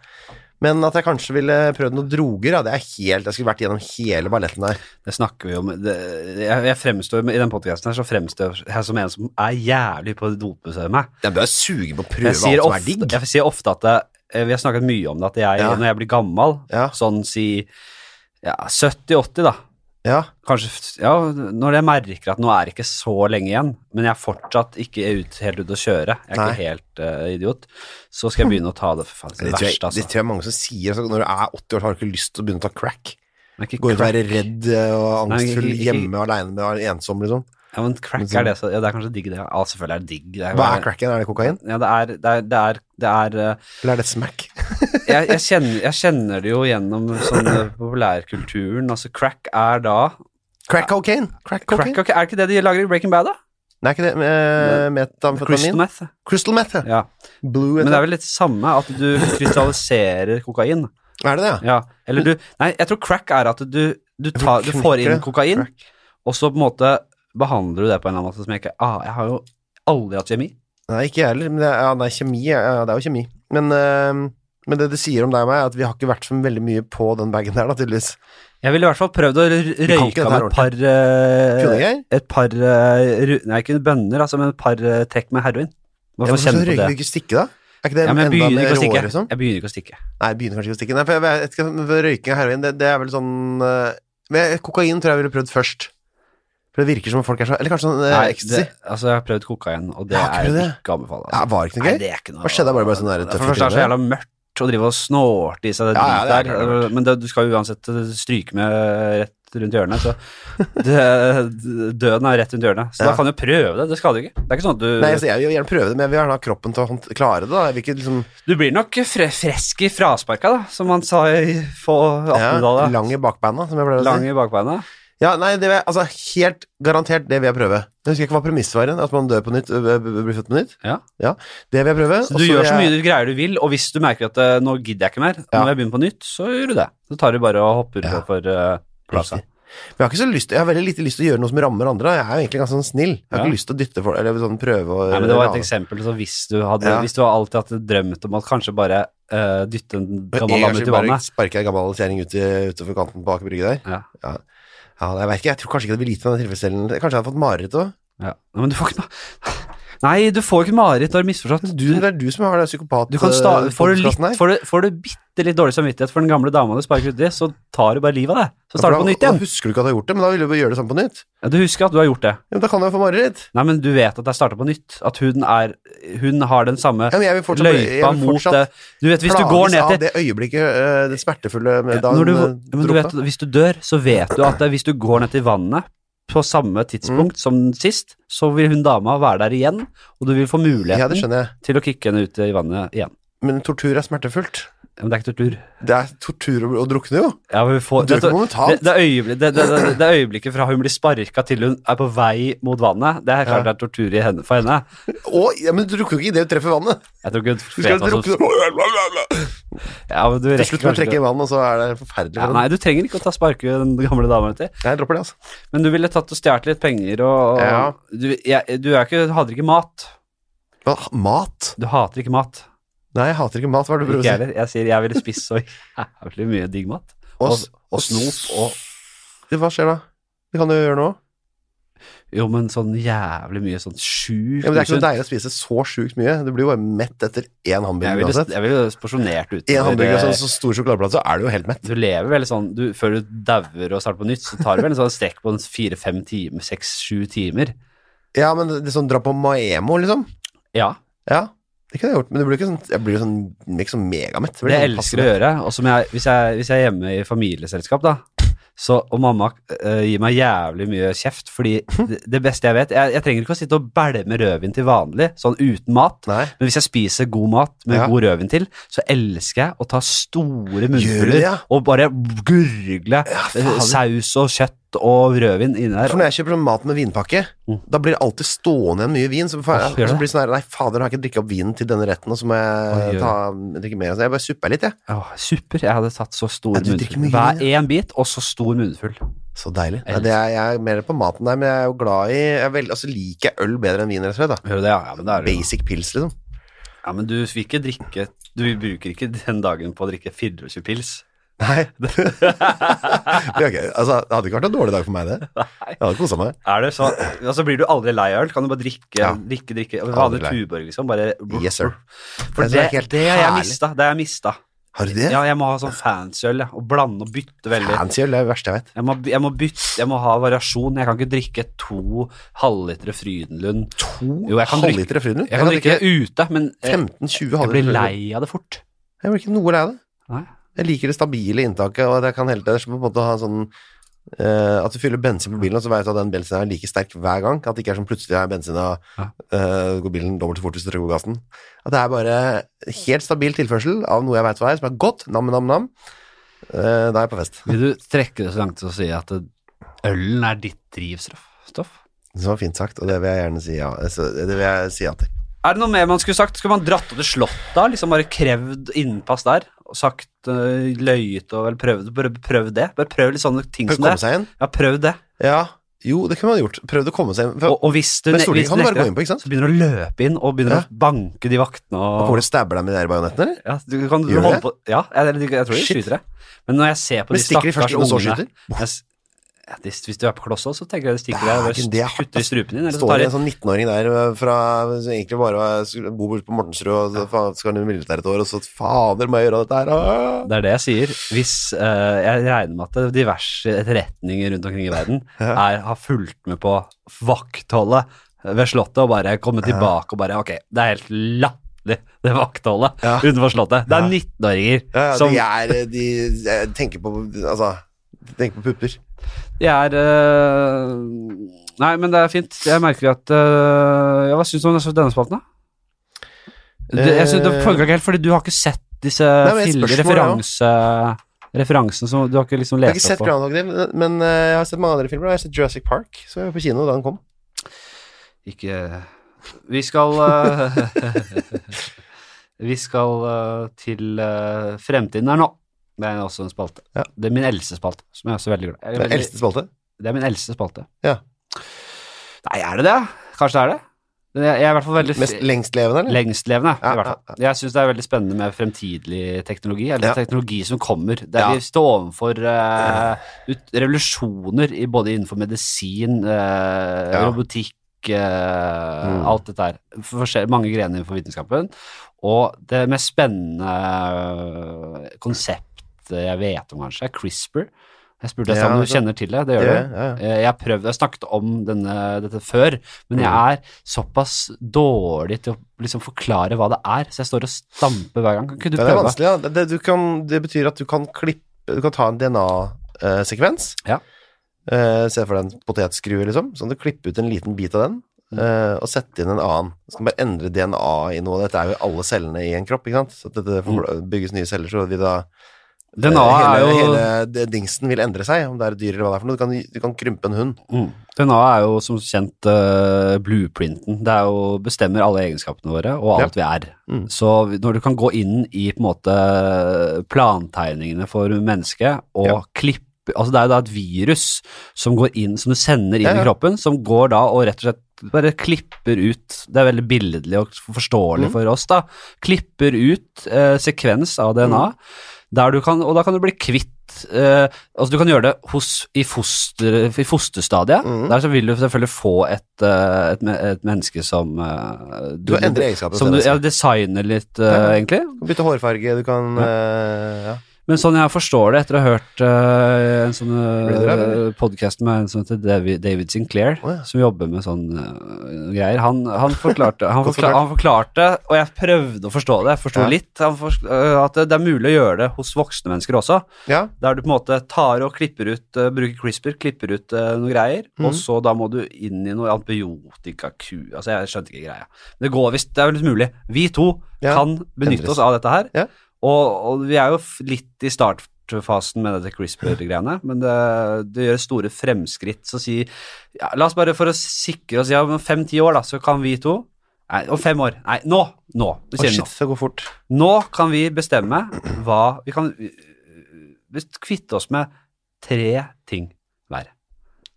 Speaker 1: Men at jeg kanskje ville prøvd noen droger, ja, det er helt, jeg skulle vært gjennom hele balletten der.
Speaker 2: Det snakker vi om. Det, jeg, jeg fremstår, I den podkasten her så fremstår jeg som en som er jævlig på dopmuseet med.
Speaker 1: Jeg bør suge på å
Speaker 2: Jeg
Speaker 1: prøve alt
Speaker 2: sier,
Speaker 1: som er
Speaker 2: ofte,
Speaker 1: digg.
Speaker 2: jeg sier ofte at jeg, eh, Vi har snakket mye om det, at jeg,
Speaker 1: Ja.
Speaker 2: når jeg blir gammel,
Speaker 1: Ja.
Speaker 2: sånn si ja, 70-80, da
Speaker 1: Ja,
Speaker 2: Kanskje f- ja, Når jeg merker at nå er det ikke så lenge igjen, men jeg er fortsatt ikke ut, helt ute å kjøre, jeg er
Speaker 1: Nei.
Speaker 2: ikke helt eh, idiot, så skal jeg begynne å ta det for faen. Det,
Speaker 1: det,
Speaker 2: er det
Speaker 1: tror jeg,
Speaker 2: verste,
Speaker 1: det
Speaker 2: altså.
Speaker 1: tror jeg mange som sier, altså, når du er 80 år, så har du ikke lyst til å begynne å ta crack.
Speaker 2: Men ikke
Speaker 1: Gå ut og
Speaker 2: crack.
Speaker 1: være redd eh, og
Speaker 2: Nei, ikke-
Speaker 1: angstfull
Speaker 2: ikke-
Speaker 1: hjemme, alene med og ensom, liksom.
Speaker 2: Ja, men crack er det, så, ja, det er kanskje digg, det. Ja, selvfølgelig er det digg. Det
Speaker 1: Hva er cracken? Er det kokain?
Speaker 2: Ja, det er, det er, det er, det er eh,
Speaker 1: Eller er det smack?
Speaker 2: jeg, jeg, kjenner, jeg kjenner det jo gjennom sånn eh, populærkulturen. Altså, crack er da
Speaker 1: Crack cocaine? Crack
Speaker 2: crack,
Speaker 1: cocaine?
Speaker 2: ok, Er det ikke det de lager i Breaking Bad, da?
Speaker 1: Nei, ikke det, eh,
Speaker 2: Crystal
Speaker 1: metamfetamin?
Speaker 2: meth.
Speaker 1: Crystal meth, ja.
Speaker 2: Ja.
Speaker 1: Blue,
Speaker 2: Men det er vel litt samme at du krystalliserer kokain.
Speaker 1: Er det det, ja?
Speaker 2: Ja. Eller du Nei, jeg tror crack er at du, du, tar, du får inn kokain, og så på en måte behandler du det på en eller annen måte som jeg ikke ah, Jeg har jo aldri hatt kjemi.
Speaker 1: Nei, ikke jeg heller. Men det er, ja, nei, kjemi, ja, ja, det er jo kjemi. Men, eh, men det det sier om deg og meg, er at vi har ikke vært så veldig mye på den bagen der, da, tydeligvis.
Speaker 2: Jeg ville i hvert fall prøvd å r-
Speaker 1: kan ikke
Speaker 2: røyke av
Speaker 1: dette
Speaker 2: meg et
Speaker 1: her
Speaker 2: par
Speaker 1: Kunne
Speaker 2: eh,
Speaker 1: jeg?
Speaker 2: Et par eh, ru- Nei, ikke bønner, altså, men et par eh, trekk med heroin.
Speaker 1: Ja,
Speaker 2: Bare
Speaker 1: men
Speaker 2: for å
Speaker 1: så
Speaker 2: kjenne på
Speaker 1: røyker
Speaker 2: det.
Speaker 1: vi ikke stikke, da? Er ikke det
Speaker 2: Ja, men jeg
Speaker 1: enda
Speaker 2: begynner
Speaker 1: mer
Speaker 2: ikke å stikke.
Speaker 1: rå, liksom?
Speaker 2: Jeg begynner ikke å stikke.
Speaker 1: Nei, jeg begynner kanskje ikke å stikke. Nei, for jeg vet ikke, men for røyking og heroin, det, det er vel sånn eh, men Kokain tror jeg ville prøvd først. For det virker som om folk er så Eller kanskje sånn eh,
Speaker 2: Nei,
Speaker 1: ecstasy?
Speaker 2: det- altså, jeg har prøvd kokain, og det
Speaker 1: Ja, har
Speaker 2: er
Speaker 1: du det?
Speaker 2: ikke å anbefale.
Speaker 1: Ja,
Speaker 2: Altså.
Speaker 1: var det ikke
Speaker 2: Nei,
Speaker 1: noe gøy?
Speaker 2: det er ikke noe
Speaker 1: Hva skjedde? Bare ble sånn der
Speaker 2: For
Speaker 1: tøff
Speaker 2: det første er det så
Speaker 1: i trynet?
Speaker 2: jævla mørkt å drive og snorte i seg det
Speaker 1: Ja, ja,
Speaker 2: dritet
Speaker 1: det er
Speaker 2: der,
Speaker 1: klart.
Speaker 2: men det, du skal jo uansett eh, stryke med eh, rett rundt hjørnet, så *laughs* det, eh, døden er rett rundt hjørnet. Så
Speaker 1: Ja.
Speaker 2: da kan du prøve det, det skader jo ikke. Det er ikke sånn at du
Speaker 1: Nei, altså, jeg vil gjerne prøve det, men jeg vil gjerne ha kroppen til å hånd- klare det. da Jeg vil ikke liksom
Speaker 2: Du blir nok fre fresk i frasparka, da, som man sa i på
Speaker 1: ja,
Speaker 2: 1800-tallet.
Speaker 1: Lang i bakbeina, som jeg pleier å si.
Speaker 2: Lang i bakbeina.
Speaker 1: Ja, nei, det vil jeg, altså helt garantert det vil jeg prøve. Jeg husker ikke hva premisset var igjen, at man dør på nytt, ø, ø, ø, blir født på nytt.
Speaker 2: Ja.
Speaker 1: Det vil jeg prøve.
Speaker 2: Så du gjør så mye du greier du vil, og hvis du merker at eh, nå gidder jeg ikke mer, nå
Speaker 1: Ja.
Speaker 2: må jeg begynne på nytt, så gjør du det. Så tar du bare og hopper
Speaker 1: Ja.
Speaker 2: på for eh, plassen.
Speaker 1: Men jeg har ikke så lyst, jeg har veldig lite lyst til å gjøre noe som rammer andre. Jeg er jo egentlig ganske sånn snill. Jeg har
Speaker 2: Ja.
Speaker 1: ikke lyst til å dytte folk, eller sånn prøve å
Speaker 2: Nei, men det var et
Speaker 1: rane.
Speaker 2: eksempel, så hvis du, hadde,
Speaker 1: Ja.
Speaker 2: hvis du har alltid hadde drømt om at kanskje bare eh, dytte en
Speaker 1: Men
Speaker 2: gammel
Speaker 1: en gang
Speaker 2: dame
Speaker 1: skulle
Speaker 2: ut i
Speaker 1: bare
Speaker 2: vannet
Speaker 1: Sparke en gammel kjerring ut i- utenfor kanten på Aker Brygge der.
Speaker 2: ja.
Speaker 1: Ja, jeg vet ikke, jeg tror kanskje ikke det blir lite av den tilfredsstillelsen. Kanskje jeg hadde fått mareritt òg.
Speaker 2: Ja. Nei, men du får ikke ma- *laughs* Nei, du får ikke mareritt, du har misforstått.
Speaker 1: Du, det er du som har det psykopat...
Speaker 2: Du kan sta
Speaker 1: ø,
Speaker 2: får, du litt,
Speaker 1: podcasten her.
Speaker 2: får, du, får du bitte litt dårlig samvittighet for den gamle dama du sparker uti, så tar du bare livet av deg. Så
Speaker 1: Ja, for
Speaker 2: starter
Speaker 1: da-
Speaker 2: du på nytt igjen.
Speaker 1: Da husker du ikke at du har gjort det, men da vil du bare gjøre det samme på nytt.
Speaker 2: Ja, du husker at du har gjort det.
Speaker 1: Ja, men da kan du jo få mareritt.
Speaker 2: Nei, men du vet at jeg starter på nytt. At hun, er, hun har den samme
Speaker 1: Ja, men jeg vil fortsatt,
Speaker 2: løypa
Speaker 1: jeg vil
Speaker 2: mot
Speaker 1: fortsatt
Speaker 2: det. Du vet, hvis du går
Speaker 1: plages
Speaker 2: ned til
Speaker 1: av det øyeblikket, eh, det smertefulle med da
Speaker 2: Når du,
Speaker 1: han, eh,
Speaker 2: men du vet,
Speaker 1: droppa.
Speaker 2: hvis du dør, så vet du at det, hvis du går ned til vannet på samme
Speaker 1: Mm.
Speaker 2: tidspunkt som sist, så vil hun dama være der igjen, og du vil få
Speaker 1: Ja, det
Speaker 2: muligheten
Speaker 1: skjønner jeg.
Speaker 2: til å kicke henne ut i vannet igjen.
Speaker 1: Men tortur er smertefullt.
Speaker 2: Men det er ikke tortur.
Speaker 1: Det er tortur å, å drukne, jo.
Speaker 2: Ja, men vi får,
Speaker 1: Du dør
Speaker 2: det,
Speaker 1: ikke
Speaker 2: det,
Speaker 1: momentant.
Speaker 2: det, øyeblikk, det, det, det, det øyeblikket fra hun blir sparka til hun er på vei mot vannet, det er
Speaker 1: Ja.
Speaker 2: klart det er tortur i henne, for henne.
Speaker 1: Å, ja, men du drukner jo ikke idet du treffer vannet.
Speaker 2: Jeg tror ikke hun
Speaker 1: Du skal
Speaker 2: vet hva som-
Speaker 1: drukne
Speaker 2: ja, men du
Speaker 1: Til
Speaker 2: rekker
Speaker 1: slutt må du
Speaker 2: kanskje
Speaker 1: trekke
Speaker 2: ikke
Speaker 1: i vann, og så er det forferdelig.
Speaker 2: ja,
Speaker 1: for
Speaker 2: Nei, du trenger ikke å ta sparke den gamle dama uti.
Speaker 1: deg. Nei, jeg dropper det, altså.
Speaker 2: Men du ville tatt og stjålet litt penger, og, og
Speaker 1: Ja.
Speaker 2: du, jeg, du er ikke, hadde ikke mat.
Speaker 1: Men, ha- mat?
Speaker 2: Du hater ikke mat.
Speaker 1: Nei, jeg hater ikke mat. Hva er det du
Speaker 2: Ikke
Speaker 1: prøver
Speaker 2: jeg
Speaker 1: å si?
Speaker 2: heller. Jeg sier jeg ville spist så jævlig mye digg mat.
Speaker 1: Og,
Speaker 2: Og- og snop og-
Speaker 1: Ja, Hva skjer da? Det kan du jo gjøre nå.
Speaker 2: Jo, men sånn jævlig mye sånn sjukt
Speaker 1: Ja, men det er ikke
Speaker 2: usunt.
Speaker 1: noe deilig å spise så sjukt mye. Du blir jo bare mett etter én
Speaker 2: Jeg
Speaker 1: hamburger
Speaker 2: ville,
Speaker 1: uansett.
Speaker 2: jeg ville porsjonert ut.
Speaker 1: Én hamburger og sånn så stor sjokoladeplate, så er du jo helt mett.
Speaker 2: Du lever vel sånn du, Før du dauer og starter på nytt, så tar du vel en sånn strekk på en fire-fem timer, seks-sju timer.
Speaker 1: Ja, men det, det sånn dra på Maemo, liksom.
Speaker 2: Ja.
Speaker 1: Ja, det kunne jeg gjort, men det blir ikke sånn, jeg blir jo sånn, liksom megamett.
Speaker 2: Det jeg elsker å gjøre, og som jeg, hvis, jeg, hvis jeg er hjemme i familieselskap, da, Så, og mamma eh, gir meg jævlig mye kjeft, fordi det, det beste jeg vet jeg, jeg trenger ikke å sitte og bælme rødvin til vanlig, sånn uten mat.
Speaker 1: Nei.
Speaker 2: Men hvis jeg spiser god mat med
Speaker 1: Ja.
Speaker 2: god rødvin til, så elsker jeg å ta store
Speaker 1: Gjør du
Speaker 2: munnfuller
Speaker 1: det, ja?
Speaker 2: og bare gurgle eh, saus og kjøtt og rødvin inni der.
Speaker 1: For når jeg kjøper sånn mat med vinpakke,
Speaker 2: Mm.
Speaker 1: da blir det alltid stående igjen mye vin. Så, fa-
Speaker 2: Åh, gjør det?
Speaker 1: så blir det sånn her Nei, fader, har jeg ikke drikket opp vinen til denne retten, og så må
Speaker 2: Oi,
Speaker 1: jeg
Speaker 2: oi.
Speaker 1: ta, drikke mer. Så jeg bare supper litt, jeg.
Speaker 2: Åh, super. Jeg hadde tatt så stor
Speaker 1: Ja, du drikker
Speaker 2: munnfull.
Speaker 1: mye
Speaker 2: Hver
Speaker 1: vin,
Speaker 2: én bit, og så stor munnfull.
Speaker 1: Så deilig.
Speaker 2: Jeg
Speaker 1: Nei, det er, jeg er mer på maten der, men jeg er jo glad i jeg er veld, Altså liker jeg øl bedre enn vin, rett og slett. da
Speaker 2: Hører du det? Ja, ja, men det er det jo.
Speaker 1: Basic pils, liksom.
Speaker 2: Ja, men du vil ikke drikke Du bruker ikke den dagen på å drikke 24 pils.
Speaker 1: Nei. *laughs* det er ikke- altså, det hadde ikke vært en dårlig dag for meg,
Speaker 2: *laughs*
Speaker 1: det. Jeg hadde kosa meg.
Speaker 2: Er det så Altså blir du aldri lei av øl. Kan du bare drikke,
Speaker 1: Ja.
Speaker 2: drikke, drikke Vanlig
Speaker 1: Aldri lei.
Speaker 2: Tuborg, liksom. Bare
Speaker 1: Yes, sir.
Speaker 2: For
Speaker 1: Det som er
Speaker 2: det,
Speaker 1: helt
Speaker 2: det har jeg
Speaker 1: herlig.
Speaker 2: mista. Det har jeg mista.
Speaker 1: Har du det?
Speaker 2: Ja, jeg må ha sånn fancyøl, ja. Og blande og bytte veldig.
Speaker 1: Fancy øl er det verste jeg vet.
Speaker 2: Jeg må, jeg må bytte, jeg må ha variasjon. Jeg kan ikke drikke to halvlitere Frydenlund.
Speaker 1: To
Speaker 2: Jo, jeg kan drikke-
Speaker 1: halvlitere Frydenlund.
Speaker 2: Jeg kan drikke ute, men jeg, jeg
Speaker 1: 15-20 halvlitere
Speaker 2: blir
Speaker 1: Frydenlund.
Speaker 2: lei av det fort.
Speaker 1: Jeg blir ikke noe lei av det.
Speaker 2: Nei.
Speaker 1: Jeg liker det stabile inntaket, og at jeg kan hele tiden på en måte ha en sånn eh, At du fyller bensin på bilen, og så vet du at den bensinen er like sterk hver gang. At det ikke er som plutselig er bensin og
Speaker 2: Ja.
Speaker 1: eh, går bilen dobbelt så fort hvis du trykker på gassen. At det er bare helt stabil tilførsel av noe jeg veit hva er, som er godt. Nam-nam-nam. Eh, da er jeg på fest.
Speaker 2: Vil du trekke det så langt til å si at eh, ølen er ditt drivstoff? Stoff?
Speaker 1: Det var fint sagt, og det vil jeg gjerne si ja, altså, det vil jeg si ja til.
Speaker 2: Er det noe mer man skulle sagt? Skulle man dratt opp til slottet? da? Liksom bare krevd innpass der? Og sagt eh, løyet og vel prøvd, bare prøvd det? Bare prøv litt sånne ting
Speaker 1: Prøv å
Speaker 2: som det.
Speaker 1: komme seg inn.
Speaker 2: Ja, prøv det.
Speaker 1: Ja, jo, det kunne man gjort. Prøvd å komme seg inn. For,
Speaker 2: Og, og hvis du
Speaker 1: men
Speaker 2: ne-
Speaker 1: Stortinget
Speaker 2: hvis
Speaker 1: kan du bare
Speaker 2: nekter,
Speaker 1: gå inn på, ikke sant?
Speaker 2: så begynner du å løpe inn og begynner
Speaker 1: Ja.
Speaker 2: å banke de vaktene
Speaker 1: Og
Speaker 2: og
Speaker 1: kommer de og stabber deg med de der bajonettene, eller?
Speaker 2: ja, du kan, du
Speaker 1: Gjør de
Speaker 2: holde
Speaker 1: det?
Speaker 2: på, ja, jeg, jeg, jeg tror de
Speaker 1: Shit.
Speaker 2: skyter deg. Men når jeg ser på
Speaker 1: Men
Speaker 2: de
Speaker 1: stikker
Speaker 2: stakkars
Speaker 1: de først inn, og så
Speaker 2: ungene
Speaker 1: skyter?
Speaker 2: jeg s- ja, de- Hvis du er på kloss også, så tenker jeg de stikker deg og
Speaker 1: Dæken, det er
Speaker 2: bare
Speaker 1: hardt,
Speaker 2: kutter i strupen din. Eller så
Speaker 1: Står
Speaker 2: tar de
Speaker 1: det en sånn 19-åring der øh, fra, som egentlig bare var- skulle bo borte på Mortensrud, og så faen, skal han i militæret et år, og så fader, må jeg gjøre dette her? Åh!
Speaker 2: Det er det jeg sier. Hvis eh, Jeg regner med at diverse etterretninger rundt omkring i verden
Speaker 1: *laughs*
Speaker 2: er, har fulgt med på vaktholdet ved Slottet og bare kommet tilbake og bare Ok, det er helt latterlig, det vaktholdet
Speaker 1: Ja.
Speaker 2: utenfor Slottet. Det er
Speaker 1: Ja.
Speaker 2: 19-åringer
Speaker 1: Ja, ja,
Speaker 2: som
Speaker 1: de er eh, De jeg tenker på Altså, de tenker på pupper.
Speaker 2: De er eh, Nei, men det er fint. Jeg merker at eh, ja, Hva syns du om denne spalten, da? Det, jeg synes, det
Speaker 1: Eh.
Speaker 2: funka ikke helt, fordi du har ikke sett disse
Speaker 1: men et
Speaker 2: fil-
Speaker 1: spørsmål,
Speaker 2: referanse, referansene som Du har ikke liksom
Speaker 1: Jeg har
Speaker 2: lest
Speaker 1: ikke sett
Speaker 2: opp på
Speaker 1: Groundhog Day, men- men øh, jeg har sett mange andre filmer. og Jeg har sett Jurassic Park, så jeg var på kino da den kom.
Speaker 2: Ikke eh, Vi skal eh, *laughs* Vi skal eh, til eh, fremtiden her nå. Det er også en spalte.
Speaker 1: Ja.
Speaker 2: Det er min eldste spalte, som jeg er også veldig glad i.
Speaker 1: Det
Speaker 2: Jeg er
Speaker 1: er
Speaker 2: veldig-
Speaker 1: eldste spalte.
Speaker 2: Det er min eldste spalte.
Speaker 1: Ja.
Speaker 2: Nei, er det det? Kanskje det er det? Men Jeg jeg er i hvert fall veldig
Speaker 1: Mest lengstlevende, eller?
Speaker 2: lengstlevende.
Speaker 1: Ja,
Speaker 2: i hvert fall. Jeg syns det er veldig spennende med fremtidig teknologi, eller
Speaker 1: Ja.
Speaker 2: teknologi som kommer. Der
Speaker 1: Ja.
Speaker 2: vi står overfor eh, ut, revolusjoner i både innenfor medisin, eh,
Speaker 1: Ja.
Speaker 2: robotikk, eh,
Speaker 1: Mm.
Speaker 2: alt dette her. Forskjell- mange grener innenfor vitenskapen. Og det mest spennende konseptet jeg vet om, kanskje, er CRISPR. Jeg spurte deg
Speaker 1: Ja,
Speaker 2: om du
Speaker 1: vet du.
Speaker 2: kjenner til det. Det
Speaker 1: Ja,
Speaker 2: gjør du.
Speaker 1: ja, ja.
Speaker 2: Eh, Jeg har prøvd, jeg har snakket om denne, dette før, men jeg er såpass dårlig til å liksom forklare hva det er, så jeg står og stamper hver gang. Kan ikke du
Speaker 1: Ja, Det er
Speaker 2: prøve?
Speaker 1: vanskelig, ja. Det, det, du kan, det betyr at du kan klippe Du kan ta en DNA-sekvens.
Speaker 2: Ja.
Speaker 1: Eh, se for deg en potetskrue, liksom. Så kan du klippe ut en liten bit av den.
Speaker 2: Mm.
Speaker 1: eh, og sette inn en annen. Så kan du bare endre DNA i noe. Dette er jo alle cellene i en kropp. ikke sant? Så at dette
Speaker 2: Mm.
Speaker 1: får- bygges nye celler, så vil da eh,
Speaker 2: DNA er
Speaker 1: hele,
Speaker 2: jo,
Speaker 1: hele det- dingsen vil endre seg, om det er et dyr eller hva det er for noe. Du kan, du kan krympe en hund.
Speaker 2: mm, DNA er jo som kjent eh, blueprinten. Det er jo, bestemmer alle egenskapene våre og alt vi er.
Speaker 1: Mm.
Speaker 2: Så vi- når du kan gå inn i på en måte plantegningene for mennesket og
Speaker 1: Ja.
Speaker 2: klippe Altså det er jo da et virus som går inn, som du sender inn
Speaker 1: Ja, ja.
Speaker 2: i kroppen, som går da og rett og slett bare klipper ut Det er veldig billedlig og forståelig
Speaker 1: Mm.
Speaker 2: for oss, da. Klipper ut eh, sekvens av DNA,
Speaker 1: Mm.
Speaker 2: der du kan, og da kan du bli kvitt eh, Altså du kan gjøre det hos, i, foster, i fosterstadiet.
Speaker 1: Mm.
Speaker 2: Der så vil du selvfølgelig få et, eh, et, me- et menneske som eh,
Speaker 1: Du kan endre egenskaper.
Speaker 2: som du
Speaker 1: Du,
Speaker 2: ja, designer litt, eh,
Speaker 1: Ja.
Speaker 2: egentlig.
Speaker 1: kan bytte hårfarge, du kan eh, ja.
Speaker 2: Men sånn jeg forstår det, etter å ha hørt eh, en sånn
Speaker 1: Blir det det,
Speaker 2: uh, podkast med en som heter David, David Sinclair,
Speaker 1: Å, ja.
Speaker 2: som jobber med sånn eh, greier, han,
Speaker 1: *laughs*
Speaker 2: han, forklarte, han,
Speaker 1: Godt
Speaker 2: forkla-
Speaker 1: forklart.
Speaker 2: han forklarte, og jeg prøvde å forstå det, jeg forsto
Speaker 1: Ja.
Speaker 2: litt, han forst- eh, at det, det er mulig å gjøre det hos voksne mennesker også.
Speaker 1: Ja,
Speaker 2: Der du på en måte tar og klipper ut, eh, bruker CRISPR, klipper ut eh, noen greier,
Speaker 1: Mhm.
Speaker 2: og så da må du inn i noe antibiotikaku, altså jeg skjønte ikke greia. Men det går visst, det er vel litt mulig. Vi to
Speaker 1: Ja,
Speaker 2: kan benytte
Speaker 1: endres.
Speaker 2: oss av dette her,
Speaker 1: Ja.
Speaker 2: og, og vi er jo f- litt i startfasen med dette
Speaker 1: *laughs*
Speaker 2: CRISPR-greiene, men det, det gjør store fremskritt, så si, ja, la oss bare for å sikre oss, ja, om fem-ti år da, så kan vi to, nei, om fem år, nei, nå, nå,
Speaker 1: Å,
Speaker 2: det sier vi nå.
Speaker 1: shit, det går fort.
Speaker 2: Nå kan vi bestemme hva Vi kan øh, kvitte oss med tre ting hver.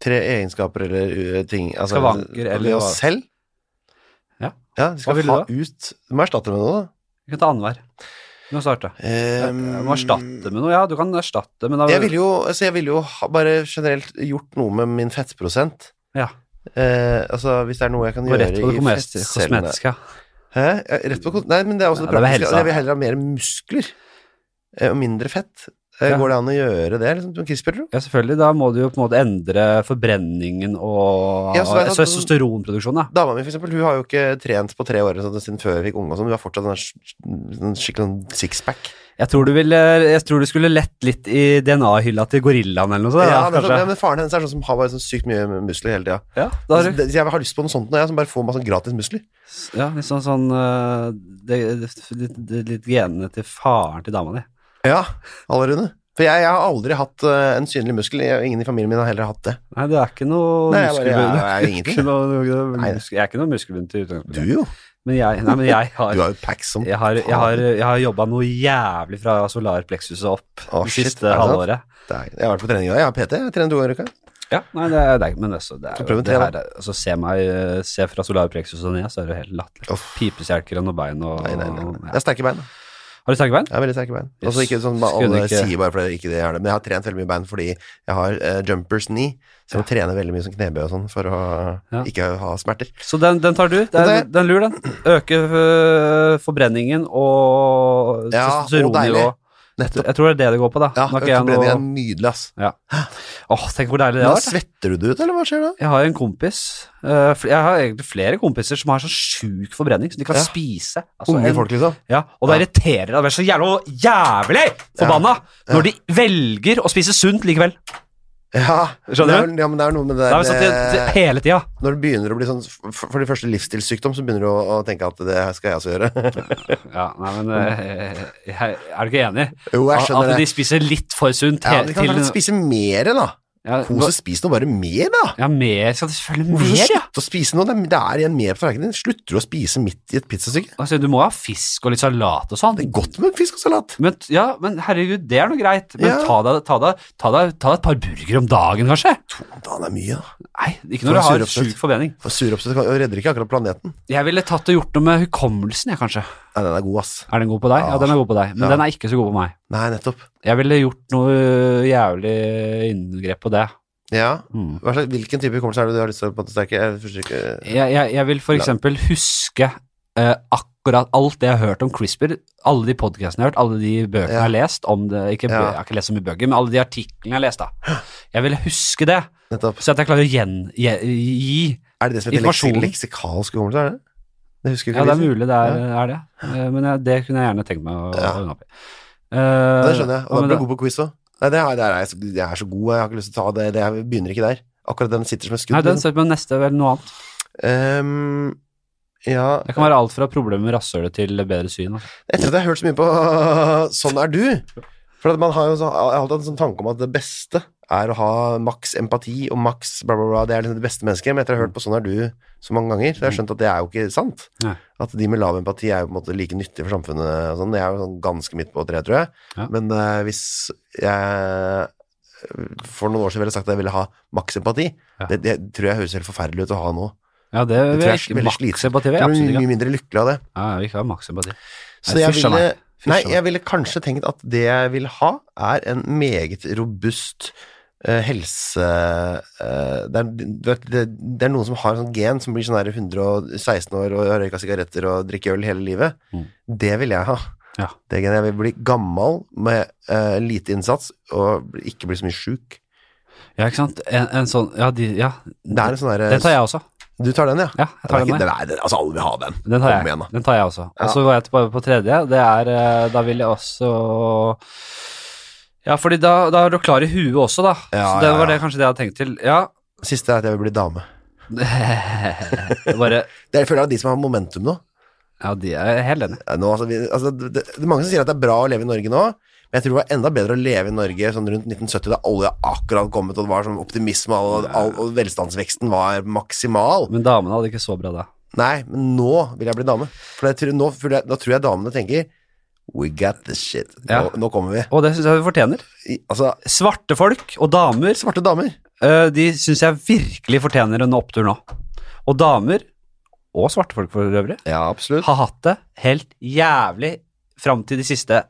Speaker 1: Tre egenskaper eller uh, ting altså,
Speaker 2: Skavanker eller
Speaker 1: ved oss
Speaker 2: hva-
Speaker 1: selv?
Speaker 2: Ja.
Speaker 1: Ja, de skal
Speaker 2: Hva vil du
Speaker 1: ha
Speaker 2: da?
Speaker 1: ut Du må erstatte med noe, da. Ehm,
Speaker 2: Vi kan ta annenhver. Du kan starte. Du må erstatte med noe. Ja, du kan erstatte, men da
Speaker 1: Jeg ville jo, altså jeg ville jo ha, bare generelt gjort noe med min fettprosent.
Speaker 2: Ja.
Speaker 1: Eh, altså Hvis det er noe jeg kan
Speaker 2: Gå
Speaker 1: gjøre
Speaker 2: rett på det
Speaker 1: i
Speaker 2: kosmetiske.
Speaker 1: fettcellene
Speaker 2: kosmetiske.
Speaker 1: Hæ? Ja, Rett på kos- Nei, men det er også det
Speaker 2: Nei, det var
Speaker 1: praktiske.
Speaker 2: helsa.
Speaker 1: Jeg vil heller ha mer muskler eh, og mindre fett. Eh,
Speaker 2: Ja.
Speaker 1: Går det an å gjøre det? Liksom, som CRISPR, tro?
Speaker 2: Ja, selvfølgelig. Da må du jo på en måte endre forbrenningen og
Speaker 1: Ja, så det er sånn-
Speaker 2: testosteronproduksjonen, da.
Speaker 1: Dama mi, for eksempel, hun har jo ikke trent på tre år eller sånt, siden før vi fikk unge og sånn. Hun har fortsatt en sk- en skikkelig sånn sixpack.
Speaker 2: Jeg tror du, ville, jeg tror du skulle lett litt i DNA-hylla til gorillaen eller noe sånt.
Speaker 1: Ja,
Speaker 2: da,
Speaker 1: det er sånn, ja,
Speaker 2: kanskje.
Speaker 1: men faren hennes er sånn som har bare sånn sykt mye muskler hele tida.
Speaker 2: Ja, da har du,
Speaker 1: Så jeg har lyst på noe sånt nå, jeg, som bare får masse gratis muskler.
Speaker 2: ja, litt sånn sånn øh, det, det, det, det, Litt genene til faren til dama di.
Speaker 1: Ja, alle Rune. For jeg, jeg har aldri hatt eh, en synlig muskel. Jeg, ingen i familien min har heller hatt det.
Speaker 2: Nei, det er ikke noe
Speaker 1: Nei, jeg bare-
Speaker 2: muskelbunn. *laughs*
Speaker 1: jeg- jeg er
Speaker 2: Det
Speaker 1: ingenting.
Speaker 2: ikke noe- noe- noe
Speaker 1: Nei.
Speaker 2: muskel- Jeg er ikke noe muskelbunn til
Speaker 1: Du
Speaker 2: utgangspunktet.
Speaker 1: jo.
Speaker 2: Men jeg, nei, men jeg har,
Speaker 1: *laughs* Du har jo packs som
Speaker 2: jeg har, jeg har, jeg har jobba noe jævlig fra solarpleksuset opp
Speaker 1: Å,
Speaker 2: det
Speaker 1: shit,
Speaker 2: siste
Speaker 1: er det sant?
Speaker 2: halvåret.
Speaker 1: Det er- Jeg har vært på trening i dag. Jeg har PT. Jeg trener to ganger i uka.
Speaker 2: Ja, nei, det er, det er, men altså, det er jo
Speaker 1: Så prøv en
Speaker 2: det
Speaker 1: tre,
Speaker 2: her, er- altså, se, meg, eh, se fra solarpleksuset og ned, så er det helt latterlig.
Speaker 1: Uff.
Speaker 2: Pipeskjelker og noen bein og
Speaker 1: Nei, nei, nei. nei.
Speaker 2: ja.
Speaker 1: Jeg har sterke bein. da.
Speaker 2: Har du sterke bein?
Speaker 1: Jeg har veldig sterke bein.
Speaker 2: Yes.
Speaker 1: Altså ikke sånn bare
Speaker 2: Skulle
Speaker 1: alle
Speaker 2: ikke-
Speaker 1: sier bare fordi ikke det jeg har det, men jeg har trent veldig mye bein fordi jeg har eh, jumpers knee, så jeg må trene veldig mye som knebøy og sånn for å
Speaker 2: Ja.
Speaker 1: ikke ha smerter.
Speaker 2: Så den, den tar du. Det er,
Speaker 1: Det-
Speaker 2: den lur, den. Øke øh, forbrenningen og
Speaker 1: Ja, og
Speaker 2: testosteronnivået.
Speaker 1: Nettopp.
Speaker 2: Jeg tror det er det det går på, da.
Speaker 1: Ja,
Speaker 2: Nå har ikke jeg noe-
Speaker 1: forbrenning er nydelig, ass.
Speaker 2: Åh, tenk hvor deilig det
Speaker 1: Da
Speaker 2: har vært. da.
Speaker 1: svetter du det ut, eller hva skjer da?
Speaker 2: Jeg har jo en kompis eh, fl- Jeg har egentlig flere kompiser som har sånn sjuk forbrenning som de kan
Speaker 1: Ja.
Speaker 2: spise. Altså,
Speaker 1: Unge
Speaker 2: en-
Speaker 1: folk, liksom.
Speaker 2: Ja, og det
Speaker 1: Ja.
Speaker 2: irriterer deg. Det er så jævla jævlig forbanna når de velger å spise sunt likevel.
Speaker 1: Ja,
Speaker 2: Skjønner
Speaker 1: det er
Speaker 2: du?
Speaker 1: vel- Ja, men det er noe med det
Speaker 2: Det er jo sånn at de, de,
Speaker 1: der eh,
Speaker 2: hele tida.
Speaker 1: Når det begynner å bli sånn For for det første livsstilssykdom, så begynner du å, å tenke at det skal jeg også gjøre.
Speaker 2: Ja, nei, men eh, jeg, Er du ikke enig?
Speaker 1: *laughs* jo, jeg
Speaker 2: At
Speaker 1: skjønner
Speaker 2: at altså, de
Speaker 1: det.
Speaker 2: spiser litt for sunt
Speaker 1: Ja,
Speaker 2: he-
Speaker 1: men de kan faktisk spise mer, da.
Speaker 2: ja,
Speaker 1: Kose, spis noe bare mer, da.
Speaker 2: ja, mer skal de selvfølgelig
Speaker 1: Hvorfor
Speaker 2: mer, ja.
Speaker 1: slutte å spise noe? Det er- Det er igjen mer på tallerkenen din. Slutter du å spise midt i et pizzastykke?
Speaker 2: Altså, du må ha fisk og litt salat og sånn.
Speaker 1: Det er godt med fisk og salat.
Speaker 2: Men, ja, men herregud, det er noe greit. Men
Speaker 1: Ja.
Speaker 2: ta, deg, ta, deg, ta, deg, ta deg et par burger om dagen, kanskje.
Speaker 1: Da, det er mye, da.
Speaker 2: Nei, ikke
Speaker 1: For
Speaker 2: når du har
Speaker 1: suroppstøt.
Speaker 2: sjuk forbrenning.
Speaker 1: For suroppstøt kan- redder ikke akkurat planeten.
Speaker 2: Jeg ville tatt og gjort noe med hukommelsen, jeg, kanskje.
Speaker 1: Nei, den er god, ass.
Speaker 2: Er den god på deg? Ja,
Speaker 1: Ja.
Speaker 2: den er god på deg, men
Speaker 1: Ah, Ja.
Speaker 2: den er ikke så god på meg.
Speaker 1: Nei, nettopp.
Speaker 2: Jeg ville gjort noe jævlig inngrep på det.
Speaker 1: Ja.
Speaker 2: Mm.
Speaker 1: Hva slags, hvilken type hukommelse er det du har lyst til å på en måte sterke? Jeg forstår ikke-
Speaker 2: Jeg, jeg, jeg vil for
Speaker 1: La-
Speaker 2: eksempel huske eh, akkurat alt det jeg har hørt om CRISPR, alle de podcastene jeg har hørt, alle de bøkene jeg
Speaker 1: Ja.
Speaker 2: har lest om det, ikke, bø-
Speaker 1: Ja.
Speaker 2: jeg har ikke lest så mye bøker, men alle de artiklene jeg har lest da. Jeg ville huske det,
Speaker 1: Nettopp.
Speaker 2: så at jeg klarer å gjen, gi, gi.
Speaker 1: Er det det som heter leks
Speaker 2: Informasjonen.
Speaker 1: leksikalsk hukommelse? Er det? det husker jeg
Speaker 2: Ja,
Speaker 1: ikke.
Speaker 2: det er
Speaker 1: Lise.
Speaker 2: mulig det er, er det, Eh, men jeg, det kunne jeg gjerne tenkt meg å
Speaker 1: Ja.
Speaker 2: å ordne opp i.
Speaker 1: Ja,
Speaker 2: Eh,
Speaker 1: det skjønner jeg. Og
Speaker 2: hva
Speaker 1: da
Speaker 2: med
Speaker 1: blir
Speaker 2: det?
Speaker 1: du god på quiz òg. Nei, det er, det er, jeg, er så- jeg er så god, jeg har ikke lyst til å ta det. det jeg begynner ikke der. Akkurat den sitter som et skudd.
Speaker 2: Nei, den ser på neste vel noe annet.
Speaker 1: Ehm, ja
Speaker 2: Det kan være alt fra problemer med rasshølet til bedre syn. altså.
Speaker 1: Etter at jeg har hørt så mye på øh, Sånn er du For at man har jo så, jeg har alltid hatt en sånn tanke om at det beste er å ha maks empati og maks bla bla bla, det er liksom det beste mennesket, men etter å ha hørt på Sånn er du så mange ganger, så har jeg skjønt at det er jo ikke sant.
Speaker 2: Nei.
Speaker 1: At de med lav empati er jo på en måte like nyttige for samfunnet og sånn. Jeg er jo sånn ganske midt på tre, tror jeg.
Speaker 2: Ja.
Speaker 1: Men øh, hvis jeg for noen år siden ville sagt at jeg ville ha maks empati,
Speaker 2: Ja.
Speaker 1: det, det tror jeg høres helt forferdelig ut å ha nå.
Speaker 2: Ja, det,
Speaker 1: tror
Speaker 2: vil
Speaker 1: jeg er
Speaker 2: jeg ikke
Speaker 1: veldig
Speaker 2: maksempati.
Speaker 1: Jeg
Speaker 2: Absolutt
Speaker 1: blir
Speaker 2: ikke.
Speaker 1: mye mindre lykkelig av det.
Speaker 2: Ja, jeg vil ikke ha maksempati.
Speaker 1: Så
Speaker 2: Nei,
Speaker 1: jeg
Speaker 2: fysj a
Speaker 1: ville,
Speaker 2: meg. Fysj a
Speaker 1: nei,
Speaker 2: meg.
Speaker 1: jeg ville kanskje tenkt at det jeg vil ha, er en meget robust eh, helse... eh, det, er, du vet, det, det er noen som har en sånn gen som blir sånn her 116 år og har røyka sigaretter og drikker øl hele livet.
Speaker 2: Mm.
Speaker 1: Det vil jeg ha.
Speaker 2: Ja.
Speaker 1: Det er greiene. Jeg vil bli gammel med eh, lite innsats og ikke bli så mye sjuk.
Speaker 2: Ja, ikke sant? En, en sånn Ja, de, ja.
Speaker 1: Det er en sånn
Speaker 2: Den tar
Speaker 1: derre
Speaker 2: jeg også.
Speaker 1: Du tar den, ja?
Speaker 2: Ja, jeg
Speaker 1: Den
Speaker 2: tar
Speaker 1: er
Speaker 2: den,
Speaker 1: ikke,
Speaker 2: jeg.
Speaker 1: den er, den, altså, alle vil ha den.
Speaker 2: Den tar
Speaker 1: Kom
Speaker 2: jeg.
Speaker 1: igjen, da.
Speaker 2: Den tar jeg også. Og
Speaker 1: Ja.
Speaker 2: så går jeg tilbake på tredje. Det er eh, Da vil jeg også Ja, fordi da, da er du klar i huet også, da.
Speaker 1: Ja,
Speaker 2: så det
Speaker 1: ja,
Speaker 2: var det
Speaker 1: ja.
Speaker 2: kanskje det jeg hadde tenkt til. Ja. *laughs*
Speaker 1: Siste er at jeg vil bli dame.
Speaker 2: Det er Bare
Speaker 1: Det er, jeg føler jeg er de som har momentum nå.
Speaker 2: Ja, de er helt enig.
Speaker 1: Ja, Nå, altså, vi, altså, det, det det er mange som sier at det er bra å leve i Norge nå, men jeg tror det var enda bedre å leve i Norge sånn rundt 1970, da olja akkurat kommet, og det var sånn optimisme, og, all, og velstandsveksten var maksimal.
Speaker 2: Men damene hadde ikke så bra da.
Speaker 1: Nei, men nå vil jeg bli dame. For jeg tror, nå, føler jeg, da tror jeg damene tenker We got this shit.
Speaker 2: Ja.
Speaker 1: Nå, nå kommer vi.
Speaker 2: Og det syns jeg vi fortjener.
Speaker 1: I, altså,
Speaker 2: Svarte folk og damer
Speaker 1: svarte damer.
Speaker 2: eh, de syns jeg virkelig fortjener en opptur nå. Og damer, og svarte folk for øvrig,
Speaker 1: Ja, absolutt.
Speaker 2: har hatt det helt jævlig fram til de siste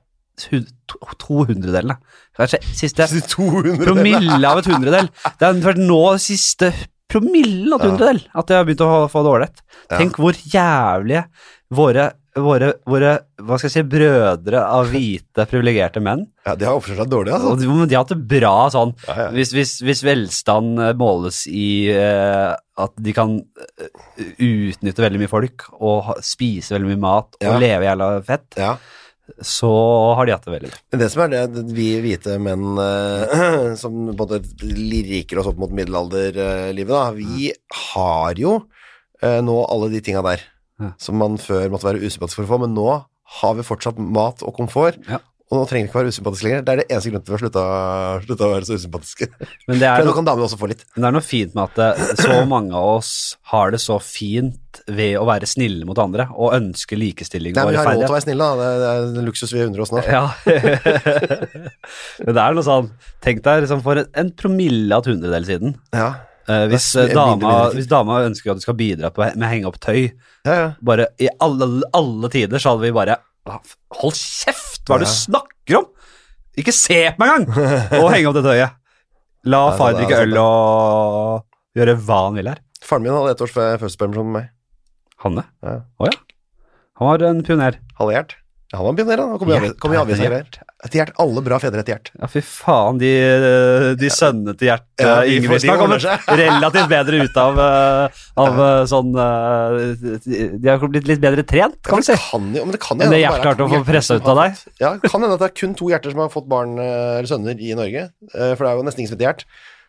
Speaker 2: hun- to- 200-delene. Kanskje siste
Speaker 1: *laughs* 200
Speaker 2: promille av et hundredel. Det er først nå siste promille av et
Speaker 1: Ja.
Speaker 2: hundredel at jeg har begynt å ha- få det ålreit. Tenk hvor jævlige våre, våre, våre hva skal jeg si, brødre av hvite, privilegerte menn
Speaker 1: Ja, de har oppført seg dårlig, altså.
Speaker 2: og de, men de har hatt det bra sånn.
Speaker 1: Ja, ja.
Speaker 2: Hvis, hvis, hvis velstand eh, måles i eh, at de kan eh, utnytte veldig mye folk og ha, spise veldig mye mat og
Speaker 1: Ja.
Speaker 2: leve jævla fett,
Speaker 1: Ja.
Speaker 2: så har de hatt det veldig bra.
Speaker 1: Men det som er det, at vi hvite menn eh, *clears throat* som på en måte lirker oss opp mot middelalderlivet, da, vi har jo eh, nå alle de tinga der
Speaker 2: Ja.
Speaker 1: som man før måtte være usympatisk for å få, men nå har vi fortsatt mat og komfort,
Speaker 2: Ja.
Speaker 1: og nå trenger vi ikke være usympatiske lenger. Det er det eneste grunnen til at vi har slutta, slutta å være så usympatiske.
Speaker 2: Men det
Speaker 1: For
Speaker 2: er,
Speaker 1: nå
Speaker 2: noe,
Speaker 1: kan damene også få litt.
Speaker 2: men det er noe fint med at eh, så mange av oss har det så fint ved å være snille mot andre og ønske likestilling
Speaker 1: Nei,
Speaker 2: og
Speaker 1: men vi har råd til
Speaker 2: rettferdighet.
Speaker 1: å være snille, da. Det er, det er en luksus vi unner oss nå.
Speaker 2: Ja. *laughs* men det er noe sånn Tenk deg liksom for en, en promille av et hundredel siden.
Speaker 1: Ja,
Speaker 2: Eh, hvis, eh,
Speaker 1: Det er
Speaker 2: dama,
Speaker 1: mindre, mindre.
Speaker 2: hvis dama ønsker at du skal bidra på, med å henge opp tøy,
Speaker 1: ja. ja.
Speaker 2: bare i alle, alle tider så hadde vi bare "Hva f- Hold kjeft! Hva er det du snakker om?! Ikke se på meg engang! Og henge opp det tøyet. La
Speaker 1: Ja,
Speaker 2: far
Speaker 1: det er
Speaker 2: drikke
Speaker 1: sant,
Speaker 2: øl og gjøre hva han vil her.
Speaker 1: Faren min hadde ett års fø- fødselspermisjon med meg.
Speaker 2: Hanne? Å
Speaker 1: Ja.
Speaker 2: ja. Han var en pioner.
Speaker 1: Halvhjert. Ja, han var en pioner, han. Han kom i avis- kom i avisa og greier. Etter Gjert. Alle bra fedre etter Gjert.
Speaker 2: Ja, fy faen, de, de sønnene til Gjert
Speaker 1: Ja,
Speaker 2: eh,
Speaker 1: de- de
Speaker 2: Ingebrigtsen har
Speaker 1: ordner
Speaker 2: kommet relativt bedre ut av, eh, av eh, sånn eh, De har blitt litt bedre trent, kan
Speaker 1: Ja,
Speaker 2: vi si.
Speaker 1: det kan jo, men det kan jo
Speaker 2: Enn det
Speaker 1: hende
Speaker 2: Gjert
Speaker 1: bare er
Speaker 2: klarte å
Speaker 1: to
Speaker 2: få
Speaker 1: hjerter
Speaker 2: pressa
Speaker 1: som
Speaker 2: ut av
Speaker 1: har-
Speaker 2: deg.
Speaker 1: Ja, det kan hende at det er kun to hjerter som har fått barn eh, eller sønner i Norge. eh, For det er jo nesten ingen som heter Gjert.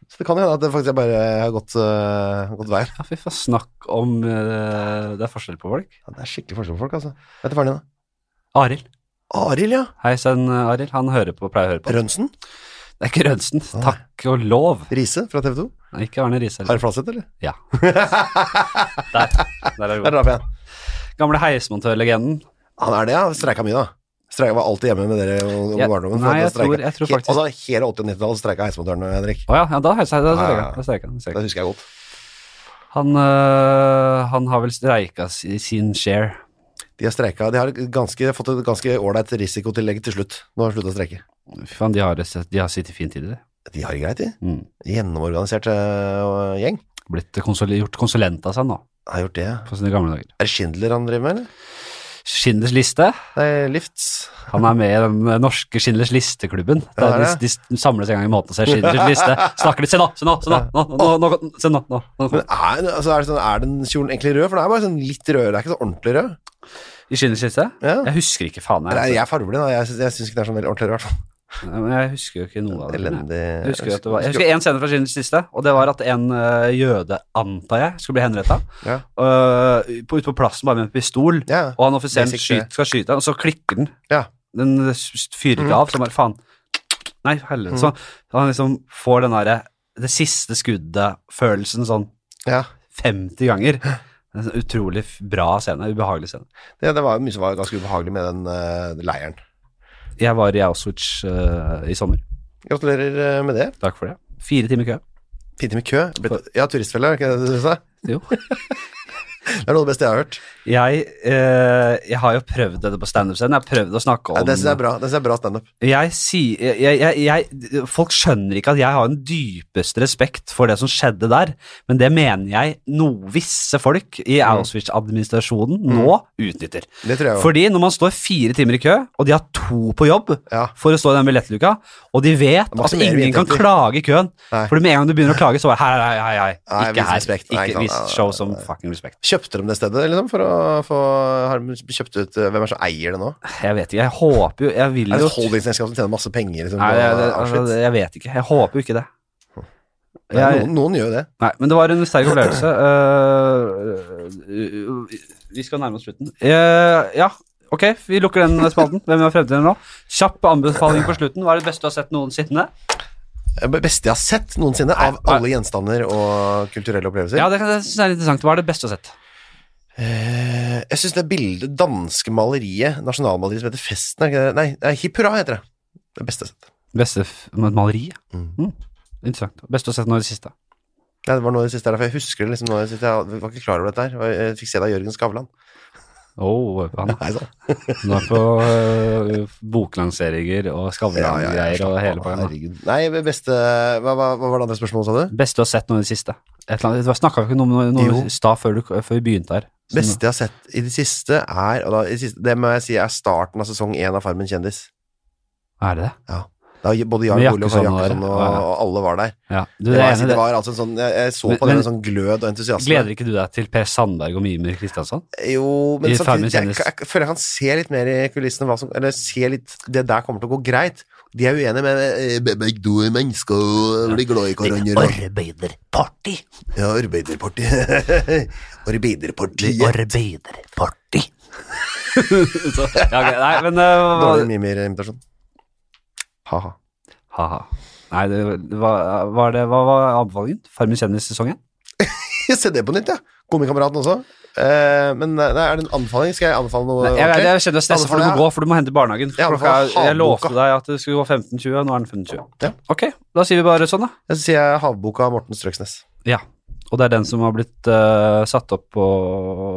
Speaker 1: Så det kan hende at det faktisk er bare har gått, eh, gått veien.
Speaker 2: Ja, fy faen, snakk om eh, Det er forskjell på folk.
Speaker 1: Ja, det er skikkelig forskjell på folk, altså. Hva heter faren din, da?
Speaker 2: Arild.
Speaker 1: Arild, ja.
Speaker 2: Hei sann, Arild. Han hører på, pleier å høre på.
Speaker 1: Rønsen.
Speaker 2: Det er ikke Rønsen. Takk og lov.
Speaker 1: Riise fra TV 2.
Speaker 2: Nei, Ikke Arne Riise heller.
Speaker 1: Are Flaseth, eller?
Speaker 2: Ja.
Speaker 1: Der
Speaker 2: Der. Der er det
Speaker 1: er
Speaker 2: god.
Speaker 1: det igjen.
Speaker 2: Gamle heismontørlegenden.
Speaker 1: Han er det, ja. Streika mye, da. Streika var alltid hjemme med dere om
Speaker 2: Ja,
Speaker 1: barndommen. for
Speaker 2: nei, jeg
Speaker 1: at det
Speaker 2: tror-
Speaker 1: streiket-
Speaker 2: jeg tror
Speaker 1: He-
Speaker 2: faktisk-
Speaker 1: Altså, hele 80- og 90-tallet streika heismontørene, Henrik.
Speaker 2: Å ja, ja, da heiser jeg. Da
Speaker 1: Ja, ja, Ah,
Speaker 2: streiker jeg.
Speaker 1: ja.
Speaker 2: Da streiker jeg, da
Speaker 1: Det
Speaker 2: streiker jeg.
Speaker 1: husker jeg godt.
Speaker 2: Han, eh, han har vel streika si- sin share.
Speaker 1: De har streika. De har ganske, fått et ganske ålreit risikotillegg til slutt. Nå har de slutta å streike.
Speaker 2: Fy faen, de har, det- de har sittet fint i det.
Speaker 1: De har det greit, de.
Speaker 2: Mm.
Speaker 1: Gjennomorganisert eh, gjeng.
Speaker 2: Blitt konsul, gjort konsulent av seg nå,
Speaker 1: Har gjort det. ja.
Speaker 2: på sine gamle dager.
Speaker 1: Er det Schindler han driver med, eller?
Speaker 2: Schindlers liste.
Speaker 1: Nei, Lifts.
Speaker 2: Han er med i den eh, norske Schindlers liste-klubben.
Speaker 1: Ja,
Speaker 2: Der
Speaker 1: det er
Speaker 2: de, de samles en gang i måneden og ser Schindlers liste. Snakker litt Se nå, se nå, se nå! nå, nå, nå, nå se nå, nå, nå.
Speaker 1: Men er, altså, er, det sånn, er den kjolen egentlig rød? For den er bare sånn litt rød. Det er ikke så ordentlig rød.
Speaker 2: I Schindlers liste?
Speaker 1: Ja.
Speaker 2: Jeg husker ikke faen.
Speaker 1: Eller er
Speaker 2: Jeg,
Speaker 1: jeg fargeblind, da? Jeg, syns- jeg syns ikke det er sånn veldig ordentlig rød, i hvert fall.
Speaker 2: Nei, men jeg husker jo ikke noe av det. men jeg-
Speaker 1: Elendig
Speaker 2: Jeg husker, at det var, jeg husker en scene fra Schindlers liste, og det var at en eh, jøde, antar jeg, skulle bli henretta.
Speaker 1: Ja.
Speaker 2: ute på plassen bare med en pistol,
Speaker 1: Ja.
Speaker 2: og han offiseren
Speaker 1: Basic
Speaker 2: skyt, skal skyte, og så klikker den.
Speaker 1: Ja. Mhm.
Speaker 2: Den s- fyrer ikke av, så bare faen. Nei, helvete. Så han liksom får den derre det siste skuddet-følelsen sånn
Speaker 1: ja.
Speaker 2: 50 ganger. En sånn utrolig f- bra scene, ubehagelig scene.
Speaker 1: Det, det var jo mye som var ganske ubehagelig med den eh, leiren.
Speaker 2: Jeg var i Auschwitz eh, i sommer.
Speaker 1: Gratulerer eh, med det.
Speaker 2: Takk for det. Fire timer kø.
Speaker 1: Fint med kø. Blitt- Ja, turistfelle, er det ikke det du sa?
Speaker 2: Jo.
Speaker 1: Det er noe av det beste jeg har hørt.
Speaker 2: Jeg, eh, jeg har jo prøvd dette på standup-scenen. Jeg har prøvd å snakke
Speaker 1: Nei,
Speaker 2: om
Speaker 1: det synes jeg er bra. Det synes jeg er bra standup.
Speaker 2: jeg sier jeg, jeg, jeg, Folk skjønner ikke at jeg har den dypeste respekt for det som skjedde der, men det mener jeg noe visse folk i Auschwitz-administrasjonen nå utnytter.
Speaker 1: Mm. Det tror jeg òg.
Speaker 2: Fordi når man står fire timer i kø, og de har to på jobb
Speaker 1: Ja.
Speaker 2: for å stå i den billettluka, og de vet at
Speaker 1: maksimerer vi
Speaker 2: ingen kan
Speaker 1: inntekter.
Speaker 2: klage i køen
Speaker 1: Nei.
Speaker 2: Fordi med en gang du begynner å klage, så bare hei, hei, hei, hei.
Speaker 1: Nei,
Speaker 2: Ikke
Speaker 1: vis
Speaker 2: her.
Speaker 1: respekt. Nei, ikke
Speaker 2: Ikke
Speaker 1: sant.
Speaker 2: vis
Speaker 1: Nei, nei,
Speaker 2: show
Speaker 1: nei,
Speaker 2: som
Speaker 1: nei.
Speaker 2: fucking respekt.
Speaker 1: Kjøpte de det stedet, liksom, for å få Har de kjøpt ut eh, Hvem er det som eier det nå?
Speaker 2: Jeg vet ikke, jeg håper jo Jeg vil
Speaker 1: Er det
Speaker 2: jo
Speaker 1: et holdingselskap som tjener masse penger? Liksom,
Speaker 2: Nei,
Speaker 1: på
Speaker 2: jeg, det, altså,
Speaker 1: Auschwitz?
Speaker 2: det- jeg vet ikke. Jeg håper jo ikke det.
Speaker 1: Nei,
Speaker 2: Jeg,
Speaker 1: noen, noen gjør jo det.
Speaker 2: nei, men det var en sterk opplevelse. Eh, eh, vi skal nærme oss slutten. Eh, ja, ok, vi lukker den spalten. Hvem er fremtiden nå? Kjapp anbefaling på slutten. Hva er det beste du har sett noensinne?
Speaker 1: Det beste jeg har sett noensinne,
Speaker 2: Nei,
Speaker 1: av alle gjenstander og kulturelle opplevelser.
Speaker 2: Ja, det, det synes jeg er interessant. Hva er det beste du har sett?
Speaker 1: Eh, Jeg syns det bildet, danske maleriet, nasjonalmaleriet som heter Festen er ikke det? Nei, det er Hipp hurra heter det. Det beste jeg har sett.
Speaker 2: Beste f- med et maleri?
Speaker 1: Mm.
Speaker 2: Mm. Interessant. Beste du har sett nå i det siste?
Speaker 1: Nei, det var noe av det siste der, for jeg husker det liksom nå. Jeg, siste, jeg var ikke klar over dette her. og Jeg fikk se det av Jørgen Skavlan.
Speaker 2: Oh, han
Speaker 1: Nei, sånn.
Speaker 2: han er på eh, boklanseringer og Skavlan-greier og hele pakka.
Speaker 1: Herregud. Nei, beste hva, hva, hva var det andre spørsmålet, sa du?
Speaker 2: Beste du har sett nå i det siste? Et eller annet, det var- snakket vi ikke noe om noe
Speaker 1: Jo.
Speaker 2: i stad før, du- før vi begynte her. Så nå-
Speaker 1: Beste jeg har sett i det siste, er og da, i det, siste, det må jeg si er starten av sesong én av Farmen kjendis.
Speaker 2: Er det det?
Speaker 1: Da både Jarl
Speaker 2: Med
Speaker 1: Goli og Kari
Speaker 2: Jakkesson var-
Speaker 1: Jakkesson og,
Speaker 2: ja.
Speaker 1: og alle var der.
Speaker 2: Ja. Du,
Speaker 1: Det
Speaker 2: det
Speaker 1: var,
Speaker 2: ene,
Speaker 1: det
Speaker 2: det,
Speaker 1: var altså en sånn, jeg, jeg så på
Speaker 2: Men-
Speaker 1: det
Speaker 2: men-
Speaker 1: med sånn glød og entusiasme.
Speaker 2: gleder ikke du deg til Per Sandberg og Mimer Kristiansson?
Speaker 1: Jo, men
Speaker 2: I Farmen
Speaker 1: samtidig jeg,
Speaker 2: kjendis.
Speaker 1: jeg, jeg føler jeg kan se litt mer i kulissene hva som Eller se litt Det der kommer til å gå greit. De er uenige med eh, be- Begge to er mennesker og blir glad i hverandre.
Speaker 2: Arbeiderparti!
Speaker 1: Ja, Arbeiderpartiet. *laughs* Arbeiderpartiet.
Speaker 2: Arbeiderparti! *laughs* Så, ja, ok, nei, men eh, hva-
Speaker 1: Dårlig Mimir-invitasjon. Ha-ha.
Speaker 2: Haha. Nei, det var, var det Hva var anbefalingen? Farmen kjendis-sesongen?
Speaker 1: Se det på nytt, ja. Komikameraten også. Eh, men nei, er det en anbefaling? Skal jeg anbefale noe?
Speaker 2: Nei, Jeg, jeg,
Speaker 1: ordentlig?
Speaker 2: jeg kjenner deg stressa, for du må
Speaker 1: Anbefaler jeg-
Speaker 2: gå, for du må hente barnehagen.
Speaker 1: Jeg
Speaker 2: Klokka, er-
Speaker 1: anbefaler
Speaker 2: jeg lovte
Speaker 1: Havboka.
Speaker 2: deg at det skulle gå 15.20, og nå er den 15.20.
Speaker 1: Ja.
Speaker 2: Ok, da sier vi bare sånn, da.
Speaker 1: Jeg sier jeg Havboka av Morten Strøksnes.
Speaker 2: Ja, og det er den som har blitt eh, satt opp på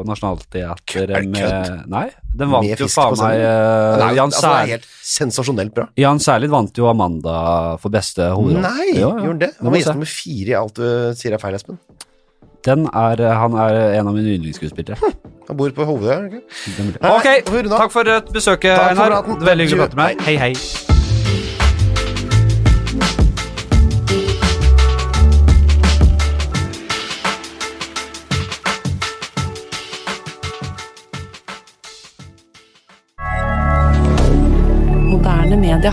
Speaker 2: Nationaltheatret
Speaker 1: Er det
Speaker 2: med
Speaker 1: kødd?
Speaker 2: Nei, den vant
Speaker 1: Med
Speaker 2: jo
Speaker 1: fisk
Speaker 2: faen
Speaker 1: på
Speaker 2: meg eh,
Speaker 1: Den er jo-
Speaker 2: Jan,
Speaker 1: altså, den er
Speaker 2: Sær,
Speaker 1: helt sensasjonelt bra.
Speaker 2: Jan Særlid vant jo Amanda for beste hovedrolle.
Speaker 1: Nei,
Speaker 2: Jo, jo.
Speaker 1: gjorde han det?
Speaker 2: må
Speaker 1: Han var gjest
Speaker 2: se.
Speaker 1: nummer fire i alt du sier er feil, Espen.
Speaker 2: Den er, eh, han er en av mine yndlingsskuespillere.
Speaker 1: Han bor på Hovedøya. er det ikke?
Speaker 2: Det er mulig.
Speaker 1: Nei,
Speaker 2: Ok,
Speaker 1: får vi runde av?
Speaker 2: takk for eh, besøket,
Speaker 1: Takk for
Speaker 2: Einar.
Speaker 1: praten.
Speaker 2: Veldig hyggelig å prate med deg. Hei, hei.
Speaker 3: Moderne media.